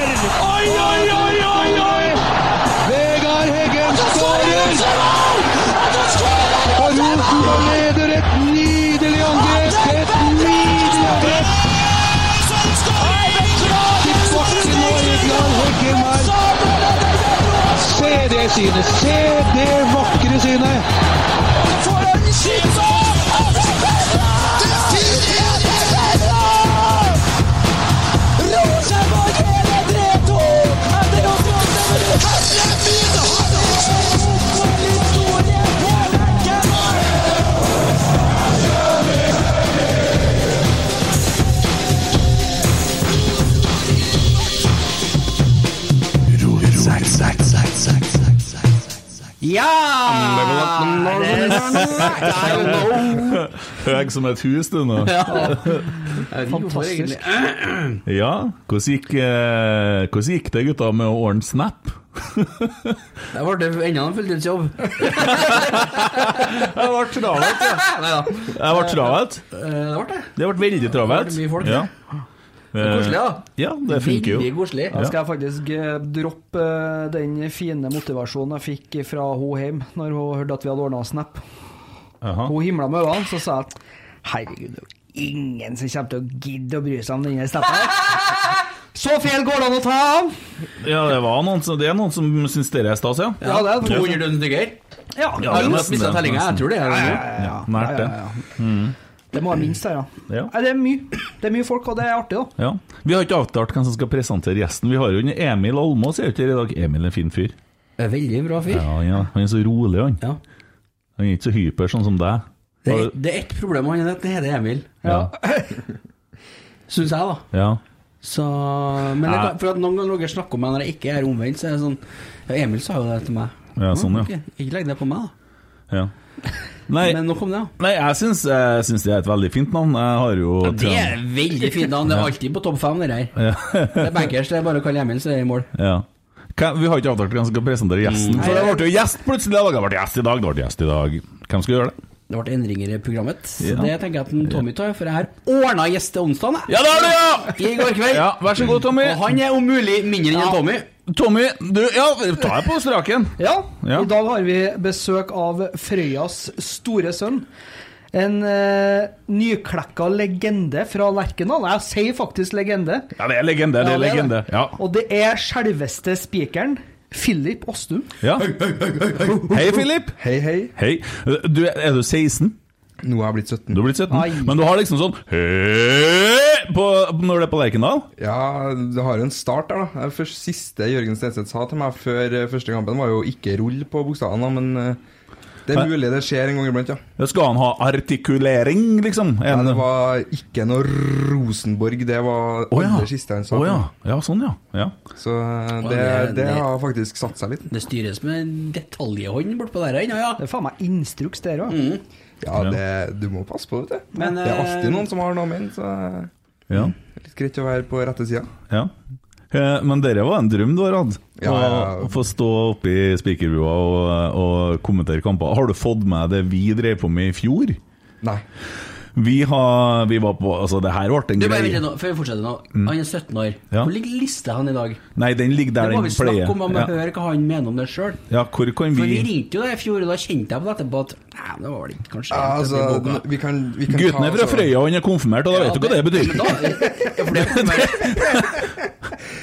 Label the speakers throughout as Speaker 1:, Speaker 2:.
Speaker 1: Oi, oi, oi, oi, oi!
Speaker 2: Vegard Heggen skårer! Og Rosenborg leder et nydelig angrep! Et nydelig angrep! Tilbake nå, Vegard Heggen her. Se det synet! Se det vakre synet!
Speaker 3: Ah,
Speaker 4: Ja!
Speaker 3: Høg som et hus, du nå.
Speaker 4: Fantastisk.
Speaker 3: Ja, hvordan gikk, eh, hvordan gikk det, gutta, med å ordne Snap?
Speaker 4: Der ble det enda en fulltidsjobb. Eh,
Speaker 3: Jeg ble travelt, jeg.
Speaker 4: Neida.
Speaker 3: Jeg ble travelt.
Speaker 4: Eh, Det ble det.
Speaker 3: Det ble veldig travelt.
Speaker 4: Det ble mye folk,
Speaker 3: ja. Eh,
Speaker 4: Koselig, da.
Speaker 3: Ja, det funker
Speaker 4: Veldig
Speaker 3: jo.
Speaker 4: koselig.
Speaker 3: Ja.
Speaker 5: Da skal jeg faktisk eh, droppe eh, den fine motivasjonen jeg fikk fra hun hjemme når hun hørte at vi hadde ordna Snap.
Speaker 3: Aha.
Speaker 5: Hun himla med øynene, så sa jeg at herregud, det er jo ingen som kommer til å gidde å bry seg om denne snappen. her. Så feil går det an å ta av!
Speaker 3: Ja, det, var noen som, det er noen som syns dere er stas, ja.
Speaker 5: Ja, det er
Speaker 4: 200 000 stykker.
Speaker 3: Ja,
Speaker 5: Ja,
Speaker 4: Har du
Speaker 3: det er
Speaker 4: mest
Speaker 3: nesten
Speaker 4: mistet
Speaker 3: det,
Speaker 4: tellinga? Jeg
Speaker 3: nesten.
Speaker 4: tror det. er det nå.
Speaker 5: ja,
Speaker 3: Nært det. Mm.
Speaker 5: Det må være minst her, ja.
Speaker 3: Ja.
Speaker 5: Nei, Det er mye Det er mye folk, og det er artig, da.
Speaker 3: Ja. Vi har ikke avtalt hvem som skal presentere gjesten. Vi har jo en Emil Almås er jo ikke her i dag. Emil er en fin fyr.
Speaker 4: En Veldig bra fyr.
Speaker 3: Ja, ja. Han er så rolig, han.
Speaker 4: Ja.
Speaker 3: Han er ikke så hyper sånn som deg.
Speaker 4: Det er, det er ett problem med han, det heter Emil.
Speaker 3: Ja.
Speaker 4: Syns jeg, da.
Speaker 3: ja.
Speaker 4: Så, men jeg,
Speaker 3: Ja.
Speaker 4: kan- for at noen ganger når dere snakker om meg når jeg ikke er omvendt, så er det sånn ja, Emil sa jo det til meg.
Speaker 3: Ja, sånn, ja.
Speaker 4: ok, Ikke legg det på meg, da.
Speaker 3: ja. Nei,
Speaker 4: Men nok om det. ja.
Speaker 3: nei, jeg syns jeg syns det er et veldig fint navn. Jeg har jo
Speaker 4: Det er et veldig fint navn. Det er alltid på topp fem, det der. Det er bankers. Det er bare å kalle Emil, så er det i mål.
Speaker 3: Ja. Hvem- Vi har ikke avtalt hvem som skal presentere gjesten. For det ble jo gjest plutselig i dag. Det ble gjest i dag, det ble gjest i dag. Hvem skal gjøre det?
Speaker 4: Det ble endringer i programmet. Så
Speaker 3: Ja.
Speaker 4: Det tenker jeg at en Tommy tar, for jeg har ordna gjest til onsdag jeg.
Speaker 3: Ja, det har du,
Speaker 4: i går kveld.
Speaker 3: Ja, Vær så god, Tommy.
Speaker 4: Og han er om mulig mindre enn
Speaker 5: Ja.
Speaker 4: en Tommy.
Speaker 3: Tommy, du Ja, ta deg på straken.
Speaker 5: Ja.
Speaker 3: Ja.
Speaker 5: I dag har vi besøk av Frøyas store sønn. En eh, nyklekka legende fra Lerkendal. Jeg sier faktisk legende.
Speaker 3: Ja, det er legende. Det er legende. Ja.
Speaker 5: Og det er selveste spikeren Philip Åstum.
Speaker 3: ja. Hei, Philip.
Speaker 6: Hei, hei.
Speaker 3: Hei. Du, er du 16?
Speaker 6: Nå har jeg blitt 17.
Speaker 3: Du er blitt 17.
Speaker 5: Ai.
Speaker 3: Men du har liksom sånn Hei! På, når det er på Lerkendal?
Speaker 6: Ja, det har en start der, da. Det først siste Jørgen Stenseth sa til meg før eh, første kampen, var jo 'ikke rull på bokstavene', da, men eh, det
Speaker 3: Hæ?
Speaker 6: er mulig det skjer en gang iblant, ja.
Speaker 3: Ja, Skal han ha artikulering, liksom?
Speaker 6: Nei, det var ikke noe Rosenborg, det var
Speaker 3: Å, ja.
Speaker 6: aller siste han sa.
Speaker 3: Å ja. ja, sånn, ja. ja.
Speaker 6: Så eh,
Speaker 4: Å,
Speaker 6: det,
Speaker 4: det-
Speaker 6: det
Speaker 4: det-
Speaker 6: har faktisk satt seg litt.
Speaker 4: Det styres med detaljhånd bortpå der ennå, ja.
Speaker 5: Det er faen meg instruks, det her òg.
Speaker 6: Ja,
Speaker 3: Ja.
Speaker 6: det, du må passe på, vet du.
Speaker 4: Men,
Speaker 6: det er
Speaker 4: eh,
Speaker 6: alltid noen som har noe med den, så eh,
Speaker 3: ja.
Speaker 6: det er litt greit å være på rette sida.
Speaker 3: ja. Eh, Men dere var en drøm du har hatt?
Speaker 6: Ja,
Speaker 3: å,
Speaker 6: ja.
Speaker 3: å få stå oppe i spikerbua og, og kommentere kamper. Har du fått med det vi drev på med i fjor?
Speaker 6: Nei.
Speaker 3: Vi, har, vi var på Altså, det her ble en
Speaker 4: Du bare vent
Speaker 3: greie.
Speaker 4: litt nå, før vi fortsetter nå. Han er 17 år.
Speaker 3: Mm. Ja.
Speaker 4: Hvor ligger lista han i dag?
Speaker 3: Nei, den ligger
Speaker 4: Det
Speaker 3: der
Speaker 4: må
Speaker 3: den
Speaker 4: vi snakke
Speaker 3: pleier.
Speaker 4: om, og
Speaker 3: Ja.
Speaker 4: høre hva han mener om det sjøl.
Speaker 3: ja, hvor kan
Speaker 4: For vi
Speaker 3: vi
Speaker 4: ringte jo deg i fjor, og da kjente jeg på det etterpå at Nei, men det var vel ikke kanskje
Speaker 6: Ja, altså,
Speaker 4: egentlig boka.
Speaker 6: vi kan, vi kan
Speaker 3: Gutten er fra
Speaker 6: altså-
Speaker 3: Frøya, og han er konfirmert, og da vet du hva det betyr.
Speaker 4: Men da, ja, for det kommer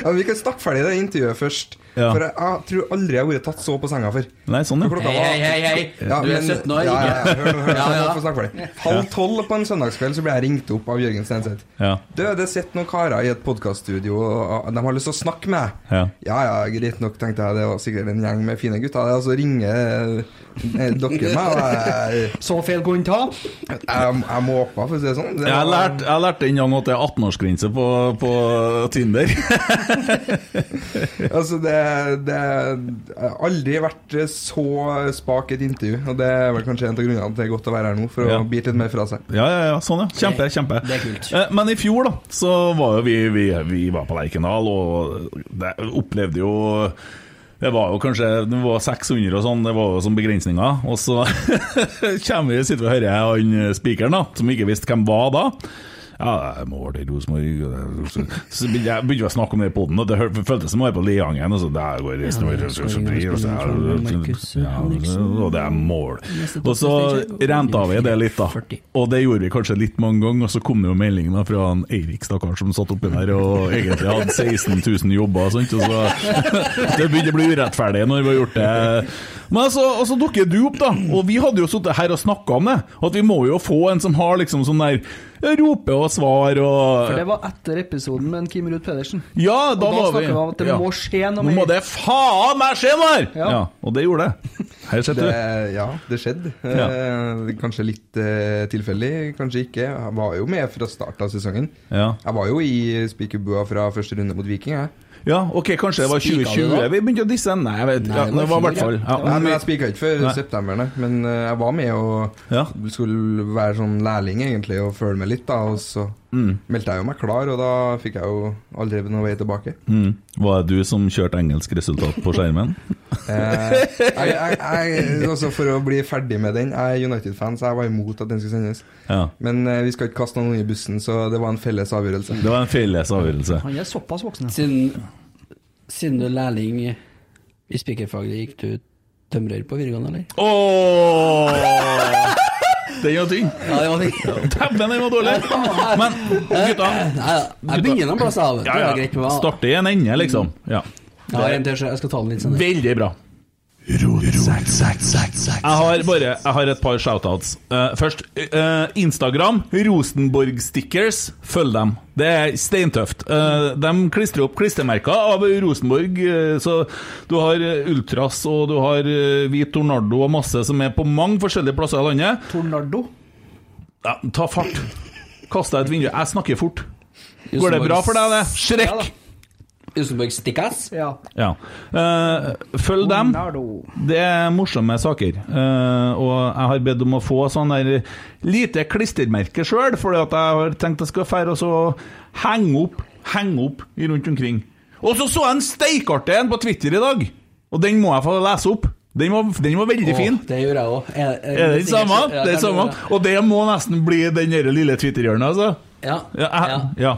Speaker 6: Ja, men Vi kan snakke ferdig det intervjuet først.
Speaker 3: Ja.
Speaker 6: For jeg, jeg tror aldri jeg har vært tatt så på senga før.
Speaker 3: Nei, sånn, ja.
Speaker 6: Klokka
Speaker 4: Hei, hei, hei, hei.
Speaker 6: Ja,
Speaker 4: Du er
Speaker 6: men-
Speaker 4: 17 år,
Speaker 6: Ja, ja, ja.
Speaker 4: ikke?
Speaker 6: Hør, nå, hør, nå,
Speaker 4: Ja, ja.
Speaker 6: jeg får snakke ferdig. Halv tolv på en søndagskveld så ble jeg ringt opp av Jørgen Stenseth.
Speaker 3: Ja.
Speaker 6: Du, det sitter noen karer i et podkaststudio, og og de har lyst til å snakke med deg.
Speaker 3: Ja.
Speaker 6: ja ja, greit nok, tenkte jeg. Det var sikkert en gjeng med fine gutter. Og så ringer eh, dere meg, og jeg,
Speaker 5: Så feil kunne ta.
Speaker 6: jeg, jeg måpa, for å si det sånn. Det
Speaker 3: Jeg har
Speaker 6: var-
Speaker 3: lært, jeg har lært en gang at det er 18-årsgrense på, på Tinder.
Speaker 6: Altså, det, det Jeg har aldri vært så spak i et intervju, og det er vel kanskje en av grunnene til at det er godt å være her nå, for
Speaker 3: Ja.
Speaker 6: å bite litt mer fra seg.
Speaker 3: Ja, ja, ja, sånn ja. Kjempe, kjempe.
Speaker 4: det er kult.
Speaker 3: Eh, Men i fjor da, så var jo vi, vi, vi var på Lerkendal, og det opplevde jo det var jo kanskje det var 600 og sånn, det var jo som begrensninger. Og så kommer vi, sitter vi og hører han eh, spikeren, da, som vi ikke visste hvem var da. Ja, jeg må over til Rosenborg og det- Så begynte jeg begynte jeg å snakke om det i poden, og det hør- føltes som å være på Leangen. Og så der går resten over til Rosenborg, og så- ja, og det er mål. Og så renta vi det litt, da. Og det gjorde vi kanskje litt mange ganger. Og så kom det jo melding da fra han Eirik, stakkar, som satt oppi der og egentlig hadde 16 000 jobber. Sant? Og så Det begynte å bli urettferdig når vi har gjort det. Men altså, og så dukker du opp, da. Og vi hadde jo sittet her og snakka om det. At vi må jo få en som har liksom sånn der rope og svar og
Speaker 5: For det var etter episoden med en Kim Ruud Pedersen.
Speaker 3: ja, da, var
Speaker 5: Og da
Speaker 3: vi
Speaker 5: snakker vi om at det må skje noe
Speaker 3: Nå
Speaker 5: mer.
Speaker 3: må det faen meg skje noe her! Ja.
Speaker 5: Ja.
Speaker 3: og det gjorde det. Her
Speaker 6: Det,
Speaker 3: sitter du.
Speaker 6: ja, det skjedde.
Speaker 3: Ja.
Speaker 6: Eh, Kanskje litt eh, tilfeldig, kanskje ikke. Jeg var jo med fra starten av sesongen.
Speaker 3: Ja.
Speaker 6: Jeg var jo i spikerbua fra første runde mot Viking, jeg.
Speaker 3: ja, ok, kanskje det var
Speaker 4: Spika du
Speaker 3: 2020
Speaker 4: da?
Speaker 3: vi begynte å disse? Nei, jeg vet
Speaker 4: Nei,
Speaker 3: ja,
Speaker 4: det
Speaker 3: Det
Speaker 4: var
Speaker 3: var i hvert fall
Speaker 4: fjor,
Speaker 3: ja. Mm.
Speaker 6: Nei, men
Speaker 3: men-
Speaker 6: jeg spika ikke før
Speaker 3: Nei.
Speaker 6: september, nei. men eh, jeg var med og
Speaker 3: Ja.
Speaker 6: skulle være sånn lærling egentlig og følge med litt, da. Og så
Speaker 3: Mm.
Speaker 6: meldte jeg jo meg klar, og da fikk jeg jo aldri noe vei tilbake.
Speaker 3: Mm. Var det du som kjørte engelsk resultat på skjermen?
Speaker 6: Eh, jeg, jeg, jeg, altså for å bli ferdig med den, jeg er United-fan, så jeg var imot at den skulle sendes.
Speaker 3: Ja.
Speaker 6: Men eh, vi skal ikke kaste noen i bussen, så det var en felles avgjørelse.
Speaker 3: Det var en felles avgjørelse.
Speaker 5: Han er såpass voksen. ja.
Speaker 4: Siden, siden du er lærling i spikerfaget, gikk du tømrer på videregående, eller?
Speaker 3: Ååå! Den var tynn.
Speaker 4: Ja, det var fint.
Speaker 3: Dæven, den var dårlig! Men gutta
Speaker 4: Nei, jeg begynner noen plass, jeg. vet du.
Speaker 3: ja,
Speaker 4: Det er greit med
Speaker 3: ja.
Speaker 4: meg.
Speaker 3: Starte i en ende, liksom. Ja.
Speaker 4: Jeg har en til, så jeg skal ta den litt senere.
Speaker 3: Veldig bra. Jeg har bare jeg har et par shoutouts. Eh, først eh, Instagram. Rosenborg Stickers. Følg dem. Det er steintøft. Eh, de klistrer opp klistremerker av Rosenborg. eh, så du har eh, Ultras og du har eh, Hvit Tornado og masse som er på mange forskjellige plasser i landet.
Speaker 5: Tornado.
Speaker 3: Ja, ta fart. Kast deg et vindu. Jeg snakker fort. Går det bra for deg, det?
Speaker 5: Ja
Speaker 3: Shrek!
Speaker 5: da.
Speaker 4: Rosenborg Stikkas?
Speaker 5: Ja.
Speaker 3: Ja. Eh, følg dem.
Speaker 5: Tornado.
Speaker 3: Det er morsomme saker. eh, og jeg har bedt om å få sånn der lite klistremerke sjøl, fordi at jeg har tenkt jeg skal fære og så henge opp henge opp i rundt omkring. Og så så jeg en steikartig en på Twitter i dag, og den må jeg få lese opp. Den var, den var veldig
Speaker 4: Åh,
Speaker 3: fin.
Speaker 4: Det gjorde jeg òg. Er,
Speaker 3: Er det den samme?
Speaker 4: Ja,
Speaker 3: det er den samme. Og det må nesten bli den der lille Twitter-hjørnet, altså.
Speaker 4: Ja.
Speaker 3: Ja, jeg- ja.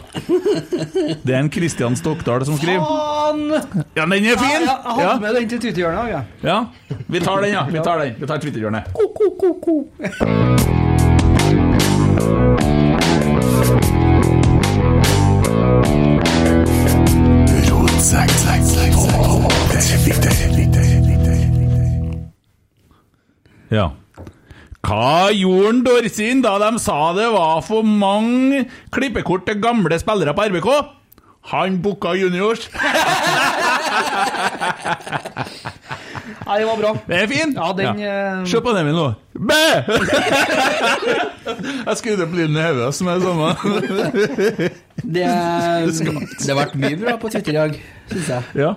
Speaker 3: Det er en Kristian Stokdal som skriver.
Speaker 5: Faen!
Speaker 3: Ja,
Speaker 5: Ja,
Speaker 3: den er fin!
Speaker 5: jeg hadde
Speaker 3: Ja.
Speaker 5: med den til tutehjørnet. Ja.
Speaker 3: Ja, vi tar den, ja. Vi tar den. Vi tar Twitter-hjørnet. Ja. Hva gjorde han Dorsin da de sa det var for mange klippekort til gamle spillere på RBK? Han booka juniors.
Speaker 5: Nei, det var bra.
Speaker 3: Det er fin!
Speaker 5: Ja, den eh,
Speaker 3: Se på den min nå. Bæ! jeg skrudde opp lyden i hodet, som er det samme.
Speaker 4: Det, um, det har vært mye bra på Twitter i dag, syns jeg.
Speaker 3: ja.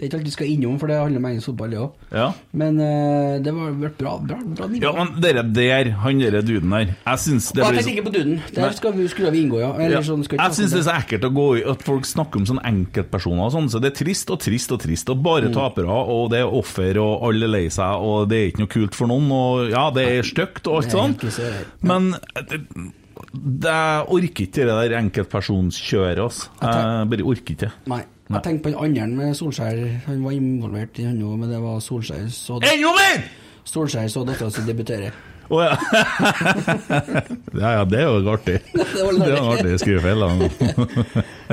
Speaker 4: Det er ikke alt du skal innom, for det handler om engelsk fotball, det òg.
Speaker 3: Ja.
Speaker 4: Men eh, det har vært bra, bra, bra nivå.
Speaker 3: ja, men dere der, han dere duden der, jeg syns det
Speaker 4: Og jeg
Speaker 3: blir
Speaker 4: tenkte
Speaker 3: så
Speaker 4: ikke på duden.
Speaker 3: Nei.
Speaker 4: Der skal vi, skulle vi inngå, ja. Eller
Speaker 3: ja.
Speaker 4: sånn, skal ikke
Speaker 3: Jeg syns det er så ekkelt å gå i at folk snakker om sånne enkeltpersoner og sånn, så det er trist og trist og trist, og bare tapere, og det er offer, og alle er lei seg, og det er ikke noe kult for noen, og ja, det er stygt og alt
Speaker 4: Det er
Speaker 3: sånn,
Speaker 4: helt krise, det
Speaker 3: men eh, det, det, jeg orker ikke det der enkeltpersonkjøret, altså. Jeg bare orker ikke.
Speaker 4: Nei. Jeg tenkte på han andre med Solskjær. Han var involvert i han òg, men det var Solskjær så,
Speaker 3: Enda mer!
Speaker 4: Solskjær så dattera si debutere.
Speaker 3: Å ja. ja. Ja, det er jo artig. Det
Speaker 4: var litt
Speaker 3: er en artig skrivefeil. da.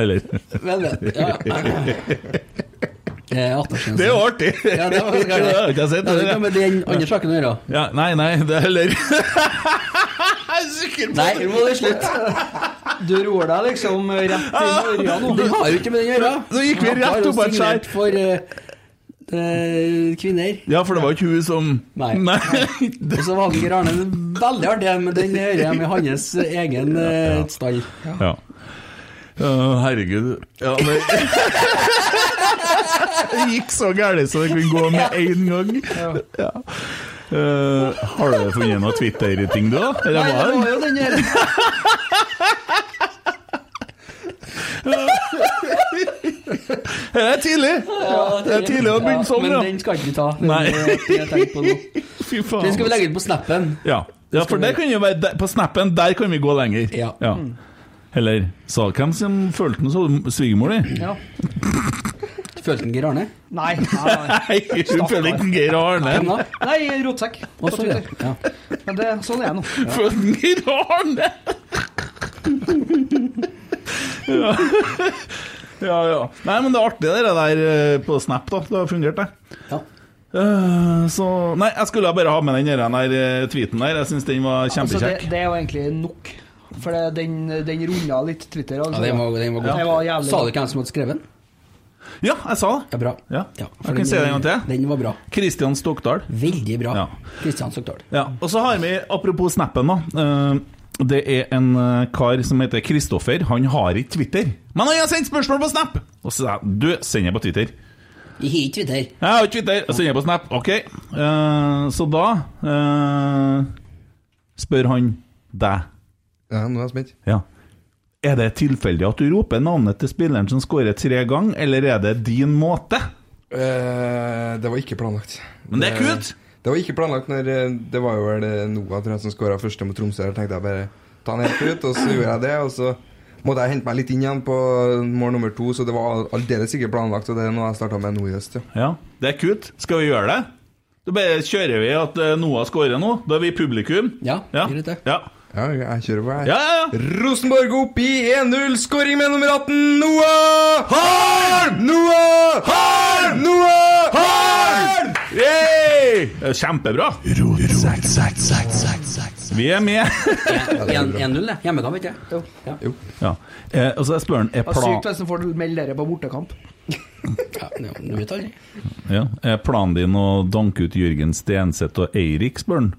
Speaker 3: Eller
Speaker 4: Men, ja. Eh, 18-årsgrense.
Speaker 3: Det er jo artig!
Speaker 4: Ja, det var ganske
Speaker 3: Ja,
Speaker 4: artig.
Speaker 3: det har jeg ikke sett.
Speaker 4: Det har
Speaker 3: det
Speaker 4: ikke
Speaker 3: der.
Speaker 4: med den andre saken å gjøre.
Speaker 3: Ja, nei, nei, det er heller Jeg er sikker på
Speaker 4: Nei, nå må det slutte.
Speaker 5: Du roer deg liksom rett inn i øra nå.
Speaker 4: Det har jo ikke med den å gjøre.
Speaker 3: Nå gikk vi
Speaker 4: Han
Speaker 3: rett
Speaker 4: har jo
Speaker 3: opp av et skjær.
Speaker 4: signert For eh, eh, kvinner.
Speaker 3: Ja, for det var ikke hun som
Speaker 4: Nei.
Speaker 3: nei.
Speaker 4: Og så var Anger Arne veldig artig, men den hører jeg med hans egen eh, stall.
Speaker 3: Ja. Å, herregud. Ja, men Det gikk så gærent så det kunne gå med én gang. Ja. Eh, har du funnet noe Twitter-ting, du, da? Eller
Speaker 5: Nei,
Speaker 3: var
Speaker 5: det
Speaker 3: det
Speaker 5: var jo den her.
Speaker 3: Det er tidlig! det er tidlig å begynne sånn,
Speaker 4: men
Speaker 3: ja.
Speaker 4: den skal ikke vi ta. Den,
Speaker 3: Nei.
Speaker 4: eh, jeg tenker på nå.
Speaker 3: Fy faen.
Speaker 4: Den skal vi legge ut på snappen.
Speaker 3: Ja, ja for der kan jo være der, på snappen der kan vi gå lenger.
Speaker 4: Ja.
Speaker 3: Eller sa hvem som følte den så? Svigermor di?
Speaker 5: Ja.
Speaker 4: Følte han Geir Arne?
Speaker 5: Nei. nei, nei.
Speaker 3: Nei, hun følte ikke Geir
Speaker 4: Hvem
Speaker 3: Arne!
Speaker 4: da?
Speaker 5: Nei, rotsekk.
Speaker 4: Å, sorry. Ja.
Speaker 5: Men det, sånn er jeg nå.
Speaker 3: Følte den Geir Arne! Ja. ja, ja. Nei, men det er artig det der, eh, på Snap, da. Det har fungert, det.
Speaker 4: Ja.
Speaker 3: Eh, Så Nei, jeg skulle bare ha med den der, den der eh, tweeten der. Jeg syns den var
Speaker 5: Altså, det,
Speaker 3: kjempekjekk.
Speaker 5: det er jo egentlig nok. For det, den, den runda litt Twitter.
Speaker 4: Ja,
Speaker 5: Altså.
Speaker 4: den var, den var
Speaker 5: Ja, den var
Speaker 4: god.
Speaker 5: jævlig
Speaker 4: Sa
Speaker 5: god.
Speaker 4: du ikke hvem som hadde skrevet den?
Speaker 3: Ja, jeg sa det.
Speaker 4: Ja, bra.
Speaker 3: Ja.
Speaker 4: for
Speaker 3: Jeg kan si det en gang til.
Speaker 4: Den var bra.
Speaker 3: Kristian Stokdal.
Speaker 4: Veldig bra.
Speaker 3: Ja.
Speaker 4: Kristian Søkdal.
Speaker 3: Ja, og så har vi, apropos snappen da eh, Det er en eh, kar som heter Kristoffer Han har ikke Twitter Men han har sendt spørsmål på snap Og så sa jeg, du, send jeg på Twitter
Speaker 4: I hit Twitter.
Speaker 3: Jeg har ikke Twitter, send jeg på snap Ok, Eh, så da eh, Spør han deg
Speaker 6: Ja, nå er jeg spent.
Speaker 3: Ja Er det tilfeldig at du roper navnet til spilleren som skårer tre gang Eller er det din måte?
Speaker 6: Eh, det var ikke planlagt. Eh,
Speaker 3: Men det er kult
Speaker 6: Det var ikke planlagt når eh, Det var jo vel eh, Noah tror jeg, som skåra første mot Tromsø. Da tenkte jeg bare ta han helt ut, og så gjorde jeg det. Og så måtte jeg hente meg litt inn igjen på mål nummer to, så det var all- aldeles ikke planlagt. Og det er noe jeg starta med nå i høst, ja.
Speaker 3: Ja, det er kult. Skal vi gjøre det? Da bare kjører vi at eh, Noah scorer nå. Da er vi publikum.
Speaker 4: Ja,
Speaker 3: ja.
Speaker 4: gjør det.
Speaker 3: Ja,
Speaker 6: Ja, jeg kjører på, jeg.
Speaker 3: ja, ja. ja.
Speaker 6: Rosenborg opp i 1-0, skåring med nummer 18, Noah!
Speaker 3: Harm!
Speaker 6: Noah!
Speaker 3: Harm!
Speaker 6: Noah!
Speaker 3: Harm! Yay! Det er Kjempebra. Vi er med.
Speaker 4: 1-0, det. Hjemmekamp, vet
Speaker 5: Jo.
Speaker 4: jeg. Ja.
Speaker 3: Ja. Eh, og så spør han er
Speaker 5: Det er
Speaker 3: plan...
Speaker 5: sykt hvis de får melde dere på bortekamp.
Speaker 4: Ja, men du vet aldri.
Speaker 3: ja. er planen din å danke ut Jørgen Stenseth og Eirik, spør han.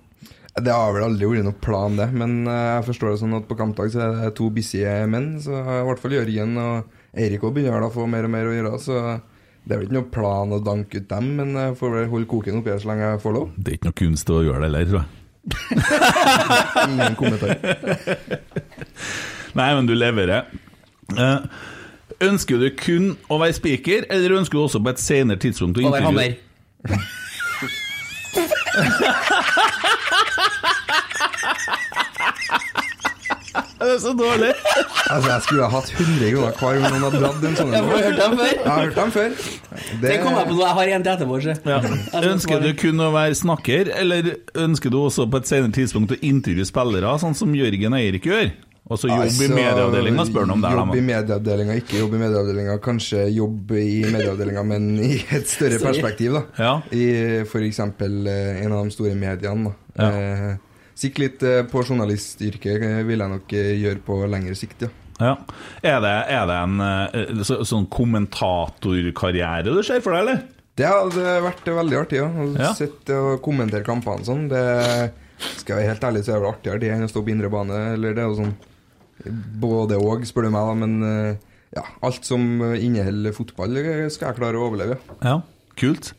Speaker 6: Det har vel aldri vært noen plan, det. Men eh, jeg forstår det sånn at på kampdag så er det to busy menn. Så i hvert fall Jørgen og Eirik òg begynner da å få mer og mer å gjøre. Så det er vel ikke noen plan å danke ut dem, men jeg får vel holde koken oppi her så lenge jeg får lov.
Speaker 3: Det er ikke noe kunst å gjøre det heller, tror jeg.
Speaker 6: Ingen kommentar.
Speaker 3: Nei, men du leverer. Eh, ønsker du kun å være speaker, eller ønsker du også på et senere tidspunkt å
Speaker 4: Og der
Speaker 3: intervjue
Speaker 4: hammer.
Speaker 3: Det er så dårlig!
Speaker 6: Altså, jeg skulle ha hatt 100 kroner hver gang noen hadde dratt en sånn
Speaker 4: Jeg
Speaker 6: en.
Speaker 4: har hørt den før.
Speaker 6: Jeg har hørt dem før. Det,
Speaker 4: Den kom jeg på nå. Jeg har en til etterpå. så.
Speaker 3: Ja.
Speaker 4: Jeg synes
Speaker 3: Ønsker du
Speaker 4: det var-
Speaker 3: kun å være snakker, eller ønsker du også på et senere tidspunkt å intervjue spillere, sånn som Jørgen og Eirik gjør? Og så jobb i
Speaker 6: Altså,
Speaker 3: medieavdelinga, spør han om det.
Speaker 6: Jobb i
Speaker 3: her, da.
Speaker 6: medieavdelinga, ikke jobb i medieavdelinga. Kanskje jobb i medieavdelinga, men i et større
Speaker 4: Sorry.
Speaker 6: perspektiv, da.
Speaker 3: Ja.
Speaker 6: I f.eks. en av de store mediene, da.
Speaker 3: Ja.
Speaker 6: Eh, Sikkert litt eh, på journalistyrket eh, vil jeg nok eh, gjøre på lengre sikt, ja.
Speaker 3: Ja. Er, det, er det en eh, så, sånn kommentatorkarriere du ser for deg, eller?
Speaker 6: Det hadde vært veldig artig, ja. Å
Speaker 3: Ja.
Speaker 6: sitte og kommentere kampene sånn. Det skal jeg være helt ærlig, så er det vel artigere det enn å stå på indre bane, eller det er jo sånn Både og, spør du meg, da, men eh, ja, alt som inneholder fotball, eh, skal jeg klare å overleve. ja.
Speaker 3: Ja. Kult.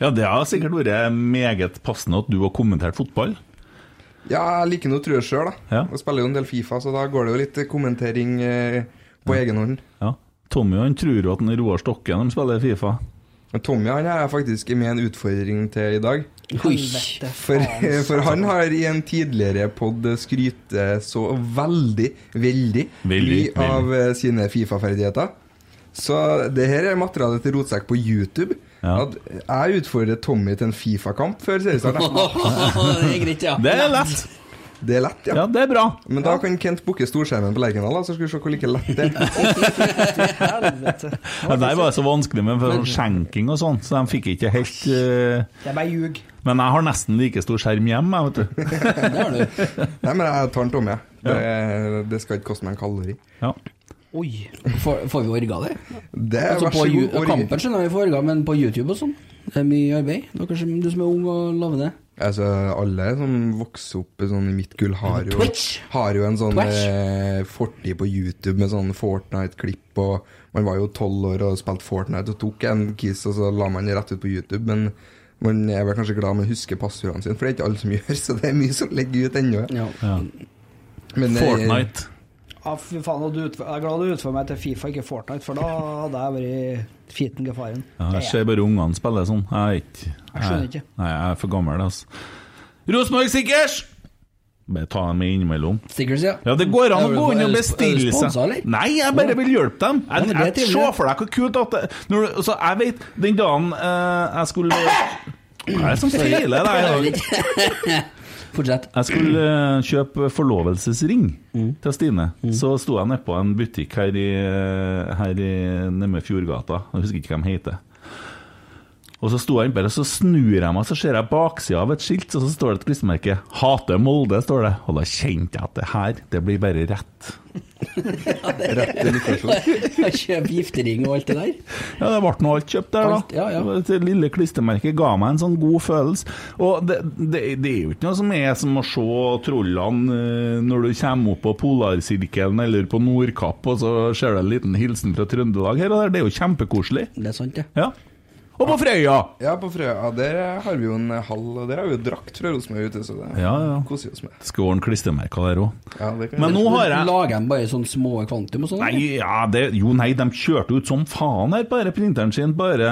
Speaker 3: Ja, det har sikkert vært meget passende at du har kommentert fotball.
Speaker 6: Ja, jeg liker noe trø sjøl, da.
Speaker 3: Ja.
Speaker 6: Jeg spiller jo en del Fifa, så da går det jo litt kommentering eh, på egen hånd.
Speaker 3: Ja. Tommy han tror jo at han Roar Stokke når de spiller Fifa.
Speaker 6: Men Tommy han er jeg faktisk med en utfordring til i dag.
Speaker 4: Ui.
Speaker 6: For, for han har i en tidligere pod skrytt eh, så veldig, veldig,
Speaker 3: Veldig,
Speaker 6: mye av eh, sine Fifa-ferdigheter. Så det her er materialet til Rotsekk på YouTube.
Speaker 3: Ja.
Speaker 6: At jeg utfordrer Tommy til en Fifa-kamp før seriestart. da.
Speaker 4: Det er greit, ja.
Speaker 3: Det er lett!
Speaker 6: Det er lett, ja.
Speaker 3: Ja, det er bra.
Speaker 6: Men da kan Kent booke storskjermen på Lerkendal, da, så skal vi se hvor like lett det er.
Speaker 5: Helvete.
Speaker 3: Ja, det var så vanskelig med for skjenking og sånn, så de fikk ikke helt eh,
Speaker 5: Det er bare ljug.
Speaker 3: Men jeg har nesten like stor skjerm hjemme, jeg, vet du.
Speaker 4: Det har du.
Speaker 6: Nei, men jeg tar den tomme, jeg. Det, det skal ikke koste meg en kalori.
Speaker 3: Ja.
Speaker 5: Oi.
Speaker 4: Får, får vi orga det?
Speaker 6: Det er
Speaker 4: Altså
Speaker 6: Eh, vær
Speaker 4: på
Speaker 6: så
Speaker 4: ju-
Speaker 6: god. orgi.
Speaker 4: kampen skjønner vi får orga, men på YouTube og sånn. Det er mye arbeid. Dere som, du som er ung og lovende.
Speaker 6: Altså, alle som vokser opp sånn i mitt gull, har jo,
Speaker 4: Twitch!
Speaker 6: har jo en sånn
Speaker 4: Twitch!
Speaker 6: eh, fortid på YouTube med sånn Fortnite-klipp. og Man var jo tolv år og spilte Fortnite og tok en kiss, og så la man det rett ut på YouTube. Men man er vel kanskje glad man husker passordene sine, for det er ikke alle som gjør, så det er mye som ligger ut ennå.
Speaker 4: Ja.
Speaker 6: Men, eh,
Speaker 3: Fortnite.
Speaker 5: Ja, fy faen, og du utf- jeg er glad du utfører meg til Fifa, ikke Fortnite, for da hadde jeg vært fiten gefaren.
Speaker 3: Ja, jeg ser bare ungene spille sånn. Jeg, er ikke,
Speaker 5: Jeg skjønner ikke.
Speaker 3: Nei, jeg er for gammel, altså. Rosenborg Sikkers! Bare ta dem innimellom.
Speaker 4: Stickers, ja.
Speaker 3: Ja, det går an å
Speaker 4: Er du-
Speaker 3: gå inn
Speaker 4: er du-
Speaker 3: og
Speaker 4: er
Speaker 3: bestille
Speaker 4: du sponset,
Speaker 3: seg.
Speaker 4: eller?
Speaker 3: Nei, jeg bare vil hjelpe dem.
Speaker 4: Ja, men
Speaker 3: Jeg,
Speaker 4: det er
Speaker 3: jeg
Speaker 4: trivelig.
Speaker 3: ser for deg hvor kult at det, når, du- Så jeg vet Den dagen eh, jeg skulle Hva er det som feiler deg? i dag?
Speaker 4: Fortsett.
Speaker 3: Jeg skulle eh, kjøpe forlovelsesring
Speaker 4: Mm.
Speaker 3: til Stine. Så sto jeg nede på en butikk her i, her i nede ved Fjordgata. Jeg husker ikke hva de heter. Og så sto jeg innpå der, og så snur jeg meg, så ser jeg baksida av et skilt, og så står det et klistremerke. 'Hater Molde', står det. Og da kjente jeg at det her, det blir bare rett.
Speaker 6: Rett til Nikolsson.
Speaker 4: Kjøp giftering og alt det der.
Speaker 3: Ja, det ble nå alt kjøpt der, da.
Speaker 4: Alt, ja, ja.
Speaker 3: Det lille klistremerket ga meg en sånn god følelse. Og det, det, det er jo ikke noe som er som å se trollene eh, når du kommer opp på Polarsirkelen eller på Nordkapp, og så ser du en liten hilsen fra Trøndelag her og der. Det er jo kjempekoselig.
Speaker 4: Det er sant, det.
Speaker 3: Ja. Og på Frøya!
Speaker 6: Ja, på Frøya der har vi jo en hall, og der har vi jo drakt fra Rosenborg ute, så det
Speaker 3: Ja, ja.
Speaker 6: koser vi oss med.
Speaker 3: Det skal ordne klistremerker der òg.
Speaker 6: Ja, det kan
Speaker 3: Men nå har jeg
Speaker 4: Lager de bare sånne små kvantum og sånn? eller?
Speaker 3: Nei, ja, det, jo nei, de kjørte ut som faen her på denne printeren sin, bare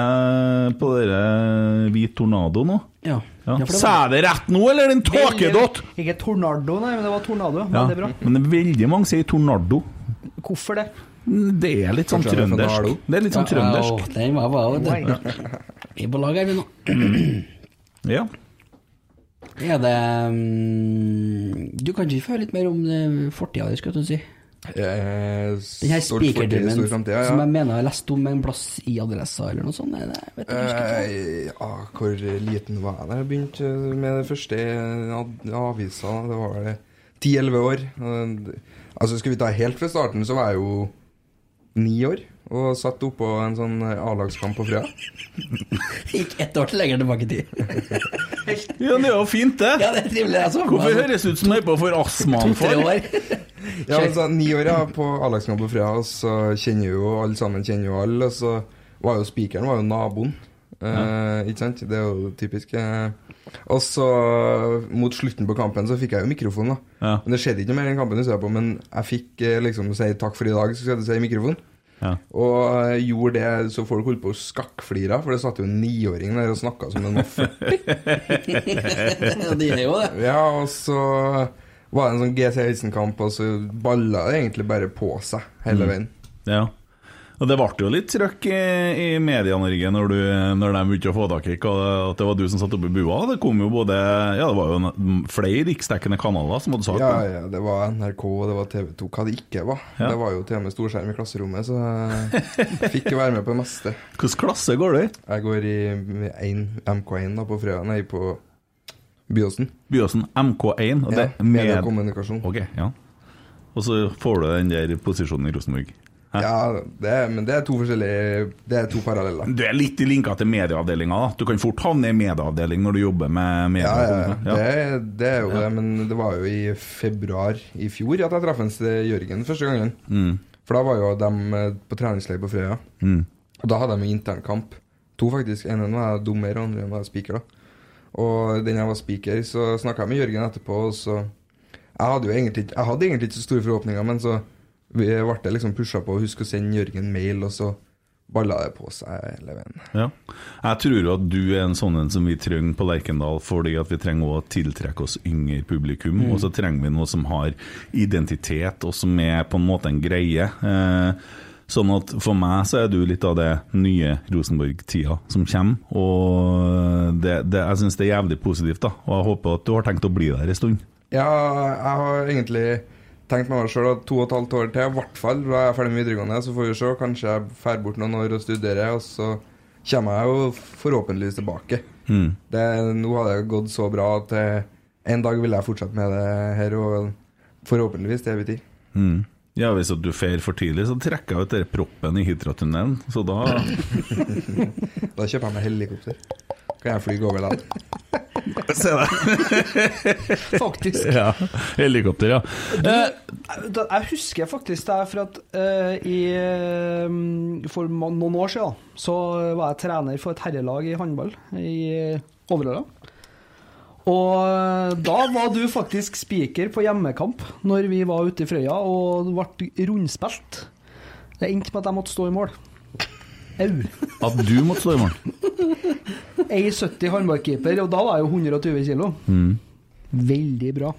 Speaker 3: på denne hvit tornado nå.
Speaker 4: Ja.
Speaker 3: Ja.
Speaker 4: Ja, for det
Speaker 3: Sa
Speaker 4: var-
Speaker 3: jeg det rett nå, eller er det en tåkedott?
Speaker 5: Ikke tornado, nei, men det var tornado.
Speaker 3: Ja,
Speaker 5: Veldig bra.
Speaker 3: men det er veldig mange sier tornado.
Speaker 5: Hvorfor det?
Speaker 3: Det er litt sånn
Speaker 6: Kanskje det er fra Nardo?
Speaker 3: trøndersk. Det er litt sånn trøndersk.
Speaker 4: Ja, den var bra, vet du. Vi er på lag her, vi nå.
Speaker 3: Ja.
Speaker 4: Er det mm, Du kan ikke høre litt mer om eh, fortida di, skulle jeg til å si. Den her spikerdrømmen som jeg mener jeg har lest om en plass i adressa eller noe sånt. Nei, det vet jeg ikke.
Speaker 6: Eh, ja, hvor liten var jeg da jeg begynte med det første ad- avisa? Det var vel 10-11 år. Og, Altså, Skal vi ta helt fra starten, så var jeg jo ni år og satt oppå en sånn A-lagskamp på Frøya.
Speaker 3: Eh.
Speaker 4: Gikk ett år til lenger tilbake i tid.
Speaker 3: ja, det er jo fint, det.
Speaker 4: Ja, det er trivelig. Jeg så for
Speaker 3: Hvorfor
Speaker 4: meg
Speaker 3: høres det ut som jeg er på for astmaen
Speaker 4: tre
Speaker 3: for?
Speaker 4: år.
Speaker 6: Ja, men så Ni år ja, på A-lagskamp på Frøya, og så kjenner jo alle sammen kjenner jo alle. Og så var jo spikeren var jo naboen. Eh, Ikke sant? Det er jo typisk. eh. Og så, mot slutten på kampen, så fikk jeg jo mikrofon, da.
Speaker 3: Ja.
Speaker 6: Men det skjedde ikke noe mer i den kampen, husker jeg på, men jeg fikk eh, liksom si takk for i dag, så skal du si i mikrofonen.
Speaker 3: Ja.
Speaker 6: Og eh, gjorde det så folk holdt på å skakkflire, for det satt jo en niåring der og snakka som en offer.
Speaker 4: Ja, det er jo det.
Speaker 6: Ja, og så var det en sånn GC Høysen-kamp, og så balla det egentlig bare på seg
Speaker 3: Mm.
Speaker 6: hele veien.
Speaker 3: Ja. Og det ble jo litt trøkk i, i Media-Norge når, du- når de begynte å få tak i hva- at det var du som satt oppe i bua. Det kom jo både Ja, det var jo en, flere riksdekkende kanaler som hadde sagt
Speaker 6: Ja,
Speaker 3: det.
Speaker 6: ja, det var NRK, og det var TV 2, hva det ikke var.
Speaker 3: Ja.
Speaker 6: Det var jo til og med storskjerm i klasserommet, så jeg fikk jo være med på det meste.
Speaker 3: Hvilken klasse går du i?
Speaker 6: Jeg går i en- MK1 da på Frøya, nei, på Byåsen.
Speaker 3: Byåsen MK1. Og
Speaker 6: Ja,
Speaker 3: det
Speaker 6: media og
Speaker 3: med
Speaker 6: kommunikasjon.
Speaker 3: Ok, ja. Og så får du den der posisjonen i Rosenborg. Hæ?
Speaker 6: Ja, det er, men det er to forskjellige Det er to paralleller.
Speaker 3: Du er litt linka til medieavdelinga. da. Du kan fort havne i medieavdeling når du jobber med media.
Speaker 6: Ja, ja,
Speaker 3: Ja.
Speaker 6: det, er- det er jo det, men det var jo i februar i fjor at jeg traff en sted Jørgen første gangen.
Speaker 3: Mm.
Speaker 6: For da var jo de eh, på treningsleir på Frøya. Og da hadde de internkamp. To, faktisk. En av dem var jeg dommer, og den andre var jeg speaker. da. Og den jeg var speaker, så snakka jeg med Jørgen etterpå, og så Jeg hadde jo egentlig, ikke- jeg hadde egentlig ikke så store forhåpninger, men så vi ble det liksom pusha på å huske å sende Jørgen mail, og så balla det på seg hele veien.
Speaker 3: Ja. Jeg tror jo at du er en sånn en som vi trenger på Lerkendal, fordi at vi trenger å tiltrekke oss yngre publikum. Og så trenger vi noe som har identitet, og som er på en måte en greie. Eh, sånn at for meg så er du litt av det nye Rosenborg-tida som kommer. Og det, det, jeg syns det er jævlig positivt, da. Og jeg håper at du har tenkt å bli der en stund.
Speaker 6: Ja, jeg har egentlig tenkt meg sjøl at to og et halvt år til, i hvert fall da jeg er ferdig med videregående, så får vi se. Kanskje jeg drar bort noen år og studerer, og så kommer jeg jo forhåpentligvis tilbake.
Speaker 3: Mm.
Speaker 6: Det, nå har det gått så bra at eh, en dag vil jeg fortsette med det her, og forhåpentligvis til evig tid.
Speaker 3: Mm. Ja, hvis at du fer for tidlig, så trekker jeg ut den proppen i Hitra-tunnelen. Så da
Speaker 6: Da kjøper jeg meg helikopter. Kan jeg fly over land?
Speaker 3: Se det!
Speaker 5: Faktisk.
Speaker 3: Ja. Helikopter, ja. Eh,
Speaker 5: Da- Jeg husker faktisk det er for at eh, i, eh, for ma- noen år siden så var jeg trener for et herrelag i håndball i Overhalla. Og eh, da var du faktisk spiker på hjemmekamp når vi var ute i Frøya og ble rundspilt. Det endte med at jeg måtte stå i mål. Au.
Speaker 3: at du måtte stå i mål. Mm.
Speaker 5: 1,70 håndballkeeper, og da var jeg jo 120 kilo. Veldig bra.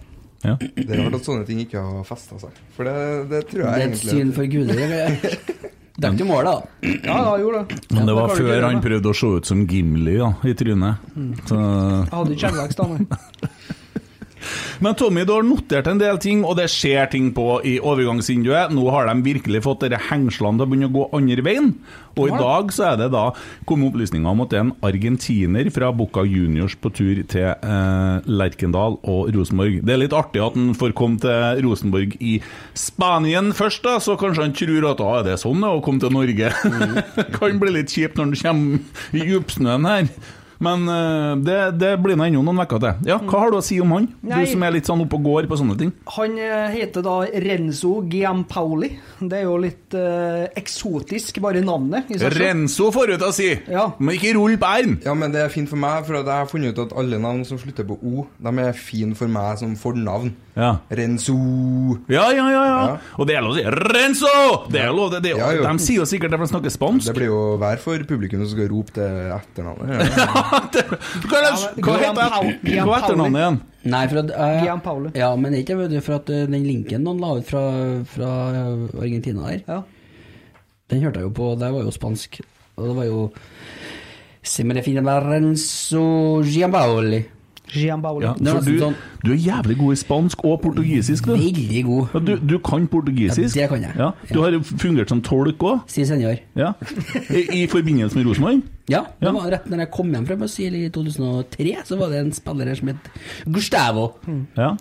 Speaker 3: Ja.
Speaker 6: Det er rart at sånne ting ikke har festa seg. For det, det tror
Speaker 4: Det
Speaker 6: jeg
Speaker 4: er et syn for guder. det. Dakk til målet, da.
Speaker 5: Ja, ja, gjorde det.
Speaker 3: Men det var
Speaker 5: klarer du ikke
Speaker 3: før
Speaker 5: det,
Speaker 3: han
Speaker 5: da. Mm.
Speaker 3: prøvde å se ut som Gimli da, i trynet. Så.
Speaker 5: Jeg hadde ikke skjeggvekst, da. nei.
Speaker 3: Men Tommy, du har notert en del ting, og det skjer ting på i overgangsvinduet. Nå har de virkelig fått dere hengslene til å begynne å gå andre veien. Og i dag så er det da kommet opplysninger om at det er en argentiner fra Boca Juniors på tur til eh, Lerkendal og Rosenborg. Det er litt artig at han får komme til Rosenborg i Spanien først, da, så kanskje han tror at ah, er det er sånn det er å komme til Norge. kan bli litt kjipt når han kommer i djupsnøen her. Men eh, det, det blir nå ennå noen uker til. Ja, Hva har du å si om han?
Speaker 5: Nei.
Speaker 3: Du som er litt sånn oppe og går på sånne ting.
Speaker 5: Han eh, heter da Renzo Giampaoli. Det er jo litt eh, eksotisk, bare navnet. i seg selv.
Speaker 3: Renzo får du til å si,
Speaker 5: Ja.
Speaker 3: men ikke rull på r-en.
Speaker 6: Ja, men det er fint for meg, for at jeg har funnet ut at alle navn som slutter på O, de er fine for meg som fornavn.
Speaker 3: Ja.
Speaker 6: Renzo
Speaker 3: Ja, ja, ja, ja.
Speaker 6: Ja.
Speaker 3: Og det er lov å si 'Renzo'! Det er lov, det, det,
Speaker 6: Ja, jo.
Speaker 3: de sier jo sikkert det, for de snakker spansk.
Speaker 6: Det blir jo hver for publikum som skal rope det etternavnet. Ja.
Speaker 3: Hva, er det- hva heter
Speaker 5: Ja, men- Gian Paoli.
Speaker 3: hva er etternavnet igjen?
Speaker 4: Nei, for at eh,
Speaker 5: Gianpaolo.
Speaker 4: Ja, men ikke vet du, for at eh, den linken noen la ut fra, fra eh, Argentina der,
Speaker 5: Ja.
Speaker 4: den hørte jeg jo på, det var jo spansk. Og det var jo Simere fine Lorenzo Giambaoli.
Speaker 5: Giampaoli.
Speaker 3: Ja,
Speaker 4: Det var
Speaker 3: for du,
Speaker 4: sånn-
Speaker 3: du er jævlig god i spansk og portugisisk, du.
Speaker 4: Veldig god.
Speaker 3: Ja, du, du kan portugisisk.
Speaker 4: Ja, det kan jeg.
Speaker 3: Ja. Du har jo fungert som tolk òg,
Speaker 4: Si senor.
Speaker 3: ja. I, i forbindelse med Rosenborg.
Speaker 4: Ja, det
Speaker 3: Ja.
Speaker 4: var rett når jeg kom hjem fra Brasil i 2003, så var det en spiller her som het Gustavo.
Speaker 3: Ja.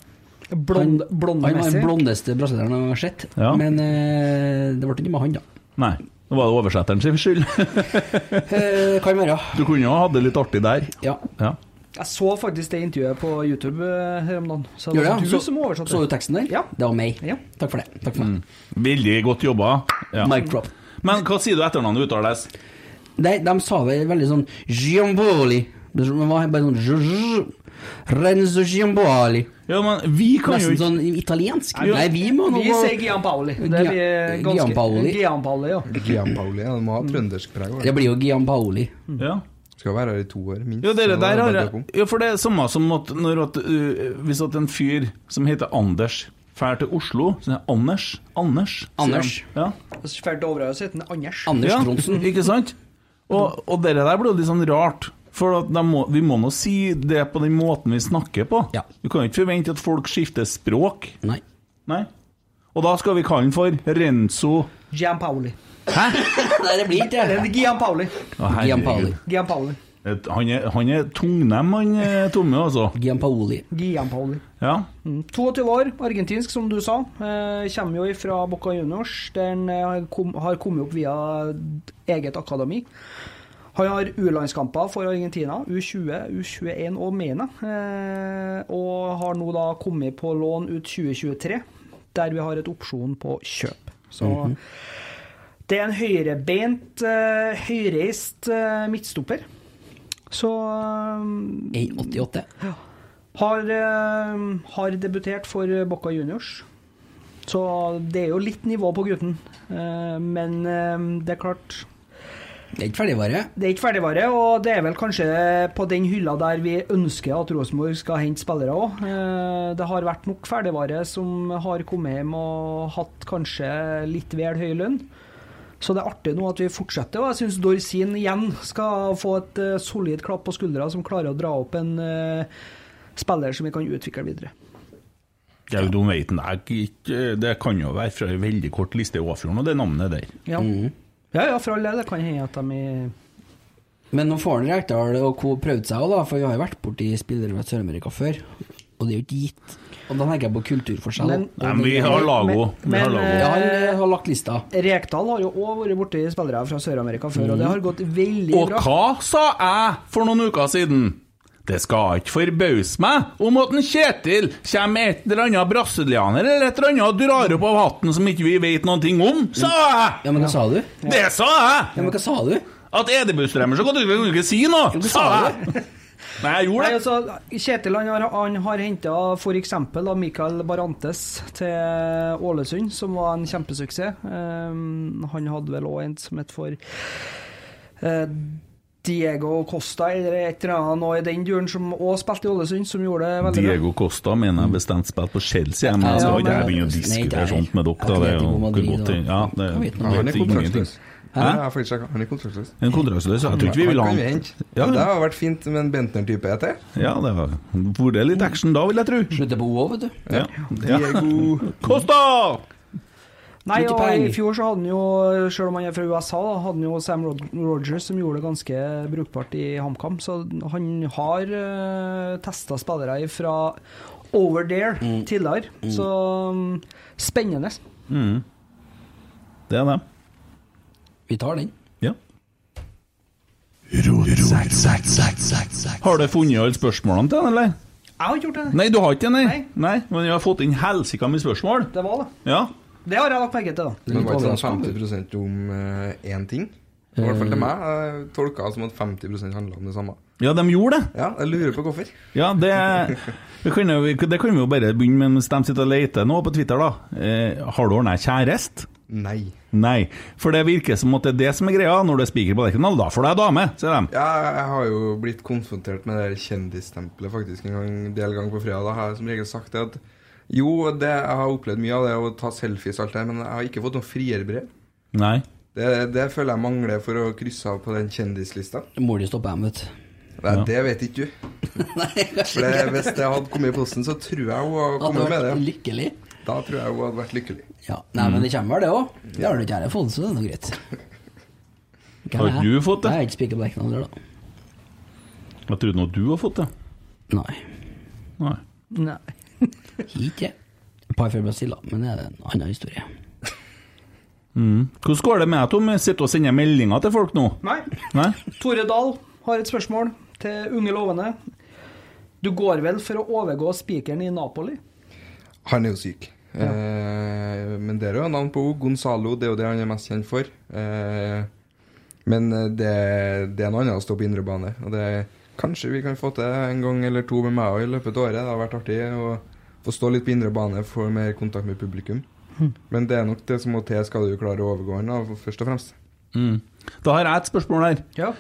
Speaker 5: Blond,
Speaker 4: Han- Han var
Speaker 5: blondemessig.
Speaker 4: den blondeste brasilianeren jeg har sett.
Speaker 3: Ja.
Speaker 4: Men eh, det ble ikke med han, da.
Speaker 3: Nei, det var det oversetteren sin skyld.
Speaker 4: Eh, kan være.
Speaker 3: Du kunne jo ha hatt det litt artig der.
Speaker 4: Ja.
Speaker 3: Ja.
Speaker 5: Jeg så faktisk det intervjuet på YouTube eh, her om dagen. Så det
Speaker 4: Gjør det?
Speaker 5: var
Speaker 4: ja.
Speaker 5: du
Speaker 4: Så,
Speaker 5: som oversatte
Speaker 4: så du teksten der?
Speaker 5: Ja.
Speaker 4: Det var meg.
Speaker 5: Ja.
Speaker 4: Takk for det. Takk for det.
Speaker 3: Veldig godt jobba. Mm. Ja.
Speaker 4: Mic drop.
Speaker 3: Men hva sier du etternavnet uttales?
Speaker 4: Nei, de sa det veldig sånn Giamboli. Det var bare sånn «Zh, zh, Renzo Giamboli.
Speaker 3: Ja, men vi kan jo
Speaker 4: Nesten
Speaker 3: ikke
Speaker 4: sånn italiensk.
Speaker 3: Ja.
Speaker 4: Nei, vi må nå
Speaker 5: Vi sier Giampaoli. Det
Speaker 4: Gia-
Speaker 5: blir ganske
Speaker 4: Giampaoli.
Speaker 5: Giampaoli, ja.
Speaker 6: Giampaoli. Ja, det må ha trøndersk preg. over
Speaker 4: Det
Speaker 6: det.
Speaker 4: blir jo Giampaoli.
Speaker 3: ja.
Speaker 6: Skal være her i to år, minst.
Speaker 3: Ja, dere
Speaker 6: Så
Speaker 3: der
Speaker 6: det
Speaker 3: har
Speaker 6: bare
Speaker 3: jeg
Speaker 6: å
Speaker 3: Ja, for det er samme som at når at, uh, hvis at en fyr som heter Anders drar til Oslo, så er det Anders. Anders. sier
Speaker 4: Anders.
Speaker 3: han. Ja.
Speaker 5: Og så drar til Overøya, så heter han Anders.
Speaker 4: Anders
Speaker 3: ja.
Speaker 4: Trondsen.
Speaker 3: Ikke sant? Og, og dere der blir jo litt sånn rart. For at de må, vi må nå si det på den måten vi snakker på.
Speaker 4: Ja.
Speaker 3: Du kan jo ikke forvente at folk skifter språk.
Speaker 4: Nei.
Speaker 3: Nei. Og da skal vi kalle den for Renzo
Speaker 5: Giampaoli.
Speaker 4: Nei, det blir ikke
Speaker 5: Det
Speaker 4: det.
Speaker 5: er Giampaoli.
Speaker 3: Å, herregud.
Speaker 4: Giampaoli.
Speaker 5: Giampaoli.
Speaker 3: Et- Han er, han er tungnem, han eh, Tomme, altså.
Speaker 4: Giampaoli.
Speaker 5: Giampaoli.
Speaker 3: Ja.
Speaker 5: Mm. 22 år, argentinsk, som du sa. Eh, kommer jo fra Boca Juniors, der han eh, kom, har kommet opp via eget akademi. Han har U-landskamper for Argentina, U20, U21 og Mena. Eh, og har nå da kommet på lån ut 2023, der vi har et opsjon på kjøp. Så det er en høyrebeint, eh, høyreist eh, midtstopper. Så eh,
Speaker 4: 1,88.
Speaker 5: har, eh, har debutert for Bocca Juniors. Så det er jo litt nivå på gutten. Eh, men eh, det er klart
Speaker 4: Det er ikke ferdigvare.
Speaker 5: Det er ikke ferdigvare, og det er vel kanskje på den hylla der vi ønsker at Rosenborg skal hente spillere òg. Det har vært nok ferdigvare som har kommet hjem og hatt kanskje litt vel høy lønn. Så det er artig nå at vi fortsetter, og jeg syns Dorsin igjen skal få et eh, solid klapp på skuldra som klarer å dra opp en eh, spiller som vi kan utvikle videre.
Speaker 3: Ja, du vet den er ikke- eh, Det kan jo være fra en veldig kort liste i Åfjorden, og det navnet der.
Speaker 5: Ja,
Speaker 3: Mhm.
Speaker 5: ja, ja for all del. Det kan hende at de er
Speaker 4: Men nå får han Rekdal og co. prøvd seg òg, da, for vi har jo vært borti spillere fra Sør-Amerika før. Og det er jo ikke gitt. Og da tenker jeg på kulturforskjell.
Speaker 5: Men-
Speaker 3: Nei, men vi har Lago. Vi har
Speaker 5: Men- men,
Speaker 3: Lago.
Speaker 4: Ja, han eh, har lagt lista.
Speaker 5: Rekdal har jo òg vært borti spillere fra Sør-Amerika før, og det har gått veldig
Speaker 3: Mhm. Og
Speaker 5: bra.
Speaker 3: hva sa jeg for noen uker siden? Det skal ikke forbause meg om at en Kjetil kommer med et eller annet brasilianer eller et eller annet og drar opp av hatten som ikke vi vet noen ting om, sa jeg!
Speaker 4: Ja, men hva sa du?
Speaker 3: Det sa
Speaker 4: Ja,
Speaker 3: jeg!
Speaker 4: men hva sa du?
Speaker 3: At Edebustremer så godt, du kan ikke si noe, sa jeg! Nei, jeg gjorde
Speaker 5: Nei,
Speaker 3: det.
Speaker 5: altså, Kjetil han har, han har henta f.eks. Michael Barantes til Ålesund, som var en Ehm, kjempesuksess. Um, han hadde vel òg en som het for eh, Diego Costa eller et eller annet nå i den duren, som også spilte i Ålesund, som gjorde det veldig
Speaker 3: Diego Costa mener jeg bestemt spilt på Chelsea, men jeg skal
Speaker 5: Ja,
Speaker 3: ikke
Speaker 5: men-
Speaker 3: jeg begynne å
Speaker 4: Nei, det
Speaker 3: diskutere
Speaker 4: er-
Speaker 3: sånt med dere. Da. Det er jo
Speaker 4: Atletico Madrid,
Speaker 3: godt ting. Ja, det
Speaker 4: Hva vet man?
Speaker 6: Ja, han
Speaker 3: vet
Speaker 6: er
Speaker 3: jeg ingenting.
Speaker 6: kontraktsløs.
Speaker 3: Hæ?
Speaker 6: Ja, jeg har faktisk sjekket. Han er kontraktsløs.
Speaker 3: En kontraktsløs, ja. jeg tror ikke vi vil ha
Speaker 6: Han kan vi
Speaker 3: han.
Speaker 6: hente.
Speaker 3: Ja,
Speaker 6: Det
Speaker 3: ja.
Speaker 6: har vært fint med en Bentner-type E etter.
Speaker 3: ja, det var Hvor det er litt action da, vil jeg tro.
Speaker 4: Slutter på O, vet du.
Speaker 3: Ja. Ja.
Speaker 6: Diego
Speaker 3: Costa!
Speaker 5: Nei,
Speaker 4: Tutti
Speaker 5: og
Speaker 4: Peng.
Speaker 5: i fjor så hadde han jo, selv om han er fra USA, da, hadde han jo Sam Rod Rogers som gjorde det ganske brukbart i HamKam. Så han har uh, testa spillere fra over there tidligere. Så mm, spennende.
Speaker 3: Mm. Det er det.
Speaker 4: Vi tar den.
Speaker 3: Ja. Har du funnet alle spørsmålene til han, eller?
Speaker 5: Jeg har ikke gjort det.
Speaker 3: Nei, du har ikke det, nei?
Speaker 5: Nei.
Speaker 3: Nei, Men vi har fått inn helsika med spørsmål.
Speaker 5: Det var det.
Speaker 3: Ja.
Speaker 5: Det har jeg lagt merke til, da.
Speaker 6: Men Det var ikke sånn 50 om eh, én ting. I hvert fall til meg. Jeg tolka det som at 50 handla om det samme.
Speaker 3: Ja, de gjorde det.
Speaker 6: Ja, jeg lurer på hvorfor.
Speaker 3: Ja, det, det, kan jo, det kan vi jo bare begynne med mens de sitter og leter nå på Twitter, da. Eh, har du ordna kjæreste?
Speaker 6: Nei.
Speaker 3: Nei. For det virker som at det er det som er greia når du er spiker på Lerkendal. Da får du ei dame, sier de.
Speaker 6: Ja, jeg har jo blitt konfrontert med det der kjendisstempelet faktisk en gang, del gang på fredag. Da har jeg som regel sagt det at jo, det, jeg har opplevd mye av det å ta selfies og alt det, men jeg har ikke fått noe frierbrev.
Speaker 3: Nei.
Speaker 6: Det, det føler jeg mangler for å krysse av på den kjendislista.
Speaker 4: Mor di stopper hjem, vet du.
Speaker 6: Nei, Det vet ikke du. For det, hvis det hadde kommet i posten, så tror jeg hun hadde
Speaker 4: Hadde
Speaker 6: kommet med
Speaker 4: vært
Speaker 6: det.
Speaker 4: lykkelig.
Speaker 6: Da tror jeg hun hadde vært lykkelig.
Speaker 4: Ja. Nei, men det kommer vel, det òg. Det har du ikke her fått, så det er nå greit. Hvem
Speaker 3: Har
Speaker 4: er
Speaker 3: ikke
Speaker 4: jeg?
Speaker 3: du fått det?
Speaker 4: Jeg er ikke spiker på Lerkendal heller, da.
Speaker 3: Jeg trodde nå du har fått det.
Speaker 4: Nei.
Speaker 3: Nei.
Speaker 5: Nei.
Speaker 4: Ikke. Et par fra Brasil, da, men det er en annen historie.
Speaker 3: Mm. Hvordan går det med deg, Tom? Sitter og sender meldinger til folk nå?
Speaker 5: Nei.
Speaker 3: Nei?
Speaker 5: Tore Dahl har et spørsmål til unge lovende. Du går vel for å overgå spikeren i Napoli?
Speaker 6: Han er jo syk. Eh, men det er jo navn på henne. Gonzalo, det er jo det han er mest kjent for. Eh, men eh, det, det er noe annet å stå på indre bane. Og det, kanskje vi kan få til en gang eller to med meg også i løpet av året. Det har vært artig å få stå litt på indre bane, få mer kontakt med publikum. Men det er nok det som må til, skal du klare å overgå han, da, først og fremst.
Speaker 3: Mm. Da har jeg et spørsmål her.
Speaker 5: Ja.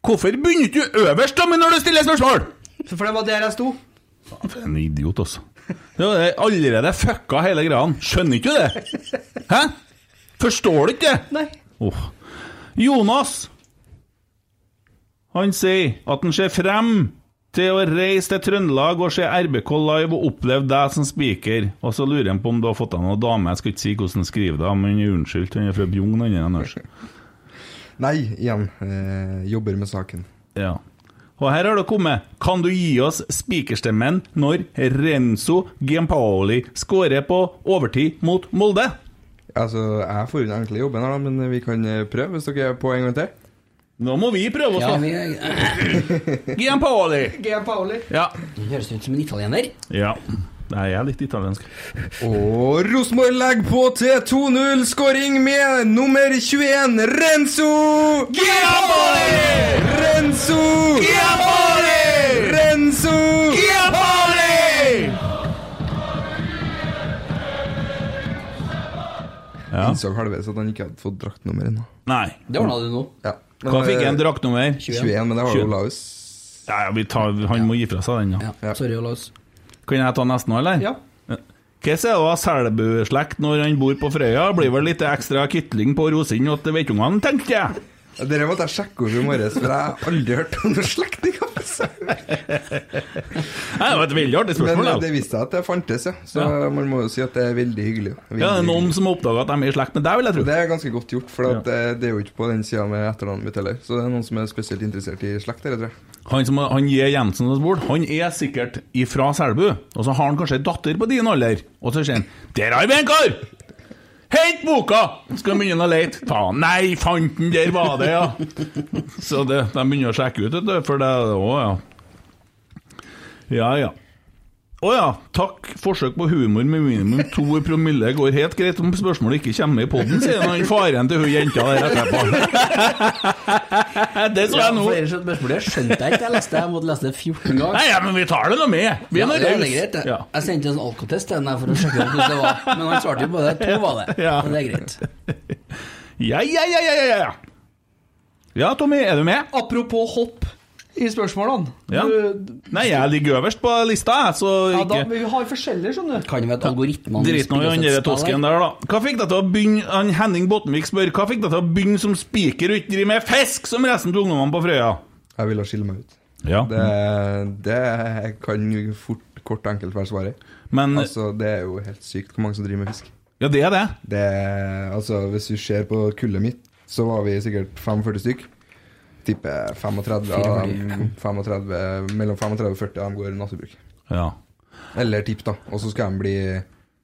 Speaker 3: Hvorfor begynner ikke du øverst da, men når du stiller spørsmål?
Speaker 5: For det var der jeg sto.
Speaker 3: For en idiot, altså. Det er allerede fucka hele greia. Skjønner ikke du det? Hæ? Forstår du ikke det?
Speaker 5: Nei.
Speaker 3: Åh. Jonas Han sier at han ser frem til å reise til Trøndelag og se RBK live og oppleve deg som speaker. Og så lurer han på om du har fått deg noen dame. Jeg skal ikke si hvordan han skriver det, men unnskyld, han er fra Bjugn, han er ellers.
Speaker 6: Nei, igjen. Eh, jobber med saken.
Speaker 3: Ja. Og her har det kommet Kan du gi oss spikerstemmen når Renzo Giampaoli skårer på overtid mot Molde?
Speaker 6: Altså, jeg får unna enkle jobben her, da, men vi kan eh, prøve hvis dere er på en gang til.
Speaker 3: Nå må vi prøve oss,
Speaker 4: Ja,
Speaker 3: da.
Speaker 4: vi eh, er,
Speaker 3: Giampaoli!
Speaker 5: G. Paoli.
Speaker 3: Ja.
Speaker 4: det høres ut som en italiener.
Speaker 3: ja. Nei, jeg er litt italiensk.
Speaker 6: Og Rosenborg legger på til 2-0-skåring med nummer 21, Renzo!
Speaker 3: Giampaoli!
Speaker 6: Renzo!
Speaker 3: Giampaoli!
Speaker 6: Renzo!
Speaker 3: Giampaoli! Ja.
Speaker 6: Innså halvveis at han ikke hadde fått draktnummer ennå.
Speaker 3: Nei.
Speaker 4: Det ordna du nå.
Speaker 6: Ja. Men,
Speaker 3: Hva fikk
Speaker 6: eh,
Speaker 3: han draktnummer?
Speaker 6: 21, men det var jo
Speaker 3: 21.
Speaker 6: Olaus.
Speaker 3: Ja, ja, vi tar, han må gi fra seg den, ja.
Speaker 4: Ja, sorry, Olaus.
Speaker 3: Kan jeg ta nesten nå, eller?
Speaker 5: Ja.
Speaker 3: Hva sier du av Selbu-slekt når han bor på Frøya? Blir vel litt ekstra kytling på rosene til vettungene, tenkte jeg.
Speaker 6: Ja, Dere måtte jeg sjekke opp i morges, for jeg har aldri hørt om noen slektninger. altså.
Speaker 3: Nei, Det var et veldig artig
Speaker 6: Men
Speaker 3: spørsmål.
Speaker 6: eh, det
Speaker 3: da.
Speaker 6: viste seg at det fantes, ja. Så
Speaker 3: Ja.
Speaker 6: man må jo si at det er veldig hyggelig. ja.
Speaker 3: Ja,
Speaker 6: Veldig
Speaker 3: det er
Speaker 6: hyggelig.
Speaker 3: noen som har oppdaga at de er i slekt med deg, vil jeg
Speaker 6: Og
Speaker 3: tro.
Speaker 6: Det er ganske godt gjort, for at eh, det er jo ikke på den sida med etternavnet mitt heller. Så det er noen som er spesielt interessert i slekt, dere, tror jeg.
Speaker 3: Han som han J. Jensen som bor, han er sikkert ifra Selbu, og så har han kanskje en datter på din alder, og så sier han 'Der har vi en kar! Hent boka!' Skal begynne å lete. Faen, nei, fant den, der var det, ja. Så det, de begynner å sjekke ut, vet du, for det òg, ja. Ja, ja. Å ja. Takk. Forsøk på humor med minimum to i promille går helt greit om spørsmålet ikke kommer i poden, sier han faren til hun jenta der etterpå. Det så jeg nå.
Speaker 4: for ellers så spørsmålet jeg skjønte jeg ikke. Jeg leste det, jeg måtte leste det 14 ganger.
Speaker 3: Nei, ja, men vi tar det nå med. Vi
Speaker 4: Ja,
Speaker 3: er nå
Speaker 4: det er
Speaker 3: raus.
Speaker 4: greit, det.
Speaker 3: Ja.
Speaker 4: Jeg sendte en sånn alkotest til henne for å sjekke ut hvordan det var, men han svarte jo på det. To var det.
Speaker 3: Ja.
Speaker 4: Men det er greit.
Speaker 3: Ja, ja, ja, ja, ja, ja. Ja, Tommy, er du med?
Speaker 5: Apropos hopp i spørsmålene.
Speaker 3: Ja.
Speaker 5: Du,
Speaker 3: Nei, jeg ligger øverst på lista, jeg, så
Speaker 5: øh, ja, da,
Speaker 3: ikke
Speaker 5: men vi har forskjeller, skjønner du.
Speaker 4: Kan jo være at algoritmene
Speaker 3: Drit nå i
Speaker 4: spiller
Speaker 3: han
Speaker 4: oss et
Speaker 3: der
Speaker 4: spill
Speaker 3: tosken der, da. Hva fikk deg til å begynne han Henning Bottenvik spør Hva fikk deg til å begynne som spiker og ikke drive med fisk som resten av ungdommene på Frøya?
Speaker 6: Jeg ville skille meg ut.
Speaker 3: Ja,
Speaker 6: Det, det kan jo fort, kort og enkelt være svaret.
Speaker 3: men
Speaker 6: Altså, det er jo helt sykt hvor mange som driver med fisk.
Speaker 3: Ja, det er det.
Speaker 6: Det, altså, hvis du ser på kullet mitt, så var vi sikkert 45 stykk. Tipper 35, av dem- 35 mellom 35 og 40 av dem går naturbruk.
Speaker 3: Ja.
Speaker 6: Eller tipp, da. Og så skal de bli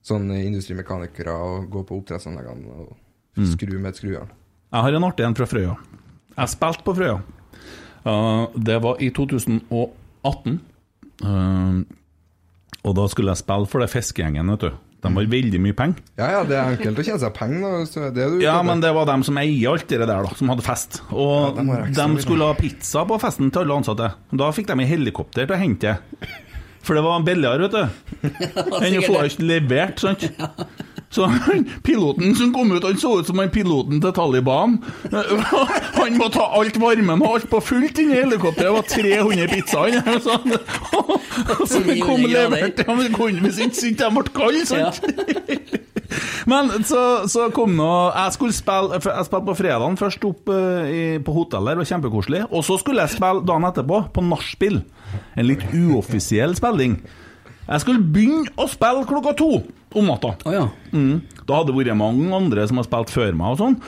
Speaker 6: sånn industrimekanikere og gå på oppdrettsanleggene og
Speaker 3: Mm.
Speaker 6: skru med et skrujern.
Speaker 3: Jeg har en artig en fra Frøya. Jeg spilte på Frøya. Eh, det var i 2018. Eh, og da skulle jeg spille for det fiskegjengen, vet du. De har veldig mye penger.
Speaker 6: Ja ja, det er enkelt å tjene seg penger, da. hvis det er det du
Speaker 3: Ja, men det var dem som eier alt det der, da, som hadde fest. Og
Speaker 6: Ja, dem var
Speaker 3: de,
Speaker 6: ekstra mye, da.
Speaker 3: skulle ha pizza på festen til alle ansatte. Da fikk de en helikopter til å hente det. For det var billigere, vet du. Enn å få alt levert, sant. Så han, piloten som kom ut, han så ut som han piloten til Taliban. Han må ta alt varmen og alt på fullt inn i helikopteret. Det var 300 pizzaer inne. Så han- så han kom
Speaker 4: 900 grader.
Speaker 3: levert. Ja, men kunne hvis ikke syntes de ble kalde, sant. Men så, så kom nå Jeg skulle spille for Jeg spilte på fredagen først opp eh, i, på hotell der, det var kjempekoselig. Og så skulle jeg spille dagen etterpå, på nachspiel. En litt uoffisiell spilling. Jeg skulle begynne å spille klokka to om natta.
Speaker 4: Å ja.
Speaker 3: Mm. Da hadde det vært mange andre som har spilt før meg og sånn.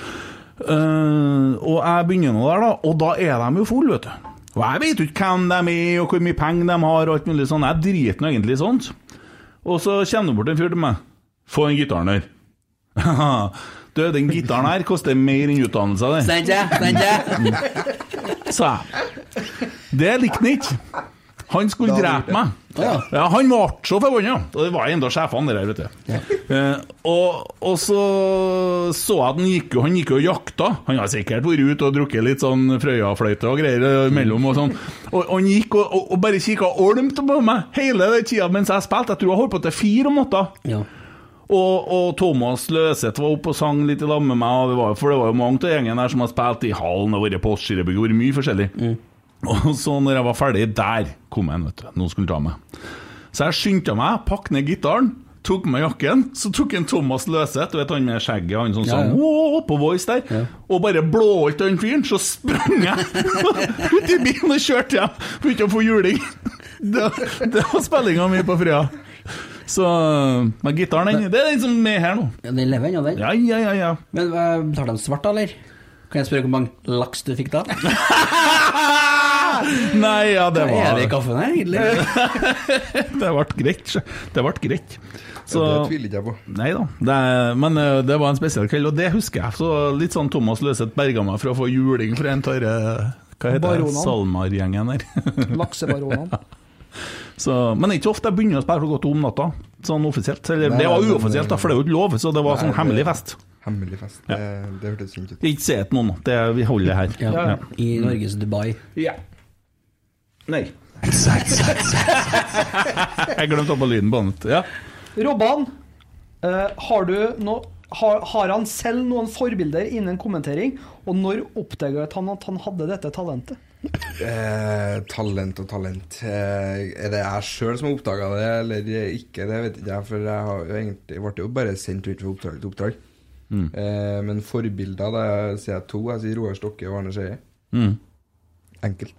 Speaker 3: Eh, og jeg begynner nå der, da, og da er de jo full, vet du. Og jeg vet jo ikke hvem de er, og hvor mye penger de har, og alt mulig sånn. Jeg driter nå egentlig i sånt. Og så kommer det bort en fyr til meg. Få den gitaren her. du, den gitaren her koster mer enn utdannelsen din.
Speaker 4: Sant det? Sant det?
Speaker 3: sa jeg. Det likte han ikke. Han skulle drepe meg.
Speaker 4: Ja.
Speaker 3: Ja, han ble så forbanna. Og det var enda sjefene der, vet du. Eh, og, og så så jeg at han gikk, jo- han gikk jo og jakta. Han har sikkert vært ute og drukket litt sånn Frøyafløyte og greier imellom og sånn. Og, og han gikk og, og, og bare kikka olmt på meg hele den tida mens jeg spilte. Jeg tror jeg holdt på til fire om natta.
Speaker 4: Ja.
Speaker 3: Og, og Thomas Løseth var oppe og sang litt i lag med meg, og det var, for det var jo mange av gjengen der som har spilt i hallen og vært på Åsskirebygg, vært mye forskjellig.
Speaker 4: Mm.
Speaker 3: Og så når jeg var ferdig, der kom en, vet du. Noen skulle ta meg. Så jeg skyndte meg, pakket ned gitaren, tok med jakken, så tok en Thomas Løseth, du vet han med skjegget, han som
Speaker 4: Ja,
Speaker 3: sang
Speaker 4: ja.
Speaker 3: «Åh», på Voice der, og bare blåholdt den fyren, så sprang jeg ut i bilen og kjørte hjem, begynte å få juling. Det, det var spillinga mi på Frøya. Så eh, men gitaren, den, det er den som er her nå.
Speaker 4: Ja, Den lever ennå, den.
Speaker 3: Ja, ja, ja. ja.
Speaker 4: Men eh, betalte de svart, da, eller? Kan jeg spørre hvor mange laks du fikk da?
Speaker 3: Nei, ja, det
Speaker 4: Er det i
Speaker 3: var Det
Speaker 4: kaffen her, egentlig?
Speaker 3: ble greit. sjø. Det ble greit. Så
Speaker 6: Det tviler ikke jeg på.
Speaker 3: Nei da. Det, men eh, det var en spesiell kveld, og det husker jeg. Så litt sånn Thomas Løseth berga meg fra å få juling fra en av hva heter det,
Speaker 5: Baronene.
Speaker 3: SalMar-gjengen her.
Speaker 5: Laksebaronene.
Speaker 3: Så, men det er ikke ofte jeg begynner å spille klokka to om natta, sånn offisielt. Eller,
Speaker 6: Nei,
Speaker 3: det var
Speaker 6: men-
Speaker 3: uoffisielt, da, for det er jo ikke lov, så det var
Speaker 6: Nei,
Speaker 3: sånn
Speaker 6: det-
Speaker 3: hemmelig fest.
Speaker 6: Hemmelig fest. Det, det hørtes fint ut.
Speaker 3: Ikke se etter noen, det, vi holder det her.
Speaker 4: Ja. I
Speaker 3: Mm.
Speaker 4: Norges Dubai.
Speaker 3: Ja. Nei. jeg glemte å ha på lyden på den. Ja.
Speaker 5: Robban, eh, har, du no, har, har han selv noen forbilder innen kommentering? Og når oppdaget han at han hadde dette talentet?
Speaker 6: Eh, talent og talent. Eh, er det jeg sjøl som har oppdaga det, eller ikke? Det vet ikke jeg, for jeg har jo egentlig ble jo bare sendt ut fra oppdrag til oppdrag. Eh, men forbilder, da sier jeg to. Jeg sier Roar Stokke og Arne Skeie. Enkelt.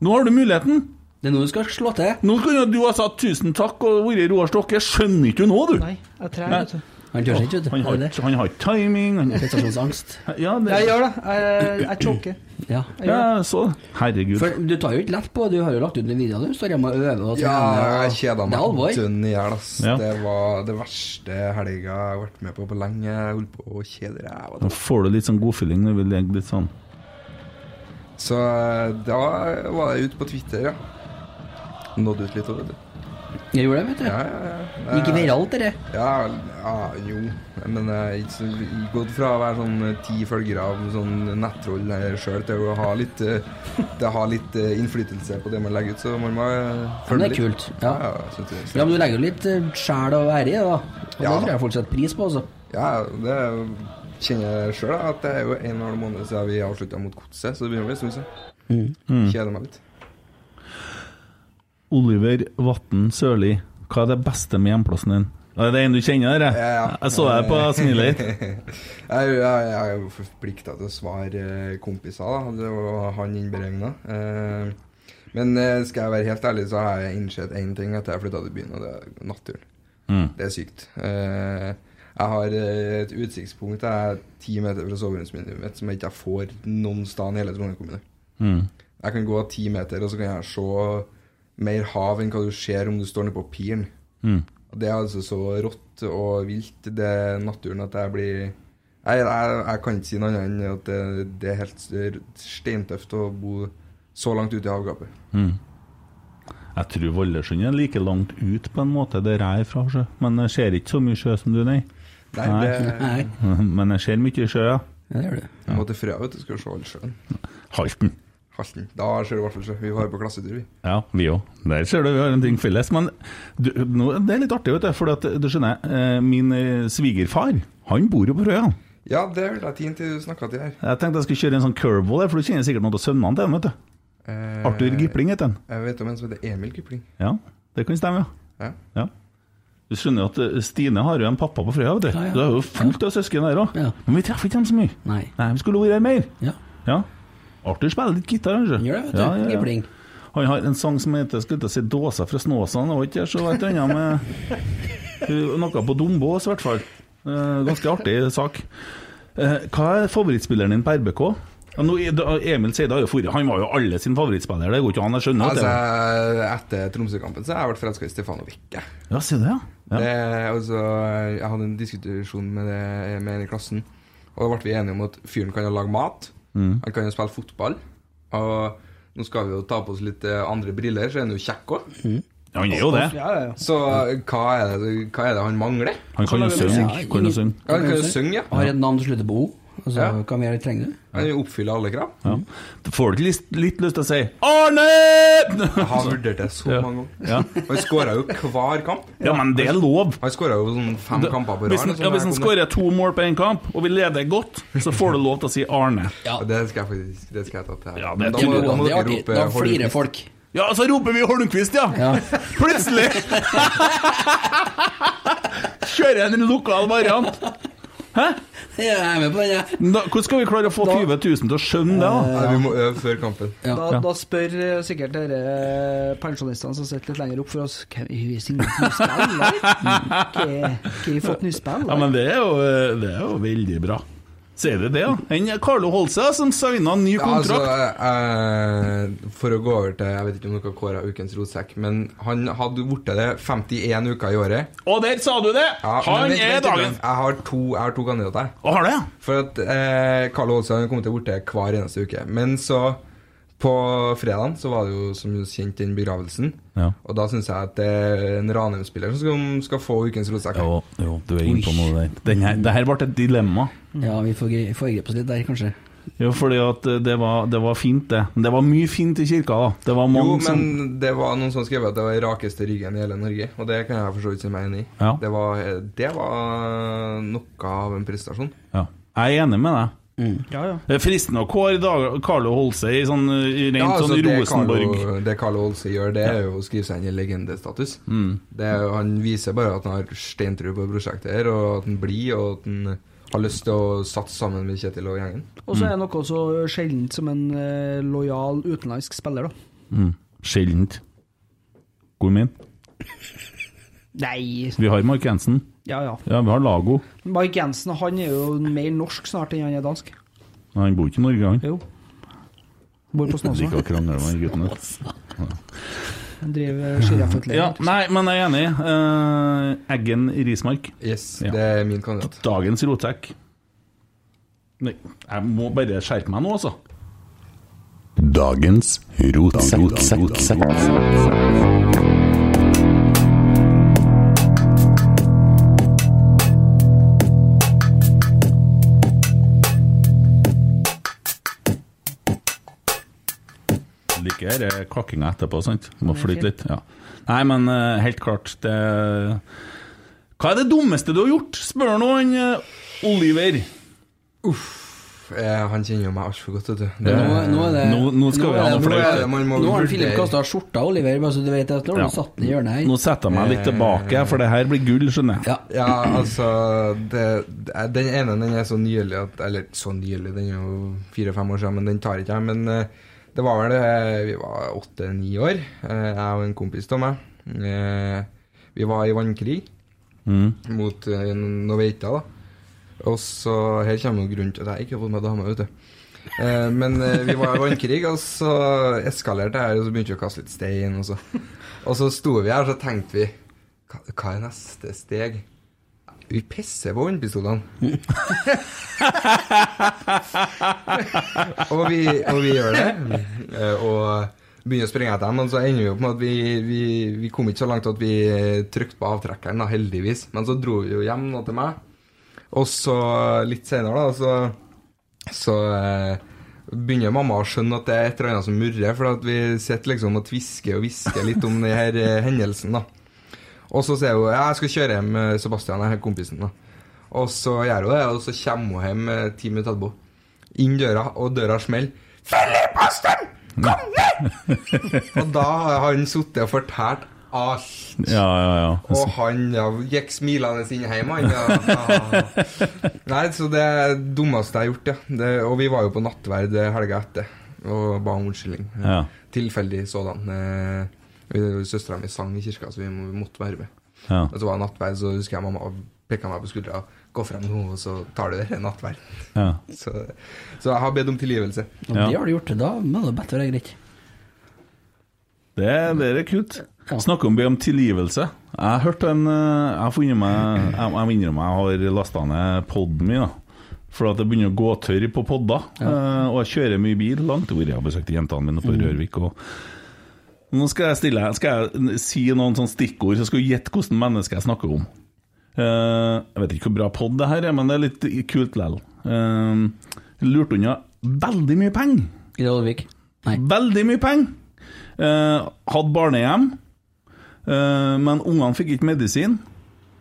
Speaker 3: Nå har du muligheten.
Speaker 4: Det er nå du skal slå til.
Speaker 3: Nå kunne du ha sagt tusen takk og vært Roar Stokke. Skjønner ikke du nå, du?
Speaker 5: Nei, jeg er treg,
Speaker 3: Nei.
Speaker 5: vet du.
Speaker 4: Han tør seg ikke, vet du.
Speaker 3: Han har
Speaker 4: Det sånn. er det.
Speaker 3: ikke han har ikke timing. Han,
Speaker 4: Prestasjonsangst.
Speaker 3: ja, det,
Speaker 5: Jeg gjør det. Jeg, jeg choker.
Speaker 4: Ja.
Speaker 3: ja, jeg så det. Herregud.
Speaker 4: For du tar jo ikke lett på Du har jo lagt ut en video, du. Står hjemme og øver og
Speaker 6: Ja,
Speaker 4: trener.
Speaker 6: jeg kjeda
Speaker 4: Det er
Speaker 6: meg
Speaker 4: alvor.
Speaker 6: dønn i hjel. ass.
Speaker 3: Ja.
Speaker 6: Det var det verste helga jeg har vært med på på lenge. Jeg holdt på å kjede ræva
Speaker 3: Nå får du litt sånn godfeeling når vi legger litt sånn
Speaker 6: Så eh, da var jeg ute på Twitter, ja. Nådde ut litt òg, vet du.
Speaker 4: Jeg gjorde det, vet du.
Speaker 6: Ja, ja, Eh, ja.
Speaker 4: Gikk viralt, det der.
Speaker 6: Ja, ja jo. Men jeg er ikke så- gått fra å være sånn eh, ti følgere av sånn nettroll sjøl til å ha litt, eh, til å ha litt eh, innflytelse på det man legger ut, så man må eh,
Speaker 4: Men
Speaker 6: følge
Speaker 4: det er
Speaker 6: litt.
Speaker 4: kult.
Speaker 6: Ja,
Speaker 4: Ja.
Speaker 6: ja, jeg synes det,
Speaker 4: Ja, men du legger jo litt eh, sjel og ære i det, da. Og
Speaker 6: Ja.
Speaker 4: det tror jeg folk setter pris på, altså.
Speaker 6: ja, det er kjenner sjøl at det er jo en og en halv måned siden vi avslutta mot Godset, så det begynner å bli en stund siden.
Speaker 4: Mm.
Speaker 6: Kjeder meg litt.
Speaker 3: Oliver Vatn Sørli, hva er det beste med hjemplassen din? Er det en du kjenner, dere?
Speaker 6: Ja, ja.
Speaker 3: Jeg så deg på smilet ditt.
Speaker 6: Jeg, jeg, jeg er jo forplikta til å svare eh, kompiser, da. Det var han innberegna. Eh, men eh, skal jeg være helt ærlig, så har jeg innsett én ting etter jeg flytta til byen, og det er naturen.
Speaker 3: Mm.
Speaker 6: Det er sykt. Eh, jeg har eh, et utsiktspunkt jeg er ti meter fra soveromsvinduet mitt som jeg ikke får noen sted i hele Trondheim kommune.
Speaker 3: Mm.
Speaker 6: Jeg kan gå ti meter, og så kan jeg se mer hav enn hva du ser om du står nede på piren.
Speaker 3: Mm.
Speaker 6: Og Det er altså så rått og vilt, det er naturen, at jeg blir Jeg, jeg, jeg kan ikke si noe annet enn at det, det er helt s- steintøft å bo så langt ute i havgapet.
Speaker 3: Mm. Jeg tror Vollesund er like langt ut på en måte der jeg er fra, sjø. men jeg ser ikke så mye sjø som du, nei.
Speaker 6: Nei,
Speaker 3: Nei.
Speaker 6: det
Speaker 4: Nei,
Speaker 3: Men jeg ser mye sjø, ja.
Speaker 4: ja, det gjør du.
Speaker 6: Jeg må til Frøya, vet du, skal se all sjøen.
Speaker 3: Halten.
Speaker 6: Halten. Da ser du i hvert fall sjø. Vi var jo på klassetur, vi.
Speaker 3: Ja, vi òg. Der ser du vi har en ting felles. Men du, nå, det er litt artig, vet du. For at, du skjønner, eh, min eh, svigerfar, han bor jo på Røya.
Speaker 6: Ja, det hørte jeg tint til du snakka til her.
Speaker 3: Jeg tenkte jeg skulle kjøre en sånn curveball, her, for du kjenner sikkert noen av sønnene til han, vet du.
Speaker 6: Eh,
Speaker 3: Arthur Gipling heter han.
Speaker 6: Jeg vet om en som heter Emil Gipling.
Speaker 3: Ja, det kan stemme, ja.
Speaker 6: Ja.
Speaker 3: Ja. Du skjønner jo at eh, Stine har jo en pappa på Frøya, vet du.
Speaker 4: Ja, ja.
Speaker 3: Du er jo fullt av søsken der òg.
Speaker 4: Ja.
Speaker 3: Men vi treffer ikke dem så mye.
Speaker 4: Nei.
Speaker 3: Nei, vi skulle vært her mer.
Speaker 4: Ja.
Speaker 3: Ja. Arthur spiller litt gitar, kanskje.
Speaker 4: Gjør det, vet du.
Speaker 3: Ja, ja, ja.
Speaker 4: Gipling.
Speaker 3: Han har en sang som heter skulle til å si 'Dåsa fra Snåsa'. Det var ikke så et eller annet med Noe på Dombås, i hvert fall. Eh, Ganske artig sak. Eh, Hva er favorittspilleren din på RBK? Ja, nå, er- da- Emil Seide har jo forrige Han var jo alle sin favorittspiller, det går ikke an, jeg skjønner
Speaker 6: Altså,
Speaker 3: at det
Speaker 6: etter Tromsø-kampen så har jeg vært forelska i Stefano Vecchia.
Speaker 3: Ja, sier du det, ja? ja.
Speaker 6: Det, altså, jeg hadde en diskusjon med, det, med en i klassen, og da ble vi enige om at fyren kan jo lage mat,
Speaker 3: Mm.
Speaker 6: han kan jo spille fotball, og nå skal vi jo ta på oss litt eh, andre briller, så er han jo kjekk òg.
Speaker 3: Ja, han er jo det.
Speaker 5: Ja, ja, ja.
Speaker 6: Så eh, hva er, det, hva er det han mangler?
Speaker 3: Han kan jo synge. Kan jo synge.
Speaker 6: Ja, han kan jo synge, ja.
Speaker 4: Har et navn som slutter på O. Altså,
Speaker 6: Ja.
Speaker 4: Hva mer trenger du?
Speaker 6: Han oppfyller alle krav.
Speaker 3: Ja. Da får du ikke lyst, litt lyst til å si 'Arne!'
Speaker 6: Jeg har vurdert det så mange ganger.
Speaker 3: Ja.
Speaker 6: Han skåra jo hver kamp.
Speaker 3: ja, men det er lov.
Speaker 6: Han skåra jo sånn fem
Speaker 3: Det-
Speaker 6: kamper på
Speaker 3: Hvis
Speaker 6: rad.
Speaker 3: han, ja, hvis han skårer to mål på én kamp, og vi leder godt, så får du lov til å si Arne.
Speaker 6: Ja, det skal jeg faktisk det skal jeg ta til.
Speaker 3: Ja, det
Speaker 6: Men
Speaker 3: er ikke
Speaker 6: da
Speaker 3: lov.
Speaker 6: må
Speaker 4: Det er
Speaker 6: dere
Speaker 4: artig.
Speaker 6: rope
Speaker 4: Da
Speaker 6: «Hold
Speaker 4: flirer
Speaker 6: ut».
Speaker 4: folk.
Speaker 3: Ja, så roper vi Holmquist, ja!
Speaker 4: Ja.
Speaker 3: Plutselig! Kjører jeg en lokal variant.
Speaker 4: Jeg er med på den, jeg.
Speaker 3: Da, Eh. hvordan skal vi klare å få 20
Speaker 5: Da-
Speaker 3: 000 til å skjønne det? da?
Speaker 6: Nei, vi må øve før kampen.
Speaker 5: Da,
Speaker 3: Ja.
Speaker 5: da spør eh, sikkert dere eh, pensjonistene som sitter litt lenger opp for oss Hva har vi signert nye spill, eller? Hva har vi fått nye spill?
Speaker 3: Ja, men det er jo, eh, det er jo veldig bra. Sier det det, ja? Enn Carlo Holse som signa ny
Speaker 6: Ja, altså,
Speaker 3: kontrakt.
Speaker 6: eh, for å gå over til Jeg vet ikke om dere kåra ukens rotsekk, men han hadde blitt det 51 uker i året.
Speaker 3: Og der sa du det!
Speaker 6: Ja, men
Speaker 3: Han
Speaker 6: vent-
Speaker 3: er
Speaker 6: vent litt,
Speaker 3: dagen
Speaker 6: Jeg har to, jeg har to kandidater.
Speaker 3: Å, har det, ja?
Speaker 6: For at eh, Karl Olsen kom til å borte hver eneste uke. Men så på fredagen så var det jo som kjent den begravelsen.
Speaker 3: Ja.
Speaker 6: Og da syns jeg at det er en Ranheim-spiller som skal få ukens rotsekk.
Speaker 3: Jo, jo, du er inne på noe der. Den her, det her ble et dilemma.
Speaker 4: Ja, vi får gri- foregripe oss litt der, kanskje.
Speaker 3: Jo, fordi at eh, det var, det var fint, det. Men Det var mye fint i kirka, da. Det var mange
Speaker 6: Jo,
Speaker 3: som
Speaker 6: men det var noen som skrev at det var rakeste ryggen i hele Norge, og det kan jeg for så vidt si meg enig i.
Speaker 3: Ja.
Speaker 6: Det, var, det var noe av en prestasjon.
Speaker 3: ja. Jeg er enig med deg.
Speaker 6: Mm.
Speaker 5: Ja, ja.
Speaker 3: Det er fristende å kåre dag- Carlo Holse i sånn eh, i rent sånn
Speaker 6: altså, det
Speaker 3: Rosenborg
Speaker 6: Carlo- det Carlo Olse gjør, det er jo å skrive seg inn i legendestatus.
Speaker 3: Mm.
Speaker 6: Det er jo- Han viser bare at han har steintro på prosjektet her, og at han blir, og at han har lyst til å satse sammen med Kjetil og gjengen.
Speaker 5: Og så er det noe så sjeldent som en eh, lojal utenlandsk spiller, da.
Speaker 3: mm. Sjeldent. God min.
Speaker 5: Nei,
Speaker 3: Vi har Mark Jensen.
Speaker 5: ja ja.
Speaker 3: Ja, vi har Lago.
Speaker 5: Mark Jensen han er jo mer norsk snart enn han er dansk.
Speaker 3: Men han bor ikke i Norge, han.
Speaker 5: Jo. Bor på
Speaker 3: Jeg liker
Speaker 5: Snåsa.
Speaker 3: å krangle med de guttene.
Speaker 5: Han driver sjiraffutleie.
Speaker 3: Ja, nei, men jeg er enig. Eh, Eggen Rismark.
Speaker 6: Yes,
Speaker 3: Ja.
Speaker 6: det er min kandidat.
Speaker 3: Dagens rotsekk. Nei, jeg må bare skjerpe meg nå, altså.
Speaker 7: Dagens rotsekk. Rotsekk.
Speaker 3: Liker dette kakkinga etterpå, sant? Må flyte litt. Ja. Nei, men eh, helt klart, det Hva er det dummeste du har gjort? Spør nå han eh, Oliver.
Speaker 6: Uff, eh, han kjenner jo meg altfor godt, vet du.
Speaker 4: Nå,
Speaker 6: Det-
Speaker 4: nå er det
Speaker 3: Nå- nå skal vi ha noe
Speaker 4: er det-
Speaker 3: flaut.
Speaker 4: nå er det-
Speaker 6: Man må
Speaker 4: Nå har
Speaker 6: vurdere.
Speaker 4: Filip kasta skjorta, Oliver, bare så du vet at nå har
Speaker 3: Ja.
Speaker 4: du satt den i hjørnet her.
Speaker 3: Nå setter jeg meg litt tilbake, for det her blir gull, skjønner jeg.
Speaker 4: Ja.
Speaker 6: Ja, altså det, det- Den ene den er så nylig at Eller så nylig, den er jo fire-fem år siden, men den tar ikke jeg. Men eh, det var vel eh, Vi var åtte-ni år, eh, jeg og en kompis av meg. Eh, Vi var i vannkrig
Speaker 3: Mm.
Speaker 6: mot eh, Noveita, da. Og så Her kommer jo grunnen til at jeg ikke har fått meg dame, vet du. Eh, Men eh, vi var i vannkrig, og så eskalerte det her, og så begynte vi å kaste litt stein. Og så, og så sto vi her, og så tenkte vi Hva hva er neste steg? Vi pisser på vannpistolene. og, vi, og vi gjør det. Eh, Og begynner å springe etter dem. Men så ender vi opp med at vi, vi, vi kom ikke så langt at vi eh, trykte på avtrekkeren, da, heldigvis. Men så dro vi jo hjem nå til meg. Og så litt senere, da, så, så eh, begynner mamma å skjønne at det er et eller annet som murrer. For at vi sitter liksom og tvisker og hvisker litt om denne hendelsen, da. Og så sier hun «Ja, jeg skal kjøre hjem med Sebastian, jeg er kompisen. da. Og så gjør hun det, og så kommer hun hjem eh, ti minutter etterpå. Inn døra, og døra smeller. Philip Aston, kom ned! og da har han sittet og fortalt alt.
Speaker 3: Ja, ja, ja.
Speaker 6: Og han ja, gikk smilende inn hjem, han. Ja. Nei, så det er det dummeste jeg har gjort, ja. Det, og vi var jo på nattverd helga etter og ba om unnskyldning.
Speaker 3: Ja.
Speaker 6: Tilfeldig sådan. Eh, Søstera mi sang i kirka, så vi må- vi måtte være med.
Speaker 3: ja.
Speaker 6: Og så var det nattverd, så husker jeg mamma pekka meg på skuldra. Gå frem nå, og så tar du det nattverd.
Speaker 3: ja.
Speaker 6: Så, så jeg har bedt om tilgivelse.
Speaker 4: Og
Speaker 3: Ja.
Speaker 4: Det har du gjort, da må det bedre være greit.
Speaker 3: Det, det er kult.
Speaker 4: Ja.
Speaker 3: Snakke om, be om tilgivelse. Jeg har hørt en eh, Jeg har funnet meg Jeg, jeg må innrømme jeg har lasta ned poden min, da. For at jeg begynner å gå tørr på podder. eh, og jeg kjører mye bil langt hvor jeg har besøkt jentene mine på Rørvik. Og nå skal jeg stille Skal jeg si noen sånne stikkord, så skal du gjette hvilket menneske jeg snakker om. Eh, jeg vet ikke hvor bra pod det her er, men det er litt kult likevel. Uh, lurt unna veldig mye penger.
Speaker 4: I Dalvik. Nei.
Speaker 3: Veldig mye penger. Eh, hadde barnehjem, eh, men ungene fikk ikke medisin.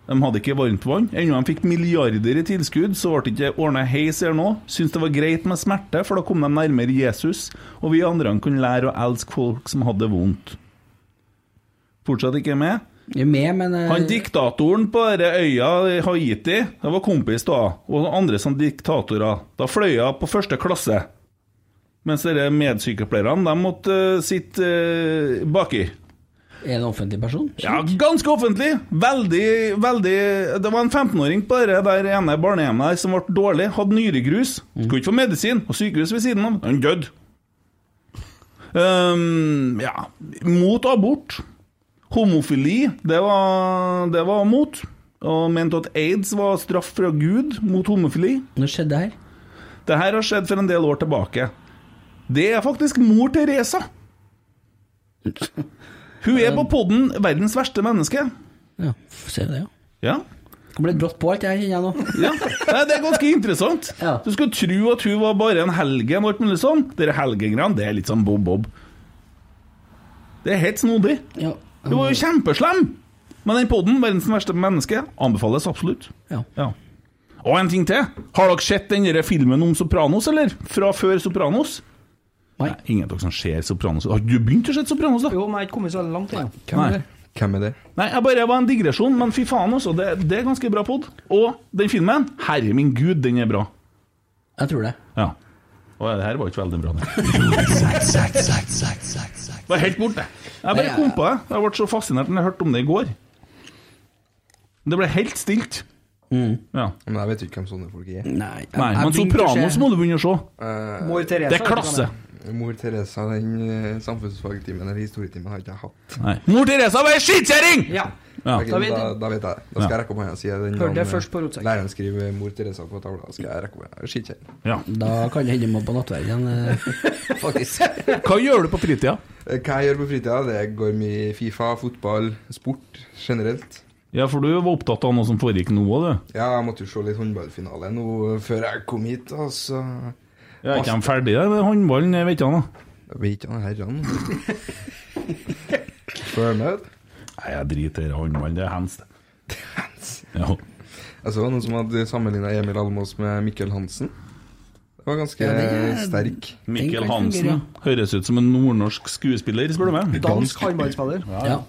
Speaker 3: De hadde ikke varmt vann. Ennå de fikk milliarder i tilskudd, så ble det ikke ordna heis eller noe. Syntes det var greit med smerte, for da kom de nærmere Jesus, og vi andre kunne lære å elske folk som hadde det vondt. Fortsatt ikke med.
Speaker 4: Jeg er med, men eh,
Speaker 3: Han diktatoren på denne øya i Haiti, det var kompis da, og andre som diktatorer. Da fløy jeg på første klasse. Mens dere medsykepleierne, de måtte eh, sitte eh, baki.
Speaker 4: er en offentlig person.
Speaker 3: Ja, ganske offentlig. Veldig, veldig Det var en 15-åring på det der ene barnehjemmet her som ble dårlig. Hadde nyregrus. Skulle ikke få medisin. Og sykehus ved siden av. Han døde. Ehm, ja Mot abort. Homofili, det var, det var mot. Og mente at aids var straff fra Gud mot homofili.
Speaker 4: Nå skjedde det her.
Speaker 3: Det her har skjedd for en del år tilbake. Det er faktisk mor Teresa. Hun er på podden 'Verdens verste menneske'.
Speaker 4: Ja, f- ser du det, ja.
Speaker 3: Ja.
Speaker 4: Kommer litt brått på alt det her, kjenner jeg nå.
Speaker 3: ja. Nei, det er ganske interessant.
Speaker 4: Ja.
Speaker 3: Du skulle tro at hun var bare en helgen og alt mulig sånn. Dere helgengreiene, det er litt sånn bob-bob. Det er helt snodig.
Speaker 4: Ja.
Speaker 3: Hun var jo kjempeslem! Men den podden, 'Verdens verste menneske', anbefales absolutt.
Speaker 4: Ja.
Speaker 3: Ja. Og en ting til. Har dere sett den der filmen om Sopranos, eller? Fra før Sopranos?
Speaker 4: Nei.
Speaker 3: Ingen av dere som ser Sopranos. Har du begynt å se Sopranos, da?
Speaker 5: Jo, men jeg har ikke kommet så veldig langt ennå.
Speaker 3: Nei.
Speaker 6: Hvem er det?
Speaker 3: Nei, jeg bare var en digresjon, men fy faen, altså. Det, det er ganske bra pod. Og den filmen, herre min gud, den er bra.
Speaker 4: Jeg tror det.
Speaker 3: Ja. Og det her var ikke veldig bra, det. Var helt borte. Jeg bare kom på det. Jeg ble så fascinert når jeg hørte om det i går. Det ble helt stilt. Ja.
Speaker 6: Men jeg vet jo ikke hvem sånne folk er. Eh,
Speaker 4: Nei, jeg-
Speaker 3: Nei,
Speaker 4: jeg
Speaker 3: men
Speaker 4: begynte å
Speaker 3: Sopranos
Speaker 4: se-
Speaker 3: må du begynne å se.
Speaker 5: Mor Therese.
Speaker 3: Det er
Speaker 5: vet du hva
Speaker 3: klasse.
Speaker 6: Mor Teresa, den eh, samfunnsfagtimen eller historietimen har ikke jeg hatt.
Speaker 3: Nei. Mor Teresa var ei skittkjerring!
Speaker 5: det er. Ja.
Speaker 3: Ja.
Speaker 6: Ok,
Speaker 5: Da
Speaker 6: da,
Speaker 5: vet-
Speaker 6: da, vet jeg det. Da skal jeg rekke opp hånda og si den
Speaker 5: Hørte det
Speaker 6: navnet-
Speaker 5: først på rotsekk.
Speaker 6: Læreren skriver 'Mor Teresa' på tavla. Skal jeg rekke opp hånda? Skittkjerring.
Speaker 3: Ja.
Speaker 4: Da kan det hende man på nattverden igjen, eh, faktisk.
Speaker 3: Hva gjør du på fritida?
Speaker 6: Eh, Hva jeg gjør på fritida? Det går mye i Fifa, fotball, sport generelt.
Speaker 3: Ja, for du var opptatt av noe som foregikk nå òg, du.
Speaker 6: Ja, jeg måtte jo se litt håndballfinale nå før jeg kom hit, altså. og så
Speaker 3: Jeg er ikke de ferdige med håndballen, jeg vet ikke han da.
Speaker 6: Jeg vet ikke han herrene. Følg med.
Speaker 3: Nei, jeg driter i håndballen, det er hands. det. Ja.
Speaker 6: Jeg så noen som hadde sammenligna Emil Almås med Mikkel Hansen. var ganske sterk.
Speaker 4: Den
Speaker 3: Mikkel
Speaker 4: kan fungere,
Speaker 3: Hansen høres ut som en nordnorsk skuespiller, spør du meg.
Speaker 5: Dansk håndballspiller.
Speaker 4: Ja.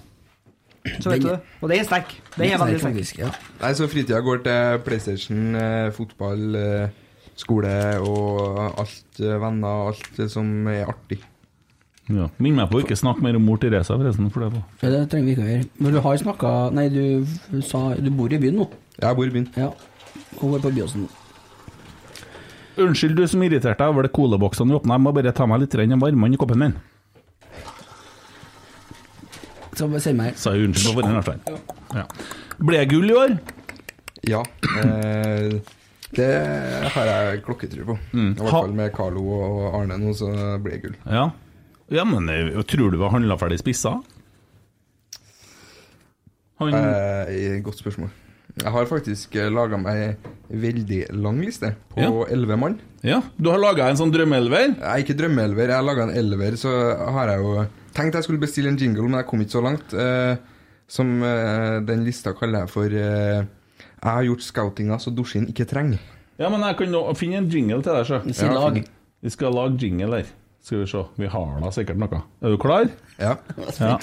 Speaker 5: Så vet du det. Og den er sterk. Den er veldig sterk.
Speaker 4: faktisk. Ja.
Speaker 6: Nei, så fritida går til PlayStation, eh, fotball, eh, skole og alt eh, venner, alt eh, som er artig.
Speaker 3: Ja. Minn meg på å ikke snakke mer om mor Teresa, forresten. For det da.
Speaker 4: Ja, det trenger vi ikke å gjøre. Men du har snakka Nei, du sa Du bor i byen nå?
Speaker 6: Jeg bor i byen.
Speaker 4: Ja. Hun er på Byåsen.
Speaker 3: Unnskyld, du som irriterte deg over det colaboksene vi åpna. Jeg må bare ta meg litt grann varmere i koppen min.
Speaker 4: Så bare send meg
Speaker 3: Sa jeg unnskyld på forhånd, i hvert fall. Ja. Ble jeg gull i år?
Speaker 6: Ja. Eh, det har jeg klokketro på. I hvert
Speaker 3: Ha-
Speaker 6: fall med Carlo og Arne nå, så blir det gull.
Speaker 3: Ja. ja, men eh, tror du vi har handla ferdig spissa? Han
Speaker 6: Eh, godt spørsmål. Jeg har faktisk laga meg ei veldig lang liste på
Speaker 3: Ja.
Speaker 6: elleve mann.
Speaker 3: Ja, du har laga en sånn drømmeelver?
Speaker 6: Jeg er ikke drømmeelver, jeg har laga en elver, så har jeg jo tenkt jeg skulle bestille en jingle, men jeg kom ikke så langt. eh, som eh, den lista kaller jeg for eh, Jeg har gjort scoutinga så dusjen ikke trenger.
Speaker 3: Ja, men jeg kan nå finne en jingle til deg, sjø.
Speaker 4: si lag.
Speaker 3: Vi skal lage jingle her. Skal vi se. Vi har da sikkert noe. Er du klar?
Speaker 6: Ja.
Speaker 3: Ja.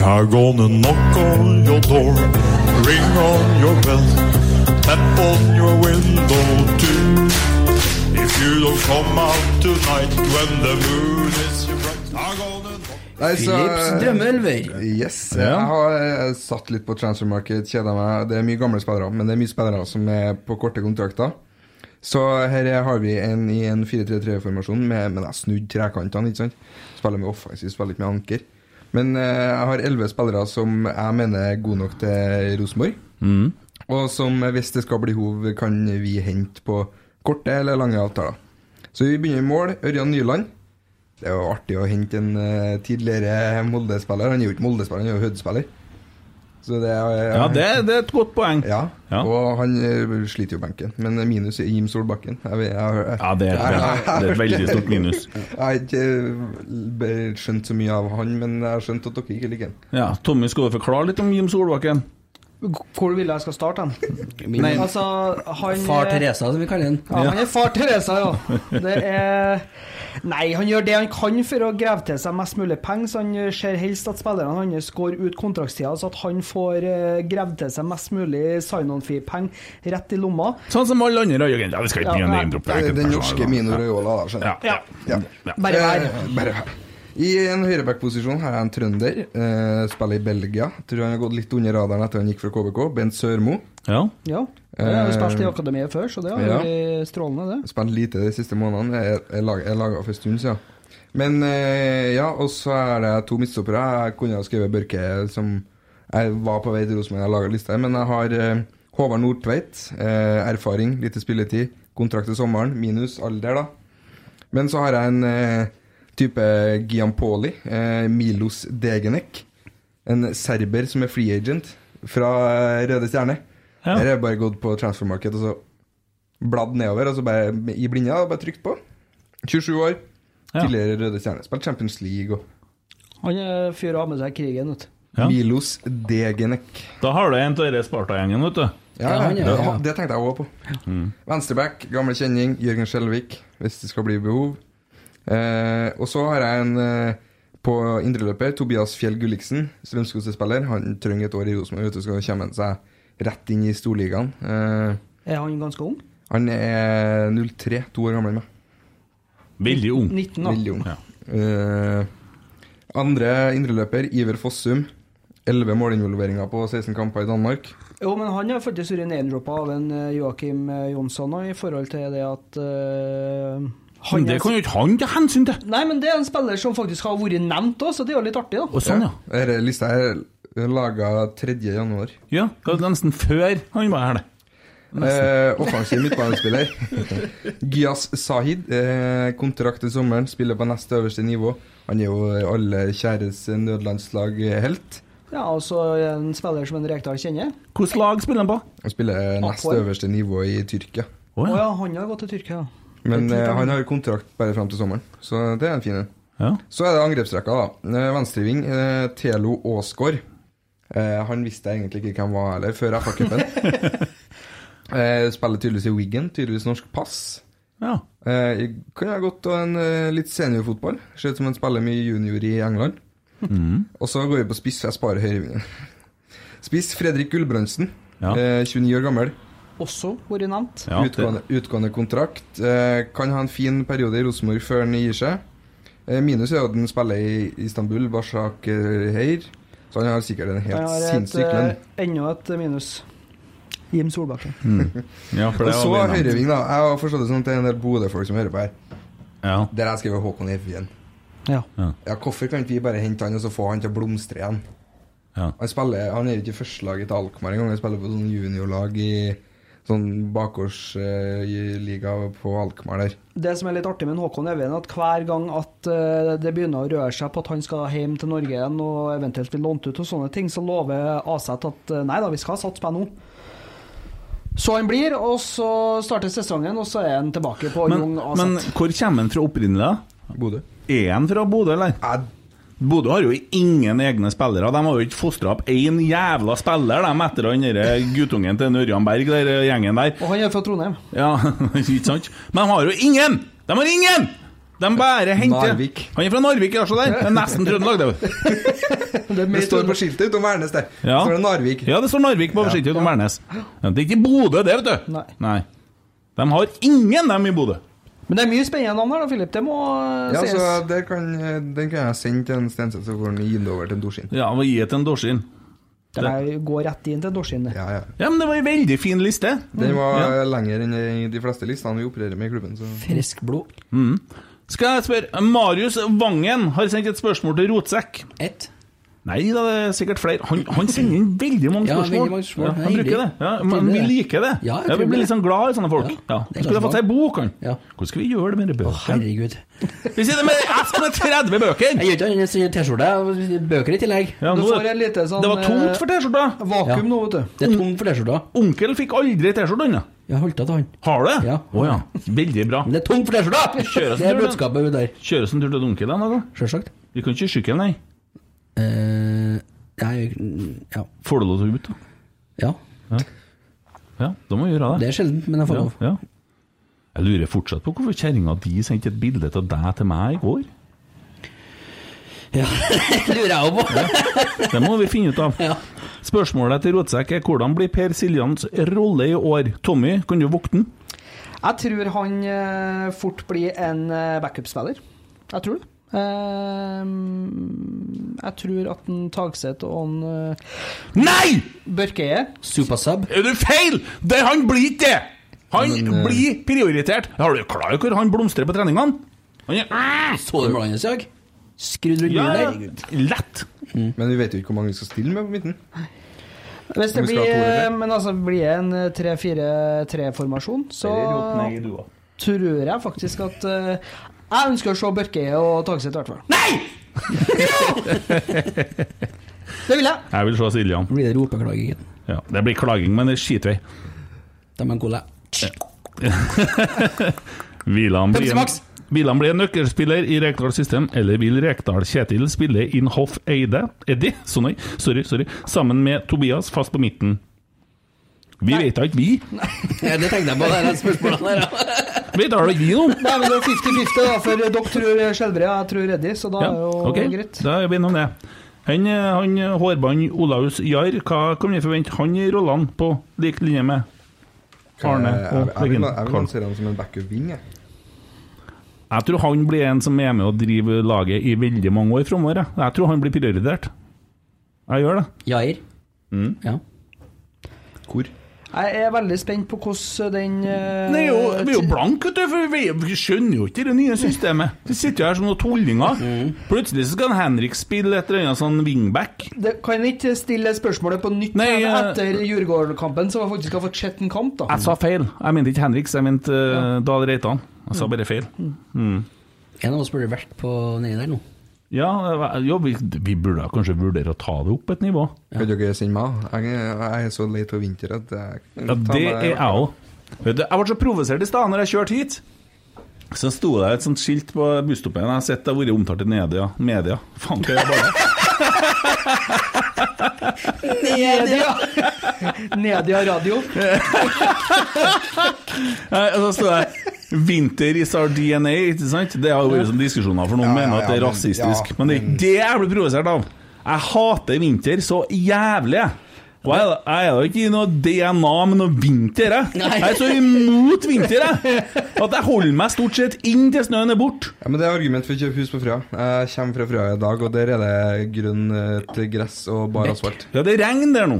Speaker 8: Are gonna knock on your door, ring on your bell, tap on your window too. If you don't come out tonight when the moon is bright, I'm gonna knock.
Speaker 6: Nei, så-
Speaker 4: Philips drømmeelver.
Speaker 6: Yes.
Speaker 3: Ja.
Speaker 6: Jeg har eh, satt litt på transfer market, kjeda meg. Det er mye gamle spillere, men det er mye spillere som er på korte kontrakter. Så her har vi en i en 4-3-3-formasjon, med- men jeg har snudd trekantene. ikke sant? Spiller med offensiv, spiller ikke med anker. Men eh, jeg har elleve spillere som jeg mener er gode nok til Rosenborg. Og som, eh, hvis det skal bli hov, kan vi hente på korte eller lange avtaler. Så vi begynner i mål. Ørjan Nyland. Det er jo artig å hente en eh, tidligere Molde-spiller. Han er jo ikke Molde-spiller, han er jo Hødd-spiller. Så det er eh,
Speaker 3: Ja, det, det er et godt poeng.
Speaker 6: ja.
Speaker 3: Ja.
Speaker 6: Og han eh, sliter jo benken. Men minus er Jim Solbakken. Jeg, vet- jeg, jeg,
Speaker 3: Ja, det er, et, veld- det er et veldig stort minus.
Speaker 6: jeg har ikke eh, be- skjønt så mye av han, men jeg har skjønt at dere ikke liker han.
Speaker 3: Ja, Tommy, skal du forklare litt om Jim Solbakken?
Speaker 5: Hvor vil jeg skal starte den?
Speaker 4: Min eh,
Speaker 5: Altså, han eh,
Speaker 4: far Teresa, som vi kaller den.
Speaker 5: Ja, han er far Teresa, ja. Det er Nei, han gjør det han kan for å grave til seg mest mulig penger, så han ser helst at spillerne hans går ut kontraktstida, så at han får eh, grevd til seg mest mulig sign-on-fee-penger rett i lomma.
Speaker 3: Sånn som alle andre agenter. Vi skal ikke
Speaker 5: Ja,
Speaker 3: begynne å
Speaker 5: nei.
Speaker 3: name-droppe
Speaker 6: Det er Den norske
Speaker 3: enkeltpersoner.
Speaker 6: Mino Raiola, da.
Speaker 3: Ja.
Speaker 6: skjønner jeg.
Speaker 3: Ja.
Speaker 6: Ja.
Speaker 5: Bare vær.
Speaker 6: Eh, Bare vær. I en høyreback-posisjon har jeg en trønder. Eh, spiller i Belgia. Tror han har gått litt under radaren etter han gikk fra KBK. Bent Sørmo.
Speaker 3: ja.
Speaker 5: Ja. Jeg har jo spilt i akademiet før, så det har
Speaker 6: Eh. Ja.
Speaker 5: vært strålende, det.
Speaker 6: Spilt lite de siste månedene. Jeg, jeg, lag, jeg laga for en stund siden. Men eh, ja, og så er det to midtstoppere. Jeg kunne ha skrevet Børke, som jeg var på vei til Rosenborg da jeg laga lista, men jeg har eh, Håvard Nordtveit. Eh, erfaring, lite spilletid. Kontrakt til sommeren, minus alder, da. Men så har jeg en eh, type Giampoli. Eh, Milos Degenek. En serber som er free agent fra eh, Røde Stjerne.
Speaker 3: Ja.
Speaker 6: Her har jeg bare gått på transfermarked og så bladd nedover, og så bare i blinda og bare trykt på. 27 år,
Speaker 3: Ja.
Speaker 6: tidligere Røde Stjerne. Spilt Champions League og
Speaker 5: Han er fyr å ha med seg i krigen, vet du.
Speaker 3: Ja.
Speaker 6: Milos Degenek.
Speaker 3: Da har du en av denne Sparta-gjengen, vet du.
Speaker 6: Ja,
Speaker 4: Ja, han
Speaker 6: det,
Speaker 4: er- ja.
Speaker 6: det tenkte jeg òg på.
Speaker 3: Mm.
Speaker 6: Venstreback, gamle kjenning, Jørgen Skjelvik, hvis det skal bli behov. Eh, og så har jeg en eh, på indreløper, Tobias Fjell Gulliksen, strømsgodset Han trenger et år i Rosenborg, vet du, så kommer han seg rett inn i storligaen. Eh,
Speaker 5: Er han ganske ung?
Speaker 6: han er 03, to år gammel enn meg.
Speaker 3: Veldig ung.
Speaker 5: 19, da.
Speaker 6: Veldig ung.
Speaker 3: Ja.
Speaker 6: Eh, andre indreløper, Iver Fossum. 11 målinvolveringer på 16 kamper i Danmark.
Speaker 5: Jo, men han har faktisk vært name-droppa av en eh, Joakim eh, Jonsson nå, i forhold til det at eh,
Speaker 3: Men
Speaker 5: er-
Speaker 3: det kan jo ikke han ta hensyn til!
Speaker 5: Nei, men det er en spiller som faktisk har vært nevnt òg, så det er jo litt artig, da.
Speaker 3: Og sånn, ja.
Speaker 6: Eh, Denne lista er laga 3. januar.
Speaker 3: Ja, det var nesten før han var her, det.
Speaker 6: Eh, offensiv midtbanespiller. Gyas Sahid. Eh, kontrakt til sommeren, spiller på nest øverste nivå. Han er jo alle kjæres nødlandslag-helt.
Speaker 5: Ja, og så er det en spiller som en Rekdal kjenner.
Speaker 3: Hvilket lag spiller han på?
Speaker 6: Han spiller nest
Speaker 5: Apoel.
Speaker 6: øverste nivå i Tyrkia.
Speaker 3: Å
Speaker 5: Å
Speaker 3: ja.
Speaker 5: ja, han har gått til Tyrkia, ja.
Speaker 6: Men eh, han har kontrakt bare fram til sommeren, så det er en fin en.
Speaker 3: ja.
Speaker 6: Så er det angrepsrekka, da. Eh, Venstreving, eh, Telo Aasgaard. Eh, han visste jeg egentlig ikke hvem var heller, før FA-cupen. eh, spiller tydeligvis i Wiggen, tydeligvis norsk pass.
Speaker 3: Ja.
Speaker 6: Eh, jeg kan ha gått til en eh, litt seniorfotball. Ser ut som han spiller mye junior i England. Og så går vi på spiss, for jeg sparer høyrevingen. Spiss Fredrik Gulbrandsen,
Speaker 3: Ja.
Speaker 6: eh, 29 år gammel.
Speaker 5: Også vært nevnt.
Speaker 3: ja det-
Speaker 6: utgående, utgående kontrakt. Eh, kan ha en fin periode i Rosenborg før han gir seg. Eh, minus er jo at han spiller i Istanbul, Başakşehir. Så han har sikkert en
Speaker 5: Jeg
Speaker 6: helt
Speaker 5: har et,
Speaker 6: sinnssyk lønn.
Speaker 5: eh, enda et minus. Jim Solbakken.
Speaker 3: ja, for
Speaker 6: Og
Speaker 3: det
Speaker 6: så
Speaker 3: var vi nevnt.
Speaker 6: Høyreving, da. Jeg har forstått det sånn at det er en del Bodø-folk som hører på her.
Speaker 3: Ja.
Speaker 6: Der jeg skrev Håkon Evjen.
Speaker 5: Ja.
Speaker 6: Ja, hvorfor kan ikke vi bare hente han og så få han til å blomstre igjen?
Speaker 3: Ja.
Speaker 6: Han, spiller, han er jo ikke i førstelaget til Alkmaar engang. Han spiller på sånn juniorlag i sånn bakgårdsliga på Alkmaar der.
Speaker 5: Det som er litt artig med Håkon Evjen, er at hver gang at eh, det begynner å røre seg på at han skal hjem til Norge igjen og eventuelt bli lånt ut og sånne ting, så lover Aseth at eh, nei da, vi skal satse på NO. Så han blir, og så starter sesongen, og så er han tilbake på
Speaker 3: Men,
Speaker 5: Jung altså.
Speaker 3: men
Speaker 5: Aseth.
Speaker 3: hvor kommer han fra opprinnelig? da?
Speaker 6: Bodø.
Speaker 3: Er han fra Bodø, eller?
Speaker 6: Jeg
Speaker 3: Bodø har jo ingen egne spillere. De har jo ikke fostra opp én jævla spiller, de, etter han derre guttungen til Ørjan Berg, den gjengen der.
Speaker 5: Og han er fra Trondheim.
Speaker 3: Ja, ikke sant? Men de har jo ingen! De har ingen! De bare henter
Speaker 6: Narvik.
Speaker 3: Han er fra Narvik, ja, se der. Det er nesten Trøndelag, det. er jo.
Speaker 6: Det står på skiltet utom Værnes der.
Speaker 3: Ja.
Speaker 6: Så er det Narvik.
Speaker 3: Ja, det står Narvik på skiltet utom Værnes. Ja, det er ikke Bodø, det, vet du.
Speaker 5: Nei.
Speaker 3: De har ingen, dem i Bodø.
Speaker 5: Men det er mye spennende navn her, da, Filip. Det må eh,
Speaker 6: Ja, så
Speaker 5: sies.
Speaker 6: der kan, Den kan jeg sende til en Stenseth, så får han gi den over til en Dorsin.
Speaker 3: Ja, må gi til en dorsin.
Speaker 5: Det her går rett inn til Dorsin.
Speaker 6: Ja, ja.
Speaker 3: Ja, men det var ei veldig fin liste.
Speaker 6: Den var lenger enn i de fleste listene vi opererer med i klubben. Så.
Speaker 4: Frisk blod.
Speaker 3: Skal jeg spørre Marius Vangen har sendt et spørsmål til Rotsekk.
Speaker 4: Ett.
Speaker 3: Nei da, det er sikkert flere. Han, han sender inn veldig mange
Speaker 4: Ja,
Speaker 3: spørsmål.
Speaker 4: veldig mange spørsmål.
Speaker 3: Ja, han
Speaker 4: Det er
Speaker 3: bruker det. Ja,
Speaker 4: hyggelig.
Speaker 3: men vi
Speaker 4: Trivelig, det.
Speaker 3: liker det.
Speaker 4: Ja,
Speaker 3: Ja,
Speaker 4: det er
Speaker 3: vi blir
Speaker 4: trivelig.
Speaker 3: litt sånn glad i sånne folk.
Speaker 4: Ja,
Speaker 3: Ja.
Speaker 4: det er
Speaker 3: Skulle ha fått ei
Speaker 4: engasjement.
Speaker 3: bok, han.
Speaker 4: Ja.
Speaker 3: Hvordan skal vi gjøre det med de bøkene?
Speaker 4: Herregud.
Speaker 3: Vi sitter med jeg sitter med 30 bøker!
Speaker 4: Jeg gjør ikke annet enn å sy T-skjorte og bøker i tillegg.
Speaker 3: Ja,
Speaker 5: Du
Speaker 3: nå,
Speaker 5: får en lite sånn
Speaker 3: det var
Speaker 5: eh,
Speaker 3: tomt for T-skjorta.
Speaker 5: vakuum
Speaker 4: Ja.
Speaker 5: nå, vet du.
Speaker 4: Det er tom for T-skjorta.
Speaker 3: Onkel fikk aldri T-skjorte ennå.
Speaker 4: Jeg holdt av til han.
Speaker 3: Har du det?
Speaker 4: Ja.
Speaker 3: Å ja. Veldig bra.
Speaker 4: Men det er tom for T-skjorta!
Speaker 3: Kjøres
Speaker 4: Det er
Speaker 3: du, da?
Speaker 4: budskapet der.
Speaker 3: Kjøres en tur til onkel, da? da?
Speaker 4: Sjølsagt.
Speaker 3: Vi kan ikke sykle, nei.
Speaker 4: Eh, jeg- ja.
Speaker 3: Får du lov til å ut, da?
Speaker 4: ja.
Speaker 3: Ja, da må vi gjøre
Speaker 4: Det
Speaker 3: det.
Speaker 4: er sjelden, men jeg får
Speaker 3: ja,
Speaker 4: lov.
Speaker 3: ja. Jeg lurer fortsatt på hvorfor kjerringa di sendte et bilde av deg til meg i går.
Speaker 4: Ja. Det lurer jeg òg på.
Speaker 3: Det må vi finne ut av.
Speaker 4: Ja.
Speaker 3: Spørsmålet til Rotsekk er hvordan blir Per Siljans rolle i år? Tommy, kan du vokte den?
Speaker 5: Jeg tror han eh, fort blir en eh, backup-spiller. Jeg tror det. Ehm, jeg tror at en Tagseth og en eh,
Speaker 3: Nei!
Speaker 5: Børkeie
Speaker 4: Supersub.
Speaker 3: Er du feil?! Det, han blir ikke det! Han
Speaker 6: Men, eh,
Speaker 3: blir prioritert. Har du klar over hvor han blomstrer på treningene? Han er
Speaker 4: Så du målene hans i dag? Skrudd rundt
Speaker 3: ja,
Speaker 4: bilen der.
Speaker 3: lett.
Speaker 6: Men vi vet jo ikke hvor mange vi skal stille med på midten.
Speaker 5: Hvis det
Speaker 6: Om vi
Speaker 5: blir,
Speaker 6: skal ha to eller tre?
Speaker 5: eh, men altså, blir det en eh, 3-4-3-formasjon, så tror jeg faktisk at eh, Jeg ønsker å se Børkeie og Tagseth, i hvert fall. Nei! det vil jeg.
Speaker 3: Jeg vil se Siljan.
Speaker 4: Blir det ropeklagingen?
Speaker 3: Ja, det blir klaging, men det er skitvei.
Speaker 4: De er gode.
Speaker 3: Hvilan blir,
Speaker 4: Pepsi Max.
Speaker 3: Hvilan blir en nøkkelspiller i Rekdal System, eller vil Rekdal Kjetil spille inn Hoff Eide Eddie, så nei, sorry, sorry, sammen med Tobias fast på midten? Vi vet da ikke, vi.
Speaker 4: Ja, det tenkte jeg på, det er det spørsmålene der. ja.
Speaker 3: Vet da ikke vi noe?
Speaker 5: Nei, men det er 50-50, da, for dere tror Skjelbred, jeg tror Reddy, så da
Speaker 3: Ja,
Speaker 5: er jo
Speaker 3: ok,
Speaker 5: greit.
Speaker 3: da er vi innom det. Han, eh, han eh, hårbånd Olaus Jahr, hva kan vi forvente han i rollene på lik linje med? Arne
Speaker 6: Eh,
Speaker 3: og
Speaker 6: jeg, jeg, vil-
Speaker 3: Regin
Speaker 6: jeg vil
Speaker 3: Karl.
Speaker 6: lansere han som en backup-wing. jeg.
Speaker 3: Jeg tror han blir en som er med og driver laget i veldig mange år framover. Jeg. jeg tror han blir prioritert. Jeg gjør det.
Speaker 4: Jair.
Speaker 3: Mm.
Speaker 4: Ja.
Speaker 6: Hvor?
Speaker 5: Jeg er veldig spent på hvordan den eh,
Speaker 3: Nei, jo, vi er jo blanke, vet du, for vi, vi skjønner jo ikke det nye systemet. Vi sitter jo her som noen tullinger. Plutselig så skal en Henrik spille et eller annet sånn wingback.
Speaker 5: det, Kan jeg ikke stille spørsmålet på nytt
Speaker 3: Nei,
Speaker 5: men
Speaker 3: eh,
Speaker 5: etter Djurgården-kampen, så jeg faktisk har fått sett en kamp, da?
Speaker 3: Jeg sa feil. Jeg mente ikke Henriks, jeg mente uh, Dahl Reitan. Jeg sa bare feil.
Speaker 4: En av oss burde vært på nedi der nå.
Speaker 3: Ja, eh, jo, vi, vi burde da kanskje vurdere å ta det opp et nivå.
Speaker 6: Kan dere sende meg? Jeg, jeg er så lei av vinter at jeg
Speaker 3: Ja, det er jeg òg. Vet du, Jeg ble så provosert i stad når jeg kjørte hit. Så sto det et sånt skilt på busstoppen. Jeg har sett det har vært omtalt i media. media. Faen, hva gjør jeg bare?
Speaker 5: Nedia! Nedia radio.
Speaker 3: Nei, og så sto jeg Vinter is our DNA, ikke sant? Det har vært som diskusjoner, for noen
Speaker 6: Ja, ja,
Speaker 3: mener at det er
Speaker 6: ja, men-
Speaker 3: rasistisk.
Speaker 6: ja,
Speaker 3: men det er ikke det jeg blir provosert av. Jeg hater vinter så jævlig. jeg. Og jeg, jeg er jo ikke i noe DNA med noe vinter, jeg.
Speaker 4: Nei.
Speaker 3: Jeg er så imot vinter, jeg. At jeg holder meg stort sett inn til snøen er borte.
Speaker 6: Ja, men Det er argument for å kjøpe hus på Frøya. Jeg kommer fra Frøya i dag, og der er det grønt gress og bare asfalt.
Speaker 3: Ja, det regner der nå.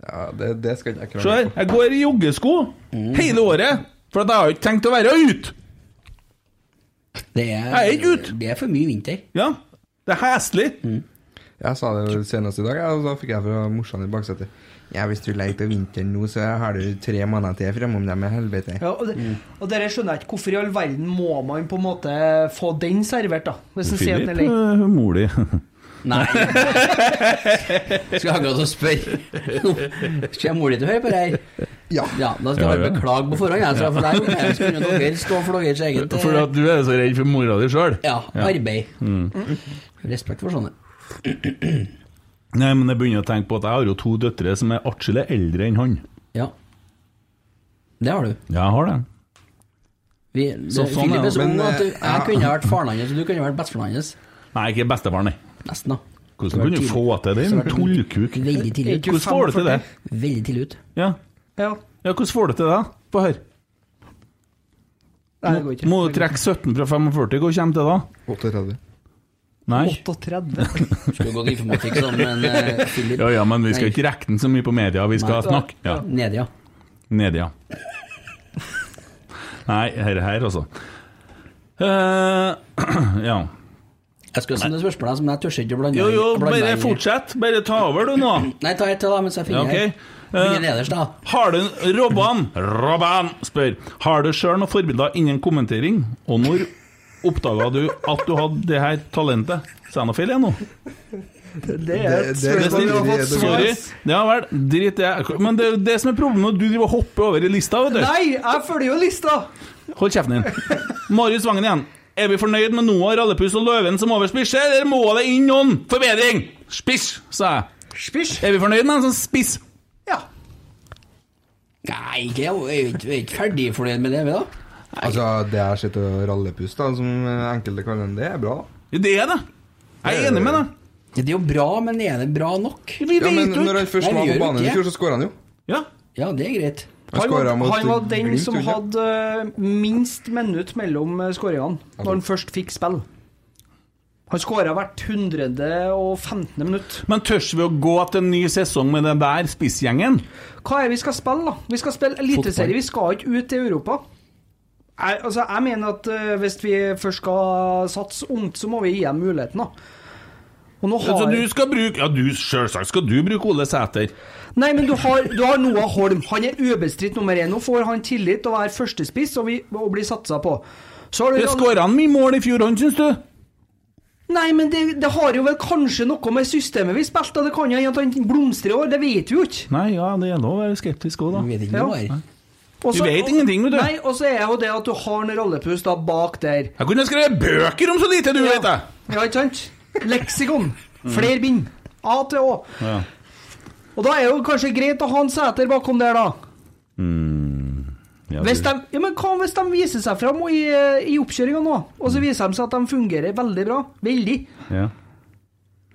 Speaker 6: Ja, det, det skal ikke jeg
Speaker 3: Se her,
Speaker 6: krangle på.
Speaker 3: jeg går i joggesko hele året, for at jeg har ikke tenkt å være ute.
Speaker 4: Det er,
Speaker 3: Jeg er ikke ut.
Speaker 4: det er for mye vinter.
Speaker 3: Ja, det er heslig.
Speaker 5: Mm.
Speaker 6: Jeg sa det jo senest i dag, ja, og da fikk jeg fra morsan i baksetet. Ja, hvis du leker på vinteren nå, så har du tre måneder til fremom dem i helvete.
Speaker 5: Ja, og, det, og dere skjønner jeg ikke hvorfor i all verden må man på en måte få den servert, da? Hvis en sier at den er
Speaker 3: Philip,
Speaker 5: lei.
Speaker 3: eh, mor di.
Speaker 4: Nei. Skal akkurat å spørre. Skal jeg mor di til å høre på det her?
Speaker 6: Ja.
Speaker 4: Ja, da skal jeg
Speaker 3: Ja,
Speaker 4: bare
Speaker 3: ja.
Speaker 4: beklage på forhånd, jeg, så for der kunne jeg- skulle dere stå for deres eget eh,
Speaker 3: For at Mm. du er så redd for mora di sjøl?
Speaker 4: ja, arbeid. Respekt for sånne.
Speaker 3: Nei, men jeg begynner å tenke på at jeg har jo to døtre som er atskillig eldre enn han.
Speaker 4: Ja. Det har du.
Speaker 3: Jeg har det.
Speaker 4: Vi,
Speaker 3: Så
Speaker 4: det,
Speaker 3: sånn er
Speaker 4: Philip er
Speaker 6: det.
Speaker 4: så ung
Speaker 6: Men,
Speaker 4: at du,
Speaker 6: eh,
Speaker 4: jeg kunne vært faren hans, og du kunne vært bestefaren hans.
Speaker 3: Nei, ikke bestefaren, nei.
Speaker 4: Nesten, da.
Speaker 3: Hvordan kunne du få til det? En tullkuk.
Speaker 4: Veldig tidlig ut.
Speaker 3: Hvordan får du til det?
Speaker 4: Veldig tidlig ut.
Speaker 3: Ja,
Speaker 5: Ja.
Speaker 3: ja hvordan får du til det? Få høre.
Speaker 5: Nei, det går ikke.
Speaker 3: Må du trekke 17 fra 45, hva kommer til da?
Speaker 6: 38.
Speaker 3: Nei?
Speaker 5: 38.
Speaker 4: Skulle gått informatikk som en uh, Philip.
Speaker 3: Ja ja, men vi skal
Speaker 4: Nei.
Speaker 3: ikke rekke den så mye på media, vi skal snakke. Ja.
Speaker 4: Nede, ja.
Speaker 3: Nedi, ja. Nei, her, her altså. Eh, ja.
Speaker 4: Jeg skulle sende spørsmål som jeg tør ikke å blande
Speaker 3: Jo, jo,
Speaker 4: blande
Speaker 3: bare
Speaker 4: meg-
Speaker 3: fortsett. Bare ta over, du, nå.
Speaker 4: Nei, ta et til, da, mens jeg finner
Speaker 3: Ja, ok. Eh,
Speaker 4: her. Begynner nederst, da.
Speaker 3: Har du Robban Robban spør Har du sjøl noen forbilder innen kommentering? Og når oppdaga du at du hadde det her talentet? Sa jeg noe feil igjen nå?
Speaker 5: Det er et
Speaker 6: Det- det-
Speaker 5: spørsmål vi har
Speaker 6: det-
Speaker 5: fått
Speaker 6: det-
Speaker 5: svar.
Speaker 3: Sorry. Ja vel, drit det. Men det er jo det som er problemet når du driver og hopper over i lista, vet du.
Speaker 5: Nei, jeg følger jo lista!
Speaker 3: Hold kjeften din. Marius Vangen igjen. Er vi fornøyd med Noah, Rallepus og Løven som overspisser, eller må det inn noen forbedring? Spiss, sa jeg.
Speaker 5: Spysj.
Speaker 3: Er vi fornøyd med en sånn spiss?
Speaker 5: Ja.
Speaker 4: Nei, ikke, jeg er jo ikke- jeg er ikke ferdig fornøyd med det, vi, da.
Speaker 6: Altså, det jeg sitter og rallepust, da, som enkelte kaller det, det er bra. da.
Speaker 3: Det er det. Jeg er enig med deg.
Speaker 4: Ja, Det er jo bra, men er det bra nok?
Speaker 3: Vi
Speaker 6: Ja, men
Speaker 3: vet jo
Speaker 6: når
Speaker 3: ikke.
Speaker 6: han først
Speaker 4: Nei,
Speaker 6: var
Speaker 4: vi
Speaker 6: på
Speaker 4: gjør
Speaker 6: banen
Speaker 4: ikke
Speaker 6: i
Speaker 4: det.
Speaker 6: fjor, så skåra han jo.
Speaker 3: Ja.
Speaker 4: Ja, det er greit.
Speaker 6: Han
Speaker 5: Han var,
Speaker 6: skåra mot
Speaker 5: han var den
Speaker 6: Glimt,
Speaker 5: som
Speaker 6: gjorde han ikke?
Speaker 5: hadde eh, minst minutt mellom eh, skåringene, når han først fikk spill. Han skåra hvert 115. minutt.
Speaker 3: Men tørs vi å gå til en ny sesong med den der spissgjengen?
Speaker 5: Hva er det vi skal spille, da? Vi skal spille Eliteserie, vi skal ikke ut i Europa. Jeg, altså, jeg mener at eh, hvis vi først skal satse ungt, så må vi gi dem muligheten, da. Og nå
Speaker 3: Så
Speaker 5: har...
Speaker 3: Altså, du skal bruke Ja, du selvsagt skal du bruke Ole Sæter.
Speaker 5: Nei, men du har, du har Noah Holm. Han er ubestridt nummer én. Nå får han tillit til å være førstespiss og, vi, og bli satsa på. Så har du
Speaker 3: Det skåra han mye mål i fjor, han, syns du?
Speaker 5: Nei, men det, det har jo vel kanskje noe med systemet vi spilte. Det kan jo hende at han blomstrer i år, det vet vi jo ikke.
Speaker 3: Nei, ja, det er lov å være skeptisk
Speaker 4: Vi
Speaker 3: òg, da.
Speaker 4: vet ikke noe
Speaker 5: Ja.
Speaker 4: mer.
Speaker 5: Og
Speaker 3: Vi
Speaker 5: så-
Speaker 3: vet ingenting, vet du.
Speaker 5: Nei, og så er jo det at du har en rallepus da bak der.
Speaker 3: Jeg kunne skrevet bøker om så lite, du vet det!
Speaker 5: Ja, ikke sant? Leksikon. Flere bind. A til Å.
Speaker 3: Ja.
Speaker 5: Og da er jo kanskje greit å ha en seter bakom der, da.
Speaker 3: Ja,
Speaker 5: Hvis
Speaker 3: du-
Speaker 5: de, Altså, ja, men hva hvis de viser seg fram i, eh, i oppkjøringa nå, og så viser de seg at de fungerer veldig bra? Veldig.
Speaker 3: ja.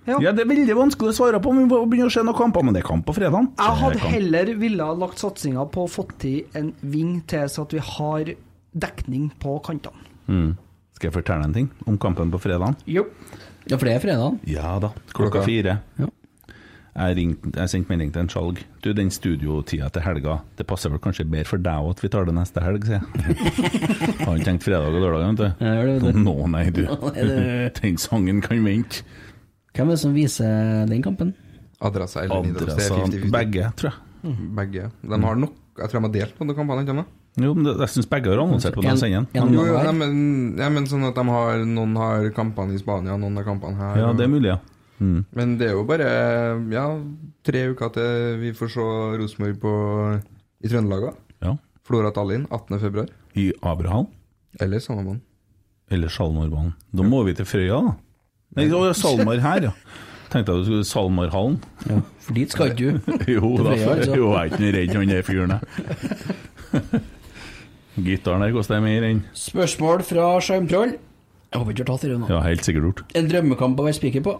Speaker 5: Ja.
Speaker 3: ja, det er veldig vanskelig å svare på om vi må begynne å se noen kamper, men det er kamp på fredag.
Speaker 5: Jeg hadde heller ville ha lagt satsinga på å få til en ving til, så at vi har dekning på kantene.
Speaker 3: Skal jeg fortelle en ting om kampen på fredag?
Speaker 5: Jo.
Speaker 4: Ja, for det er fredagen.
Speaker 3: Ja da. Klokka
Speaker 6: Klokka.
Speaker 3: fire.
Speaker 4: Ja.
Speaker 3: Jeg, ringte, jeg sendte melding til en Skjalg. Du, den studiotida til helga, det passer vel kanskje bedre for deg også at vi tar det neste helg, sier jeg. Har ikke tenkt fredag og lørdag, vet du.
Speaker 4: Ja, gjør det, vet du.
Speaker 3: Nå, nei, du.
Speaker 4: Nei, det-
Speaker 3: Den sangen kan vente.
Speaker 4: Hvem er det som viser den kampen?
Speaker 6: Adressa eller Nidaros. Det er
Speaker 3: Adressa
Speaker 6: 50-50.
Speaker 3: Begge, tror jeg.
Speaker 6: Begge. De har nok Jeg tror de har delt på noen kampanjer, ikke sant?
Speaker 3: Jo, men det- jeg syns begge har annonsert på den
Speaker 4: En-
Speaker 3: sendingen.
Speaker 4: en-
Speaker 3: Men-
Speaker 6: Jo, jo,
Speaker 4: Hver?
Speaker 6: nei, men, ja, men sånn at de har, noen har kampene i Spania, noen har kampene her.
Speaker 3: Ja,
Speaker 6: og-
Speaker 3: det er mulig, ja.
Speaker 6: Men det er jo bare ja, tre uker til vi får se Rosenborg på- i Trøndelag. da.
Speaker 3: ja.
Speaker 6: Flora Tallinn 18. februar.
Speaker 3: I Abraham
Speaker 6: Eller samme mann.
Speaker 3: eller Salmarbanen. Da må vi til Frøya, da. Nei, det var Salmar her, ja. Tenkte jeg du skulle Salmarhallen.
Speaker 4: Ja, for dit skal ikke du.
Speaker 3: Jo, da,
Speaker 4: Frøya, altså.
Speaker 3: jo, jeg er ikke noe redd han der fyren, jeg. Gitaren her koster mer enn
Speaker 4: Spørsmål fra Sjarmtroll. Jeg håper ikke du har tatt det nå.
Speaker 3: Ja, helt sikkert gjort.
Speaker 4: En drømmekamp å være spiker på.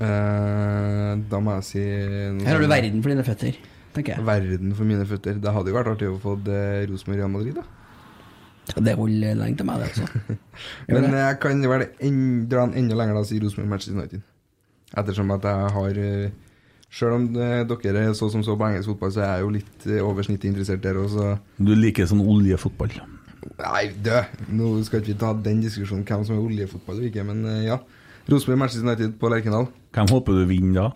Speaker 6: Eh, da må jeg si noe
Speaker 4: Her har du
Speaker 3: Mm.
Speaker 6: sånn-
Speaker 4: verden for dine føtter, tenker jeg.
Speaker 6: Verden for mine føtter. Det hadde jo vært artig å få eh, Rosenborg Real Madrid, da.
Speaker 4: Ja, Det holder lenge til meg, det, altså. Gjør
Speaker 6: Men
Speaker 3: eh,
Speaker 4: det.
Speaker 6: jeg kan vel en, dra den enda lenger da og si Rosenborg Manchester United. Ettersom at jeg har eh, Selv om eh, dere er så som så på engelsk fotball, så er jeg jo litt eh, over snittet interessert der òg, så
Speaker 3: Du liker sånn oljefotball.
Speaker 6: Nei, dø! Nå skal ikke vi ta den diskusjonen hvem som er oljefotball og ikke, men eh, ja. Rosenborg Manchester United på Lerkendal.
Speaker 3: Hvem håper du vinner da?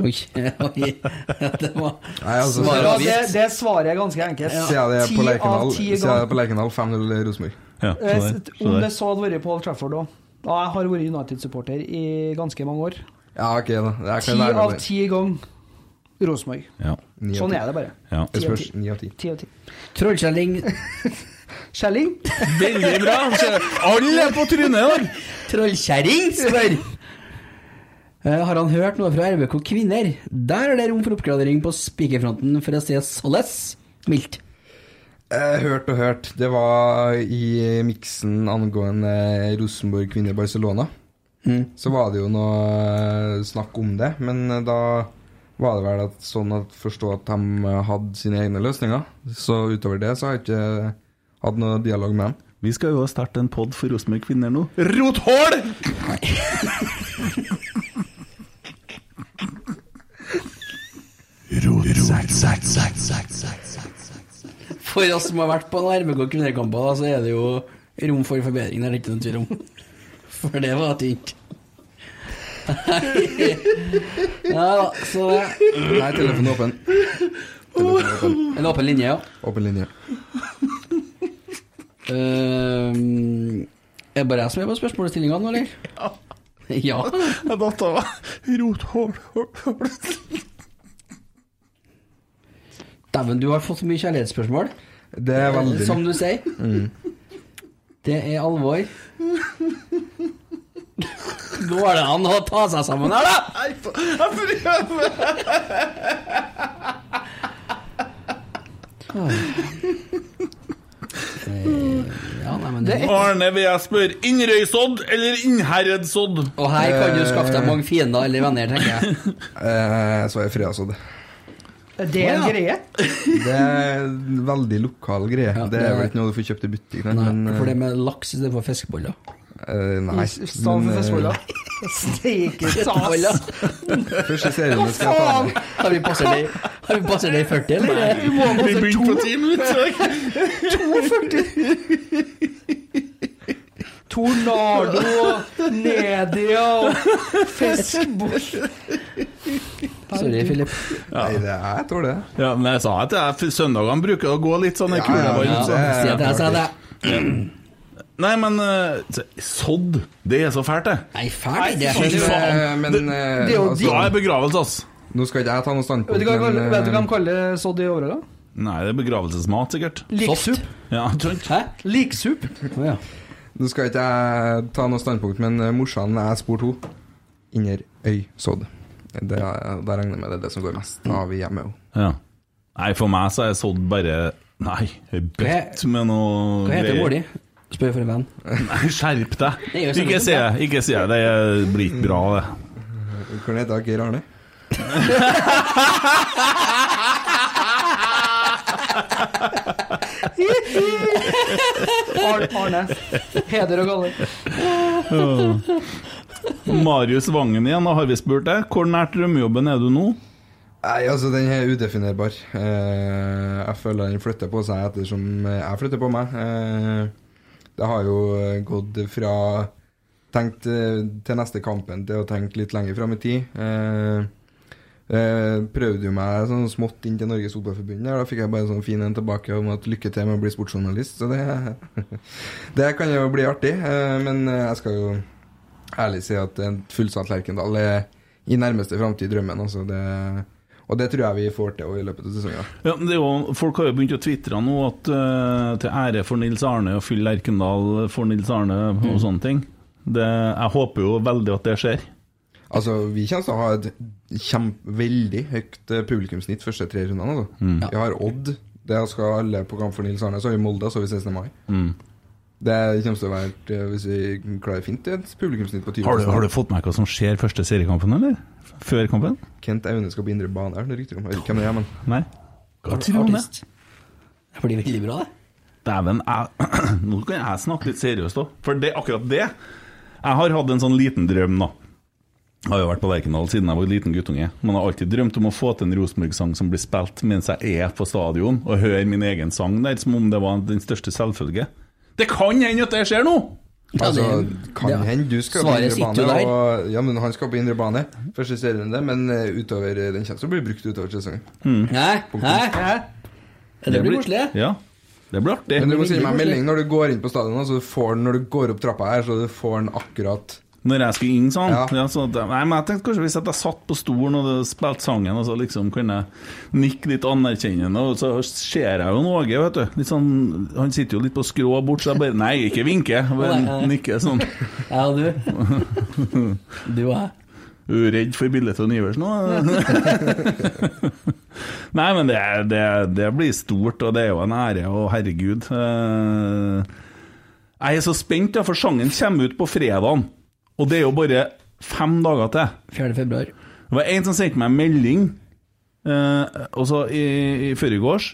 Speaker 4: Oi, oi. Det var
Speaker 6: Nei, altså,
Speaker 4: Svaret
Speaker 6: sier
Speaker 5: Ja,
Speaker 6: jeg-
Speaker 5: det, det svaret er ganske enkelt.
Speaker 6: sier jeg det på
Speaker 5: Ti
Speaker 6: Lerkendal,
Speaker 5: av ti
Speaker 6: sier jeg det
Speaker 5: ganger.
Speaker 6: på Lerkendal 5-0 Rosenborg.
Speaker 3: Ja,
Speaker 5: Eh,
Speaker 3: så der.
Speaker 5: Om
Speaker 3: Så
Speaker 5: det
Speaker 3: der.
Speaker 5: så hadde vært på Old Trafford òg. Ja, jeg har vært United-supporter i ganske mange år.
Speaker 6: Ja, ok, da. Jeg
Speaker 5: Ti
Speaker 6: kan være
Speaker 5: av
Speaker 6: med på
Speaker 5: ti ganger Rosenborg.
Speaker 3: Ja,
Speaker 6: det.
Speaker 5: Sånn er det bare.
Speaker 3: ja.
Speaker 6: Det spørs. Ni av ti.
Speaker 5: Ti av ti.
Speaker 4: Trollkjelling
Speaker 5: Kjelling?
Speaker 3: Veldig bra! Alle er på trynet i dag!
Speaker 4: Trollkjerring spør Eh, Har han hørt noe fra RBK Kvinner? Der er det rom for oppgradering på spikerfronten, for å si såles. Mildt.
Speaker 6: Eh, Hørt og hørt. Det var i miksen angående eh, Rosenborg kvinner Barcelona.
Speaker 4: Mm.
Speaker 6: Så var det jo noe eh, snakk om det, men eh, da var det vel at sånn at forstå at de eh, hadde sine egne løsninger. Så utover det så har jeg ikke eh, hatt noe dialog med dem.
Speaker 3: Vi skal jo starte en pod for Rosenborg kvinner nå. Rothål!
Speaker 4: For oss som har vært på noen RBK kvinnekamper, da, så er det jo rom for forbedring. Det er det ikke noen tvil om. For det var tynt. Ja da, så
Speaker 6: Nei, telefonen er åpen. Telefonen er åpen.
Speaker 4: En åpen linje, ja.
Speaker 6: Åpen linje.
Speaker 4: Ehm, er det bare jeg som er på spørsmålsstillinga nå, eller? Ja.
Speaker 3: Jeg datt av. Rothål.
Speaker 4: Dæven, du har fått så mye kjærlighetsspørsmål.
Speaker 6: Det
Speaker 5: Eh,
Speaker 6: er veldig
Speaker 4: Eh,
Speaker 6: Mm.
Speaker 4: Som du sier. Det er alvor. Går det an å ta seg sammen her, da? Jeg prøver! Ja, nei, men det
Speaker 3: Arne vil jeg spørre. Innrøysodd eller Innherredsodd?
Speaker 4: Og her kan du skaffe deg mange fiender eller venner, tenker jeg.
Speaker 6: eh, Så er Freasodd.
Speaker 5: Det er en
Speaker 4: Å, ja.
Speaker 5: greie.
Speaker 6: Det er en veldig lokal greie.
Speaker 4: Ja,
Speaker 6: det er
Speaker 4: det
Speaker 6: vel
Speaker 4: er-
Speaker 6: ikke noe du får kjøpt i butikken.
Speaker 4: Nei,
Speaker 6: men, eh,
Speaker 4: for det med laks istedenfor fiskeboller.
Speaker 6: eh, nei.
Speaker 5: I stedet
Speaker 6: Men,
Speaker 5: for
Speaker 6: eh,
Speaker 5: festboller. Steike
Speaker 4: Boller.
Speaker 5: sas!
Speaker 6: Første serien skal jeg ta
Speaker 5: Faen!
Speaker 6: med.
Speaker 4: Har vi passert det, har vi passert det i 40, eller?
Speaker 5: Vi må gå
Speaker 3: Vi
Speaker 5: til
Speaker 3: begynte på ti minutter.
Speaker 5: 2 Tornado og Nedia og fiskeboll.
Speaker 4: Sorry, Philip.
Speaker 6: Nei, det er, jeg tror det.
Speaker 3: Ja, men jeg sa at jeg, søndagene bruker å gå litt sånn i kule varmt,
Speaker 4: Ja,
Speaker 6: Ja,
Speaker 3: så.
Speaker 4: si at jeg sa det.
Speaker 3: Nei, men eh, sodd, det er så fælt, det.
Speaker 4: Nei, fælt. Det er
Speaker 3: Fy
Speaker 4: sånn du
Speaker 6: Men,
Speaker 3: faen.
Speaker 6: eh, men eh,
Speaker 5: det er jo
Speaker 6: altså,
Speaker 3: Da er begravelse, ass.
Speaker 6: Nå skal ikke jeg ta noe
Speaker 5: Vet
Speaker 6: standpunkt,
Speaker 5: du hva
Speaker 6: men
Speaker 5: vet du hva de
Speaker 6: eh,
Speaker 5: kaller sådd i Overhalla?
Speaker 3: Nei, det er begravelsesmat, sikkert.
Speaker 5: Liksup.
Speaker 3: Ja, skjønt.
Speaker 4: Hæ?
Speaker 5: Liksup.
Speaker 4: Å ja.
Speaker 6: nå skal ikke jeg ta noe standpunkt, men eh, morsan jeg spurte henne Inderøy sodd. Det, er- da regner jeg med det er det som går mest. Da har vi hjemme òg.
Speaker 3: Ja. Nei, for meg så er sodd bare Nei, bøtt med noe
Speaker 4: Hva heter
Speaker 3: greier.
Speaker 4: mor di? Spør jeg for en venn.
Speaker 3: Nei, skjerp deg.
Speaker 4: Det gjør
Speaker 3: Ikke
Speaker 4: sånn.
Speaker 3: si det. Ikke si det. Det blir ikke bra, det.
Speaker 6: Hvordan heter hun? Geir Arne?
Speaker 5: Ar Arne. Heder og galle.
Speaker 3: Marius Vangen igjen, da har vi spurt deg. Hvor nært drømmejobben er du nå?
Speaker 6: Nei, altså, den er udefinerbar. Eh, jeg føler den flytter på seg ettersom eh, jeg flytter på meg. Eh, det har jo eh, gått fra tenkt eh, til neste kampen til å tenke litt lenger fram i tid. Eh, eh, prøvde jo meg sånn smått inn til Norges Fotballforbund. der. Da fikk jeg bare en sånn fin en tilbake om at lykke til med å bli sportsjournalist. Så det, det kan jo bli artig. Eh, men eh, jeg skal jo ærlig si at en fullsatt Lerkendal er i nærmeste framtid drømmen. Altså det, og det tror jeg vi får til også i løpet av sesongen.
Speaker 3: Ja, men det er jo, folk har jo begynt å tvitre nå at eh, til ære for Nils Arne og fyll Lerkendal for Nils Arne
Speaker 4: Mm.
Speaker 3: og sånne ting. Det, jeg håper jo veldig at det skjer.
Speaker 6: Altså, vi kommer til å
Speaker 3: Mm.
Speaker 6: ha et kjempe, veldig høyt eh, publikumssnitt første tre rundene. Altså. Vi har Odd, Det skal alle på kamp for Nils Arne. Så er vi i Molde, så er vi 16. mai.
Speaker 3: Mm.
Speaker 6: Det kommer til å være, eh, hvis vi klarer fint, et publikumsnitt på 20
Speaker 3: Har du, har du fått med deg hva som skjer første seriekampen, eller? Før kampen?
Speaker 6: Kent Aune skal på indre bane, er det noe rykter om? Jeg vet ikke hvem det er, men
Speaker 3: Nei? Hva tror du om det?
Speaker 4: Artist. Det blir veldig bra, det.
Speaker 3: Dæven, jeg, nå kan jeg snakke litt seriøst òg, for det, akkurat det Jeg har hatt en sånn liten drøm, da. Jeg har jo vært på Lerkendal siden jeg var liten guttunge. Man har alltid drømt om å få til en Rosenborg-sang som blir spilt mens jeg er på stadion, og hører min egen sang der som om det var den største selvfølge. Det kan hende at det skjer nå!
Speaker 6: Altså,
Speaker 4: Ja, det-
Speaker 6: kan
Speaker 4: det-
Speaker 6: hende du skal på
Speaker 4: Svaret
Speaker 6: indre
Speaker 4: sitter jo
Speaker 6: bane.
Speaker 4: der.
Speaker 6: Og, ja, men han skal på indre bane første serierunde, men eh, utover eh, den kommer til å bli brukt utover sesongen.
Speaker 4: Hæ? Hæ? Ja, Det blir koselig, det.
Speaker 3: Ja, det blir artig.
Speaker 6: Men du må
Speaker 4: blir
Speaker 6: sende meg en
Speaker 4: koselig.
Speaker 6: melding når du går inn på stadion, så du får den når du går opp trappa her, så du får den akkurat
Speaker 3: Når jeg skulle inn sånn. Ja.
Speaker 6: Ja.
Speaker 3: så at, nei, men jeg tenkte kanskje hvis at jeg satt på stolen og det spilte sangen, og så liksom kunne jeg nikke litt anerkjennende, og så ser jeg jo Åge, vet du. Litt sånn, han sitter jo litt på skrå bort, så jeg bare Nei, ikke vinke,
Speaker 4: Nei,
Speaker 3: bare
Speaker 4: nei.
Speaker 3: nikke sånn.
Speaker 4: Jeg og du. Du og jeg.
Speaker 3: Uredd for bildet til Iversen òg. Nei, men det, er- det, det blir stort, og det er jo en ære, og herregud. eh, Jeg er så spent, da, for sangen kommer ut på fredagen, og det er jo bare fem dager til.
Speaker 4: 4. februar.
Speaker 3: Det var en som sendte meg en melding eh, Også i, i førregårs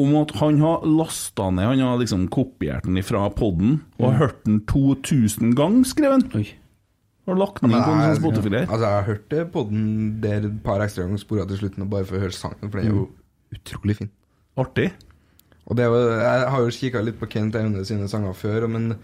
Speaker 3: Om at han har lastet den ned Han har liksom kopiert den fra podden Og hørt den 2000 gang skrev han
Speaker 4: Oi.
Speaker 3: Og lagt den inn på en sånn spotify der
Speaker 6: Altså, jeg har hørt det på den der et par ekstra ganger spora til slutten, og bare for å høre sangen, for den er jo
Speaker 3: Mm.
Speaker 6: utrolig fin.
Speaker 3: Artig
Speaker 6: Og det er jo, jeg har jo kikka litt på Kent Aune sine sanger før, men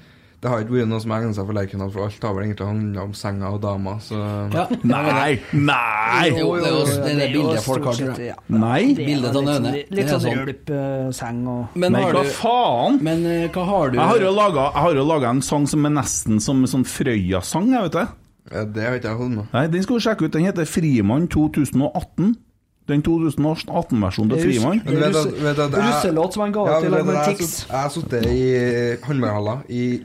Speaker 6: det har ikke vært noe som egner seg for Lerkendal, for alt har vel egentlig handla om senga og dama, så
Speaker 4: Ja.
Speaker 3: Nei, nei
Speaker 4: Jo, det er jo altså, det er det
Speaker 5: jo
Speaker 4: bildet folk
Speaker 5: stort
Speaker 4: har.
Speaker 5: sett,
Speaker 4: tror jeg.
Speaker 5: ja.
Speaker 3: Nei,
Speaker 5: Det er
Speaker 4: Bildet av
Speaker 5: liksom
Speaker 4: Nøne.
Speaker 5: litt-
Speaker 4: Det
Speaker 5: Litt
Speaker 4: er
Speaker 5: sånn
Speaker 4: sånn.
Speaker 5: rølpseng og
Speaker 4: Men
Speaker 3: nei,
Speaker 4: har
Speaker 3: hva
Speaker 4: du
Speaker 3: faen
Speaker 4: Men eh, hva har du
Speaker 3: jeg har, jo laget, jeg har jo laget en sang som er nesten som en sånn Frøya-sang, jeg vet det
Speaker 6: ja, det har ikke jeg holdt med.
Speaker 3: Nei, den skal du sjekke ut, den heter Frimann 2018 Den 2018-versjonen til Frimann
Speaker 6: Men vet at-
Speaker 5: Russe-
Speaker 6: vet at jeg-
Speaker 5: russelåt som han ga ut
Speaker 6: Ja,
Speaker 5: i
Speaker 6: men
Speaker 5: lag
Speaker 6: vet
Speaker 5: med
Speaker 6: at jeg
Speaker 5: Tix.
Speaker 6: satt- Jeg har sittet i håndballhaller i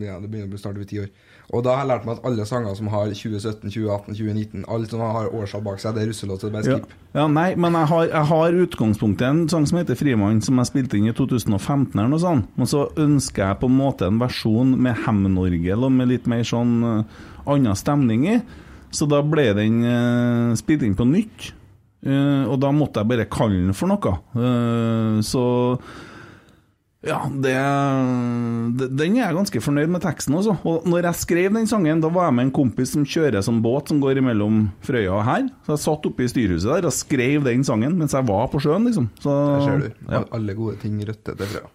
Speaker 6: Ja, det begynner å bli snart over ti år. Og da har jeg lært meg at alle sanger som har 2017, 2018, 2019, alle som har årstall bak seg, det er russelåt, så det er bare
Speaker 3: Ja.
Speaker 6: skip.
Speaker 3: ja, nei, men jeg har, jeg har utgangspunktet en sang som heter 'Frimann', som jeg spilte inn i 2015 eller noe sånt. Og så ønsker jeg på en måte en versjon med hem-orgel og med litt mer sånn eh, annen stemning i. Så da ble den eh, spilt inn på nytt. Eh, og da måtte jeg bare kalle den for noe. Eh, så ja, det, det, den er jeg ganske fornøyd med teksten også. Og når jeg skrev den sangen, da var jeg med en kompis som kjører sånn båt som går mellom Frøya og her. Så jeg satt oppe i styrhuset der og skrev den sangen mens jeg var på sjøen, liksom. Så,
Speaker 6: Der ser du.
Speaker 3: Ja.
Speaker 6: Alle gode ting røtter til fra.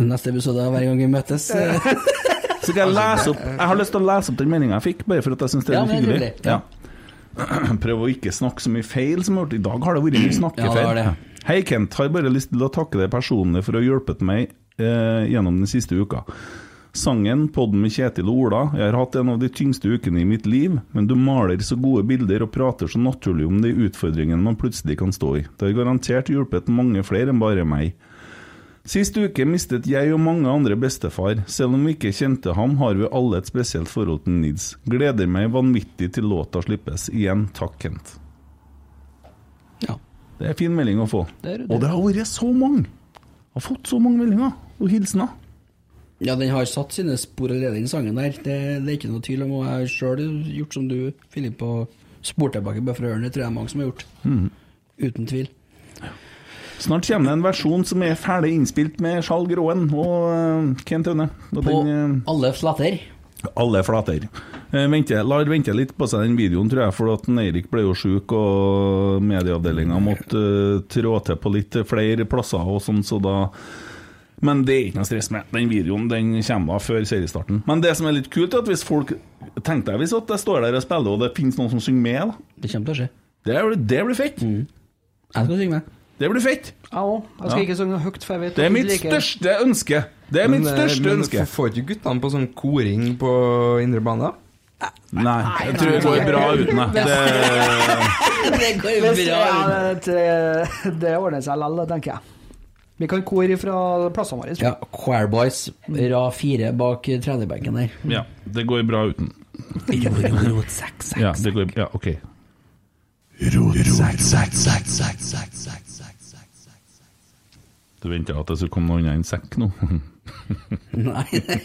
Speaker 4: Neste episode av Hver gang vi møtes. eh,
Speaker 3: så skal jeg lese opp Jeg har lyst til å lese opp den meldinga jeg fikk, bare for at jeg syns det er
Speaker 4: Altså, Ja,
Speaker 3: litt
Speaker 4: men det er
Speaker 3: hyggelig.
Speaker 4: hyggelig, ja.
Speaker 3: Ja. Prøv å ikke snakke så mye feil som jeg har gjort. I dag har det vært mye
Speaker 4: Ja, det
Speaker 3: snakkefeil.
Speaker 4: har det.
Speaker 3: Hei, Kent. Har bare lyst til å takke deg personlig for å ha hjulpet meg eh, gjennom den siste uka. Sangen, podden med Kjetil og Ola, jeg har hatt en av de tyngste ukene i mitt liv, men du maler så gode bilder og prater så naturlig om de utfordringene man plutselig kan stå i. Det har garantert hjulpet mange flere enn bare meg. Sist uke mistet jeg og mange andre bestefar. Selv om vi ikke kjente ham, har vi alle et spesielt forhold til Nids. Gleder meg vanvittig til låta slippes. Igjen takk, Kent.
Speaker 4: Ja.
Speaker 3: Det er en fin melding å få.
Speaker 4: Det er det.
Speaker 3: Og det har vært så mange! Jeg har fått så mange meldinger og hilsener.
Speaker 4: Ja, den har satt sine spor allerede, den sangen der. Det, det er ikke noe tvil om. Og jeg har sjøl gjort som du, Filip, og spurt tilbake bare for å høre den. Det tror jeg er mange som har gjort. Uten tvil.
Speaker 3: Snart kommer det en versjon som er ferdig innspilt med Skjald Gråen og eh, Kent Aune. Og
Speaker 4: På
Speaker 3: den, eh,
Speaker 4: alle flatter.
Speaker 3: Alle flater. Eh, venter- lar vente litt på seg den videoen, tror jeg, for at den Eirik ble jo sjuk, og medieavdelinga måtte eh, trå til på litt flere plasser og sånn, så da Men det er ikke noe stress med. Den videoen den kommer da før seriestarten. Men det som er litt kult, er at hvis folk Tenk deg hvis at jeg står der og spiller, og det finnes noen som synger med, da.
Speaker 4: Det kommer til å skje.
Speaker 3: Det, er- det blir fett!
Speaker 4: Jeg skal synge med.
Speaker 3: Det blir fett!
Speaker 5: Jeg òg. Jeg skal ikke synge noe høyt, for jeg vet
Speaker 3: Det
Speaker 5: at
Speaker 3: er
Speaker 5: du
Speaker 3: mitt
Speaker 5: liker-
Speaker 3: største ønske! Det er mitt
Speaker 6: eh,
Speaker 3: største
Speaker 6: men
Speaker 3: ønske!
Speaker 6: f- får ikke guttene på sånn koring på indre bane? da?
Speaker 3: Nei, jeg tror det går bra uten meg. Det
Speaker 4: Det går jo
Speaker 5: Hvis-
Speaker 4: bra.
Speaker 5: ja, det, det ordner seg likevel, tenker jeg. Vi kan kore fra plassene våre.
Speaker 4: Ja, Choir Boys, rad fire bak 30-benken der.
Speaker 3: Ja, det går bra uten.
Speaker 4: Rot, rot, rot, sekk, sekk,
Speaker 3: Ja,
Speaker 4: sekk.
Speaker 3: det går, ja ok. Du venta at det skulle komme noe annet enn sekk nå?
Speaker 4: Nei, nei.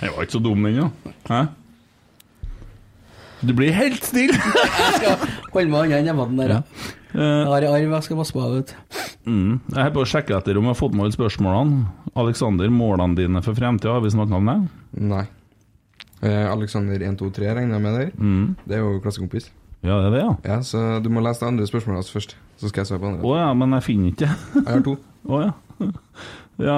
Speaker 3: Jeg var ikke så dum ennå. Hæ? Du blir helt stille!
Speaker 4: Hold meg unna nevene der. Ja.
Speaker 3: Eh,
Speaker 4: Jeg har en arv jeg skal passe på. Vet. du.
Speaker 3: mm. Jeg har bare sjekka etter om jeg har fått med alle spørsmålene. Aleksander, målene dine for fremtida, har vi snakka om det?
Speaker 6: Nei. Eh, Alexander 123 regner jeg med der.
Speaker 3: Mm.
Speaker 6: Det er jo klassekompis.
Speaker 3: Ja, det er det, ja.
Speaker 6: Ja, så du må lese det andre spørsmålet hans først. Så skal jeg svare på
Speaker 3: Å
Speaker 6: andre.
Speaker 3: ja, men jeg finner ikke det.
Speaker 6: Jeg har to.
Speaker 3: Å ja. ja.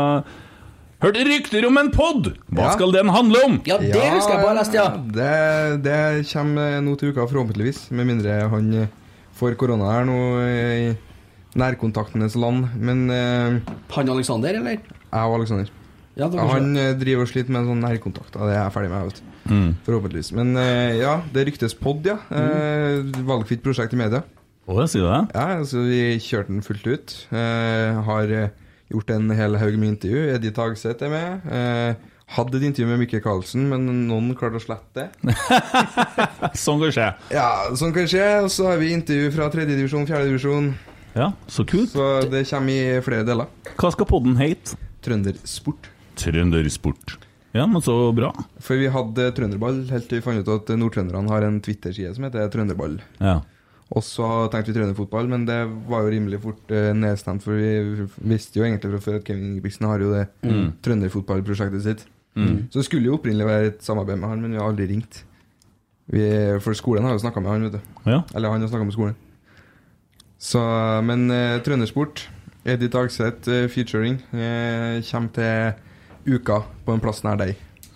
Speaker 3: Hørte rykter om en pod! Hva
Speaker 6: Ja.
Speaker 3: skal den handle om?
Speaker 4: Ja, det husker jeg bare lest, ja.
Speaker 6: Det, det kommer nå til uka, forhåpentligvis. Med mindre han eh, får korona her nå eh, i nærkontaktenes land. Men eh,
Speaker 4: Han Aleksander, eller?
Speaker 6: jeg og Aleksander
Speaker 4: Ja, det var
Speaker 6: ja,
Speaker 4: kanskje-
Speaker 6: Han eh, driver og sliter med en sånn nærkontakt. og Det er jeg ferdig med, vet du.
Speaker 3: Mm.
Speaker 6: Forhåpentligvis. Men eh, ja, det ryktes pod, ja. Eh,
Speaker 4: Mm.
Speaker 6: valgfritt prosjekt i media.
Speaker 3: Å, jeg sier det?
Speaker 6: Ja, altså vi kjørte den fullt ut. Eh, har eh, gjort en hel haug med intervju. Edith Hagseth er med. Eh, hadde et intervju med Mikke Karlsen, men noen klarte å slette det.
Speaker 3: Sånn kan skje.
Speaker 6: Ja, sånn kan skje. Og så har vi intervju fra tredjedivisjon, fjerdedivisjon.
Speaker 3: Ja, så kult.
Speaker 6: Så det kommer i flere deler.
Speaker 3: Hva skal podden hete?
Speaker 6: Trøndersport.
Speaker 3: Trøndersport. Ja, men så bra.
Speaker 6: For vi hadde trønderball helt til vi fant ut at nordtrønderne har en Twitter-side som heter Trønderball.
Speaker 3: Ja.
Speaker 6: Og så tenkte vi trønderfotball, men det var jo rimelig fort eh, nedstemt, for vi visste jo egentlig fra før at Kevin Ingebrigtsen har jo det trønderfotballprosjektet sitt. Så det skulle jo opprinnelig være et samarbeid med han, men vi har aldri ringt. Vi, for skolen har jo snakka med han, vet du.
Speaker 3: ja.
Speaker 6: Eller han har snakka med skolen. Så, men eh, trøndersport, Edith Agseth eh, featuring, eh, kommer til uka på en plass nær deg.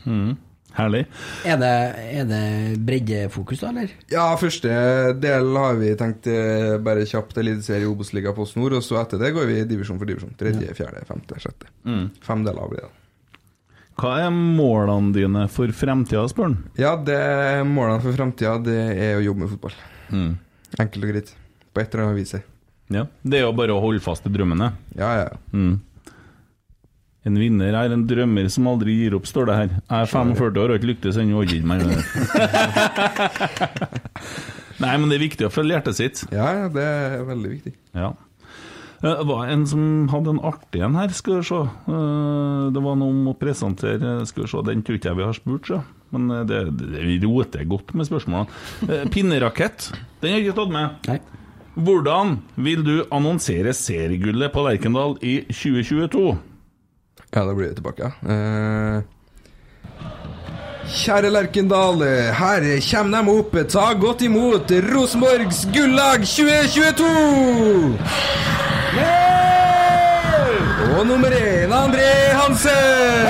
Speaker 3: Mm. Herlig.
Speaker 4: Er det, er det breddefokus, da, eller?
Speaker 6: Ja, første del har vi tenkt eh, bare kjapt Eliteserie Obos-liga på snor, og så etter det går vi divisjon for divisjon. Tredje, fjerde, femte, sjette. Fem deler blir det.
Speaker 3: Hva er målene dine for fremtida, spør han?
Speaker 6: Ja, det, målene for framtida det er å jobbe med fotball.
Speaker 3: Mm.
Speaker 6: Enkelt og greit. På et eller annet vis.
Speaker 3: Ja. Det er jo bare å holde fast i drømmene.
Speaker 6: Ja, ja. ja.
Speaker 3: Mm. En vinner er en drømmer som aldri gir opp, står det her. Jeg er 45 år og har ikke lyktes ennå. orker ikke mer med det. Nei, men det er viktig å følge hjertet sitt.
Speaker 6: Ja, ja, det er veldig viktig.
Speaker 3: Ja. Eh, Det var en som hadde en artig en her, skal vi se. Eh, Det var noe om å presentere eh, Skal vi se, den tror ikke jeg vi har spurt, så. Men eh, det, det, vi roter godt med spørsmålene. Eh, Pinnerakett, den har jeg ikke tatt med.
Speaker 4: Nei.
Speaker 3: Hvordan vil du annonsere seriegullet på Lerkendal i 2022?
Speaker 6: Ja, da blir vi tilbake. Eh, Kjære Lerkendal, her kommer de opp. Ta godt imot Rosenborgs gullag 2022! Og nummer én André Hansen.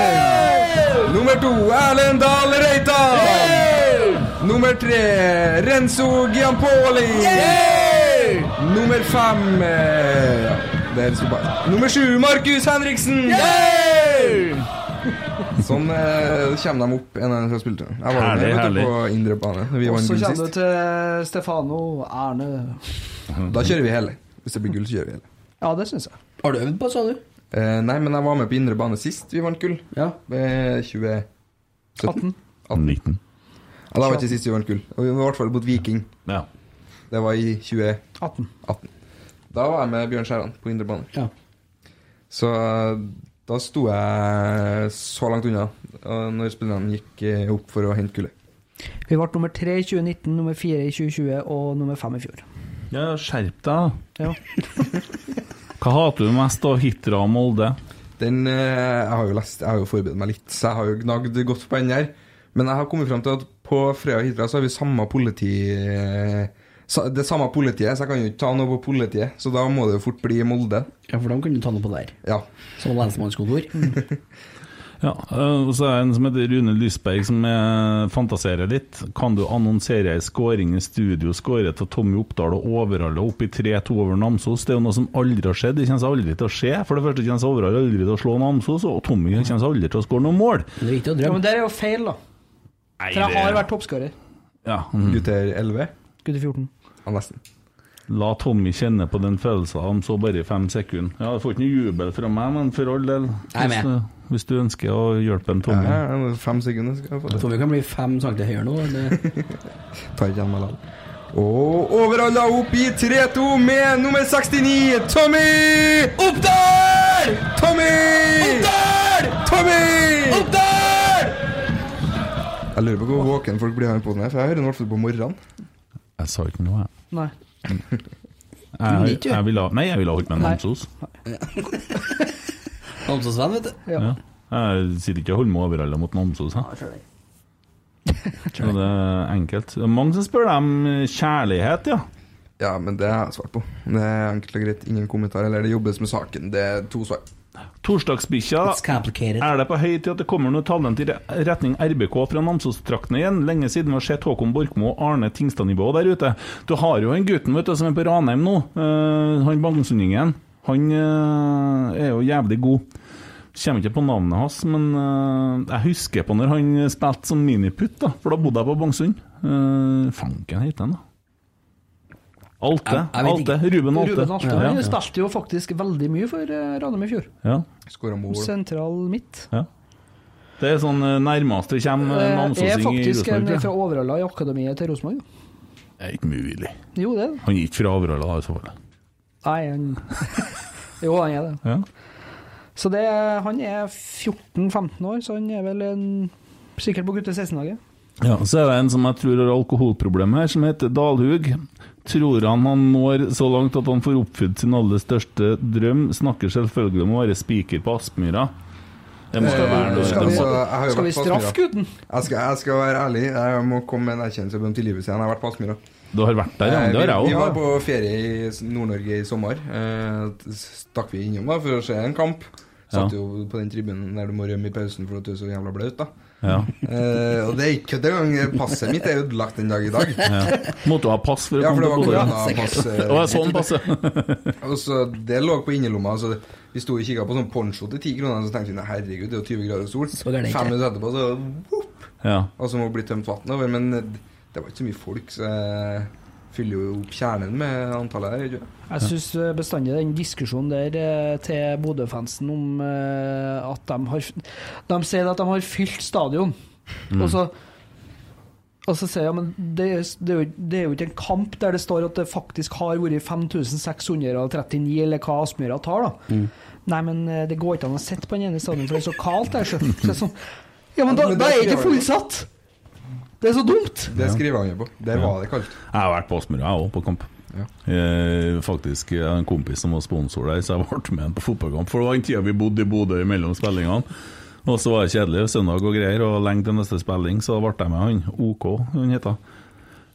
Speaker 6: Nummer to Erlend Dahl Reitan. Nummer tre Renzo Giampoli. Nummer fem eh, ja, det er liksom bare. Nummer sju Markus Henriksen. Sånn eh, kommer de opp en av dem fra spilletiden. Jeg var
Speaker 3: Herlig,
Speaker 6: med vet du,
Speaker 3: herlig.
Speaker 6: på indre bane. Vi
Speaker 5: Og
Speaker 6: vant
Speaker 5: så
Speaker 6: gull
Speaker 5: kommer du
Speaker 6: sist.
Speaker 5: til Stefano Erne.
Speaker 6: Da kjører vi hele. Hvis det blir gull, så kjører vi hele.
Speaker 5: Ja, det syns jeg.
Speaker 4: Har du øvd på, sa du?
Speaker 6: Eh, nei, men jeg var med på indre bane sist vi vant gull.
Speaker 4: Ja.
Speaker 6: Eh, 20...
Speaker 5: 18.
Speaker 3: 19.
Speaker 6: Ja, da var ikke sist vi vant gull. Og vi var i hvert fall mot Viking.
Speaker 3: Ja.
Speaker 6: Det var i 20...
Speaker 5: 18.
Speaker 6: Da var jeg med Bjørn Skjæran på indre bane.
Speaker 4: Ja.
Speaker 6: Så eh, da sto jeg så langt unna og når spillerne gikk eh, opp for å hente gullet.
Speaker 5: Vi ble nummer tre i 2019, nummer fire i 2020 og nummer fem i fjor.
Speaker 3: ja, skjerp deg.
Speaker 5: Ja.
Speaker 3: Hva hater du mest av Hitra og Molde?
Speaker 6: Den, eh, jeg, har jo lest, jeg har jo forberedt meg litt, så jeg har jo gnagd godt på den der. Men jeg har kommet frem til at på Frøya og Hitra så har vi samme politi... eh, sa- Det samme politiet, så jeg kan jo ikke ta noe på politiet. Så da må det jo fort bli Molde.
Speaker 4: ja, for de kunne ta noe på der.
Speaker 6: Ja.
Speaker 4: Som lensmannskontor.
Speaker 3: Ja, øh, og så er det en som heter Rune Lysberg som eh, fantaserer litt. Kan du annonsere ei skåring i studio skåret av Tommy Oppdal og Overhalle opp i 3-2 over Namsos? Det er jo noe som aldri har skjedd. Det kommer aldri til å skje. For det første kommer Overhalle aldri til å slå Namsos, og Tommy kommer aldri til å skåre noe mål.
Speaker 4: Det er viktig å
Speaker 5: ja, men
Speaker 4: drømme.
Speaker 5: det er jo feil, da. For jeg har vært toppskårer.
Speaker 3: ja, mm.
Speaker 6: Gutter 11?
Speaker 5: Gutter 14.
Speaker 6: Ja, nesten.
Speaker 3: La Tommy kjenne på den følelsen han så bare i fem sekunder. Ja, Du får ikke noe jubel fra meg, men for all del.
Speaker 4: Jeg er med.
Speaker 3: Hvis, du- hvis du ønsker å hjelpe en Tommy.
Speaker 6: Ja, ja, fem sekunder skal jeg få til.
Speaker 4: Tommy kan bli fem centimeter høyere nå. Det,
Speaker 6: Tar ikke en meg likevel. Og overalla opp i 3-2 med nummer 69, Tommy Oppdal! Tommy! Oppdal! Tommy! Oppdal! Jeg lurer på hvor våken folk blir her på den her, for jeg hører den i hvert fall på morgenen.
Speaker 3: Jeg sa ikke noe, jeg.
Speaker 5: Nei.
Speaker 4: Du
Speaker 3: Jeg,
Speaker 4: liker jo.
Speaker 3: jeg ville, nei, jeg ville holdt meg med
Speaker 5: Nei.
Speaker 3: Namsos.
Speaker 4: Namsos-venn, vet du.
Speaker 5: Ja.
Speaker 3: Ja. Jeg sitter ikke og holder meg overalla mot Namsos. Jeg. Så det er enkelt. Det er mange som spør deg om kjærlighet, ja.
Speaker 6: Ja, men det har jeg svart på. Det er enkelt og greit. Ingen kommentar. Eller det jobbes med saken. Det er to svar.
Speaker 3: Torsdagsbikkja.
Speaker 4: It's complicated.
Speaker 3: Er det på høy tid at det kommer noe talent i re- retning RBK fra Namsos-traktene igjen? Lenge siden vi har sett Håkon Borkmo og Arne Tingstad-nivå der ute. Du har jo han gutten vet du, som er på Ranheim nå, eh, han bangsundingen. Han eh, er jo jævlig god. Kommer ikke på navnet hans, men eh, jeg husker på når han spilte som miniputt, da, for da bodde jeg på Bangsund. Eh, fanken heter han, da. Alte.
Speaker 4: Jeg- jeg vet
Speaker 3: Alte.
Speaker 4: ikke.
Speaker 3: Ruben Alte.
Speaker 5: Ruben Alte
Speaker 3: Ja,
Speaker 5: han
Speaker 3: ja.
Speaker 5: spilte jo faktisk veldig mye for eh, Ranheim i fjor.
Speaker 3: ja,
Speaker 6: Skåra mål.
Speaker 5: Sentral midt.
Speaker 3: ja. Det er sånn eh, nærmest det kommer eh,
Speaker 5: Eh, Er
Speaker 3: namsosing i
Speaker 5: faktisk en
Speaker 3: Rosenborg. tror jeg.
Speaker 5: fra Overhalla i akademiet til Rosenborg. da.
Speaker 3: Det er ikke mulig.
Speaker 5: Jo, det er det.
Speaker 3: Han er ikke fra Averøyla, da, i så fall.
Speaker 5: Nei, han Jo, han er det.
Speaker 3: Ja.
Speaker 5: Så det, han er 14-15 år, så han er vel en Sikkert på gutte 16-laget.
Speaker 3: Ja, så er det en som jeg tror har alkoholproblemer her, som heter Dalhug. Tror han han når så langt at han får oppfylt sin aller største drøm. Snakker selvfølgelig om å være spiker på Aspmyra. Det må jo være noe
Speaker 6: Eh, Skal vi, Altså,
Speaker 3: det må-
Speaker 6: jeg har jo
Speaker 5: Skal vi
Speaker 6: vært på Aspmyra.
Speaker 5: straffe gutten?
Speaker 6: Jeg skal, jeg skal være ærlig. Jeg må komme med en erkjennelse om til livet siden. Jeg har vært på Aspmyra.
Speaker 3: Du har vært der, ja? Det har jeg
Speaker 6: Eh, vi, vi var
Speaker 3: òg.
Speaker 6: på ferie i s- Nord-Norge i sommer. Eh, stakk vi innom da for å se en kamp. Satt
Speaker 3: Ja.
Speaker 6: jo på den tribunen der du må rømme i pausen for at du er så jævla blaut, da.
Speaker 3: Ja.
Speaker 6: Eh, og det er ikke kødd engang. Passet mitt er ødelagt den dag i dag.
Speaker 3: Måtte du ha pass for å
Speaker 6: Ja, for
Speaker 3: komme
Speaker 6: det var
Speaker 3: til Bodø?
Speaker 6: koronapass.
Speaker 3: Å, ja, sånn passe.
Speaker 6: eh, Og så Det lå på innerlomma. Så vi sto og kikka på sånn poncho til ti kroner, så tenkte vi "Nei, herregud, det er jo 20 grader og sol.
Speaker 4: Så gærent ikke.
Speaker 6: Fem minutter etterpå, så whoop,
Speaker 3: Ja.
Speaker 6: Og så må det bli tømt vann over. Men eh, det var ikke så mye folk, så jeg fyller jo opp kjernen med antallet her. gjør jeg ikke?
Speaker 5: Jeg syns bestandig den diskusjonen der eh, til Bodø-fansen om eh, at de har De sier at de har fylt stadion, og så og så sier jeg, men det, er- det, er jo, det er jo ikke en kamp der det står at det faktisk har vært 5639, eller hva Aspmyra tar, da. Nei, men eh, det går ikke an å sitte på den ene stadion, for det er så kaldt der. Så, så, er det sånn, ja, men da,
Speaker 6: Men
Speaker 5: da er det
Speaker 6: det
Speaker 5: ikke
Speaker 6: skriver jeg.
Speaker 5: fullsatt! Det er så dumt!
Speaker 6: Det skriver han jo på. Der var det kaldt.
Speaker 3: Jeg har vært på Aspmyra, jeg òg, på kamp.
Speaker 6: Ja.
Speaker 3: Eh, faktisk jeg har en kompis som var sponsor der, så jeg ble med han på fotballkamp. For det var den tida vi bodde i Bodø mellom spillingene. Og så var det kjedelig søndag og greier, og lenge til neste spilling, så ble jeg med han. OK, han het.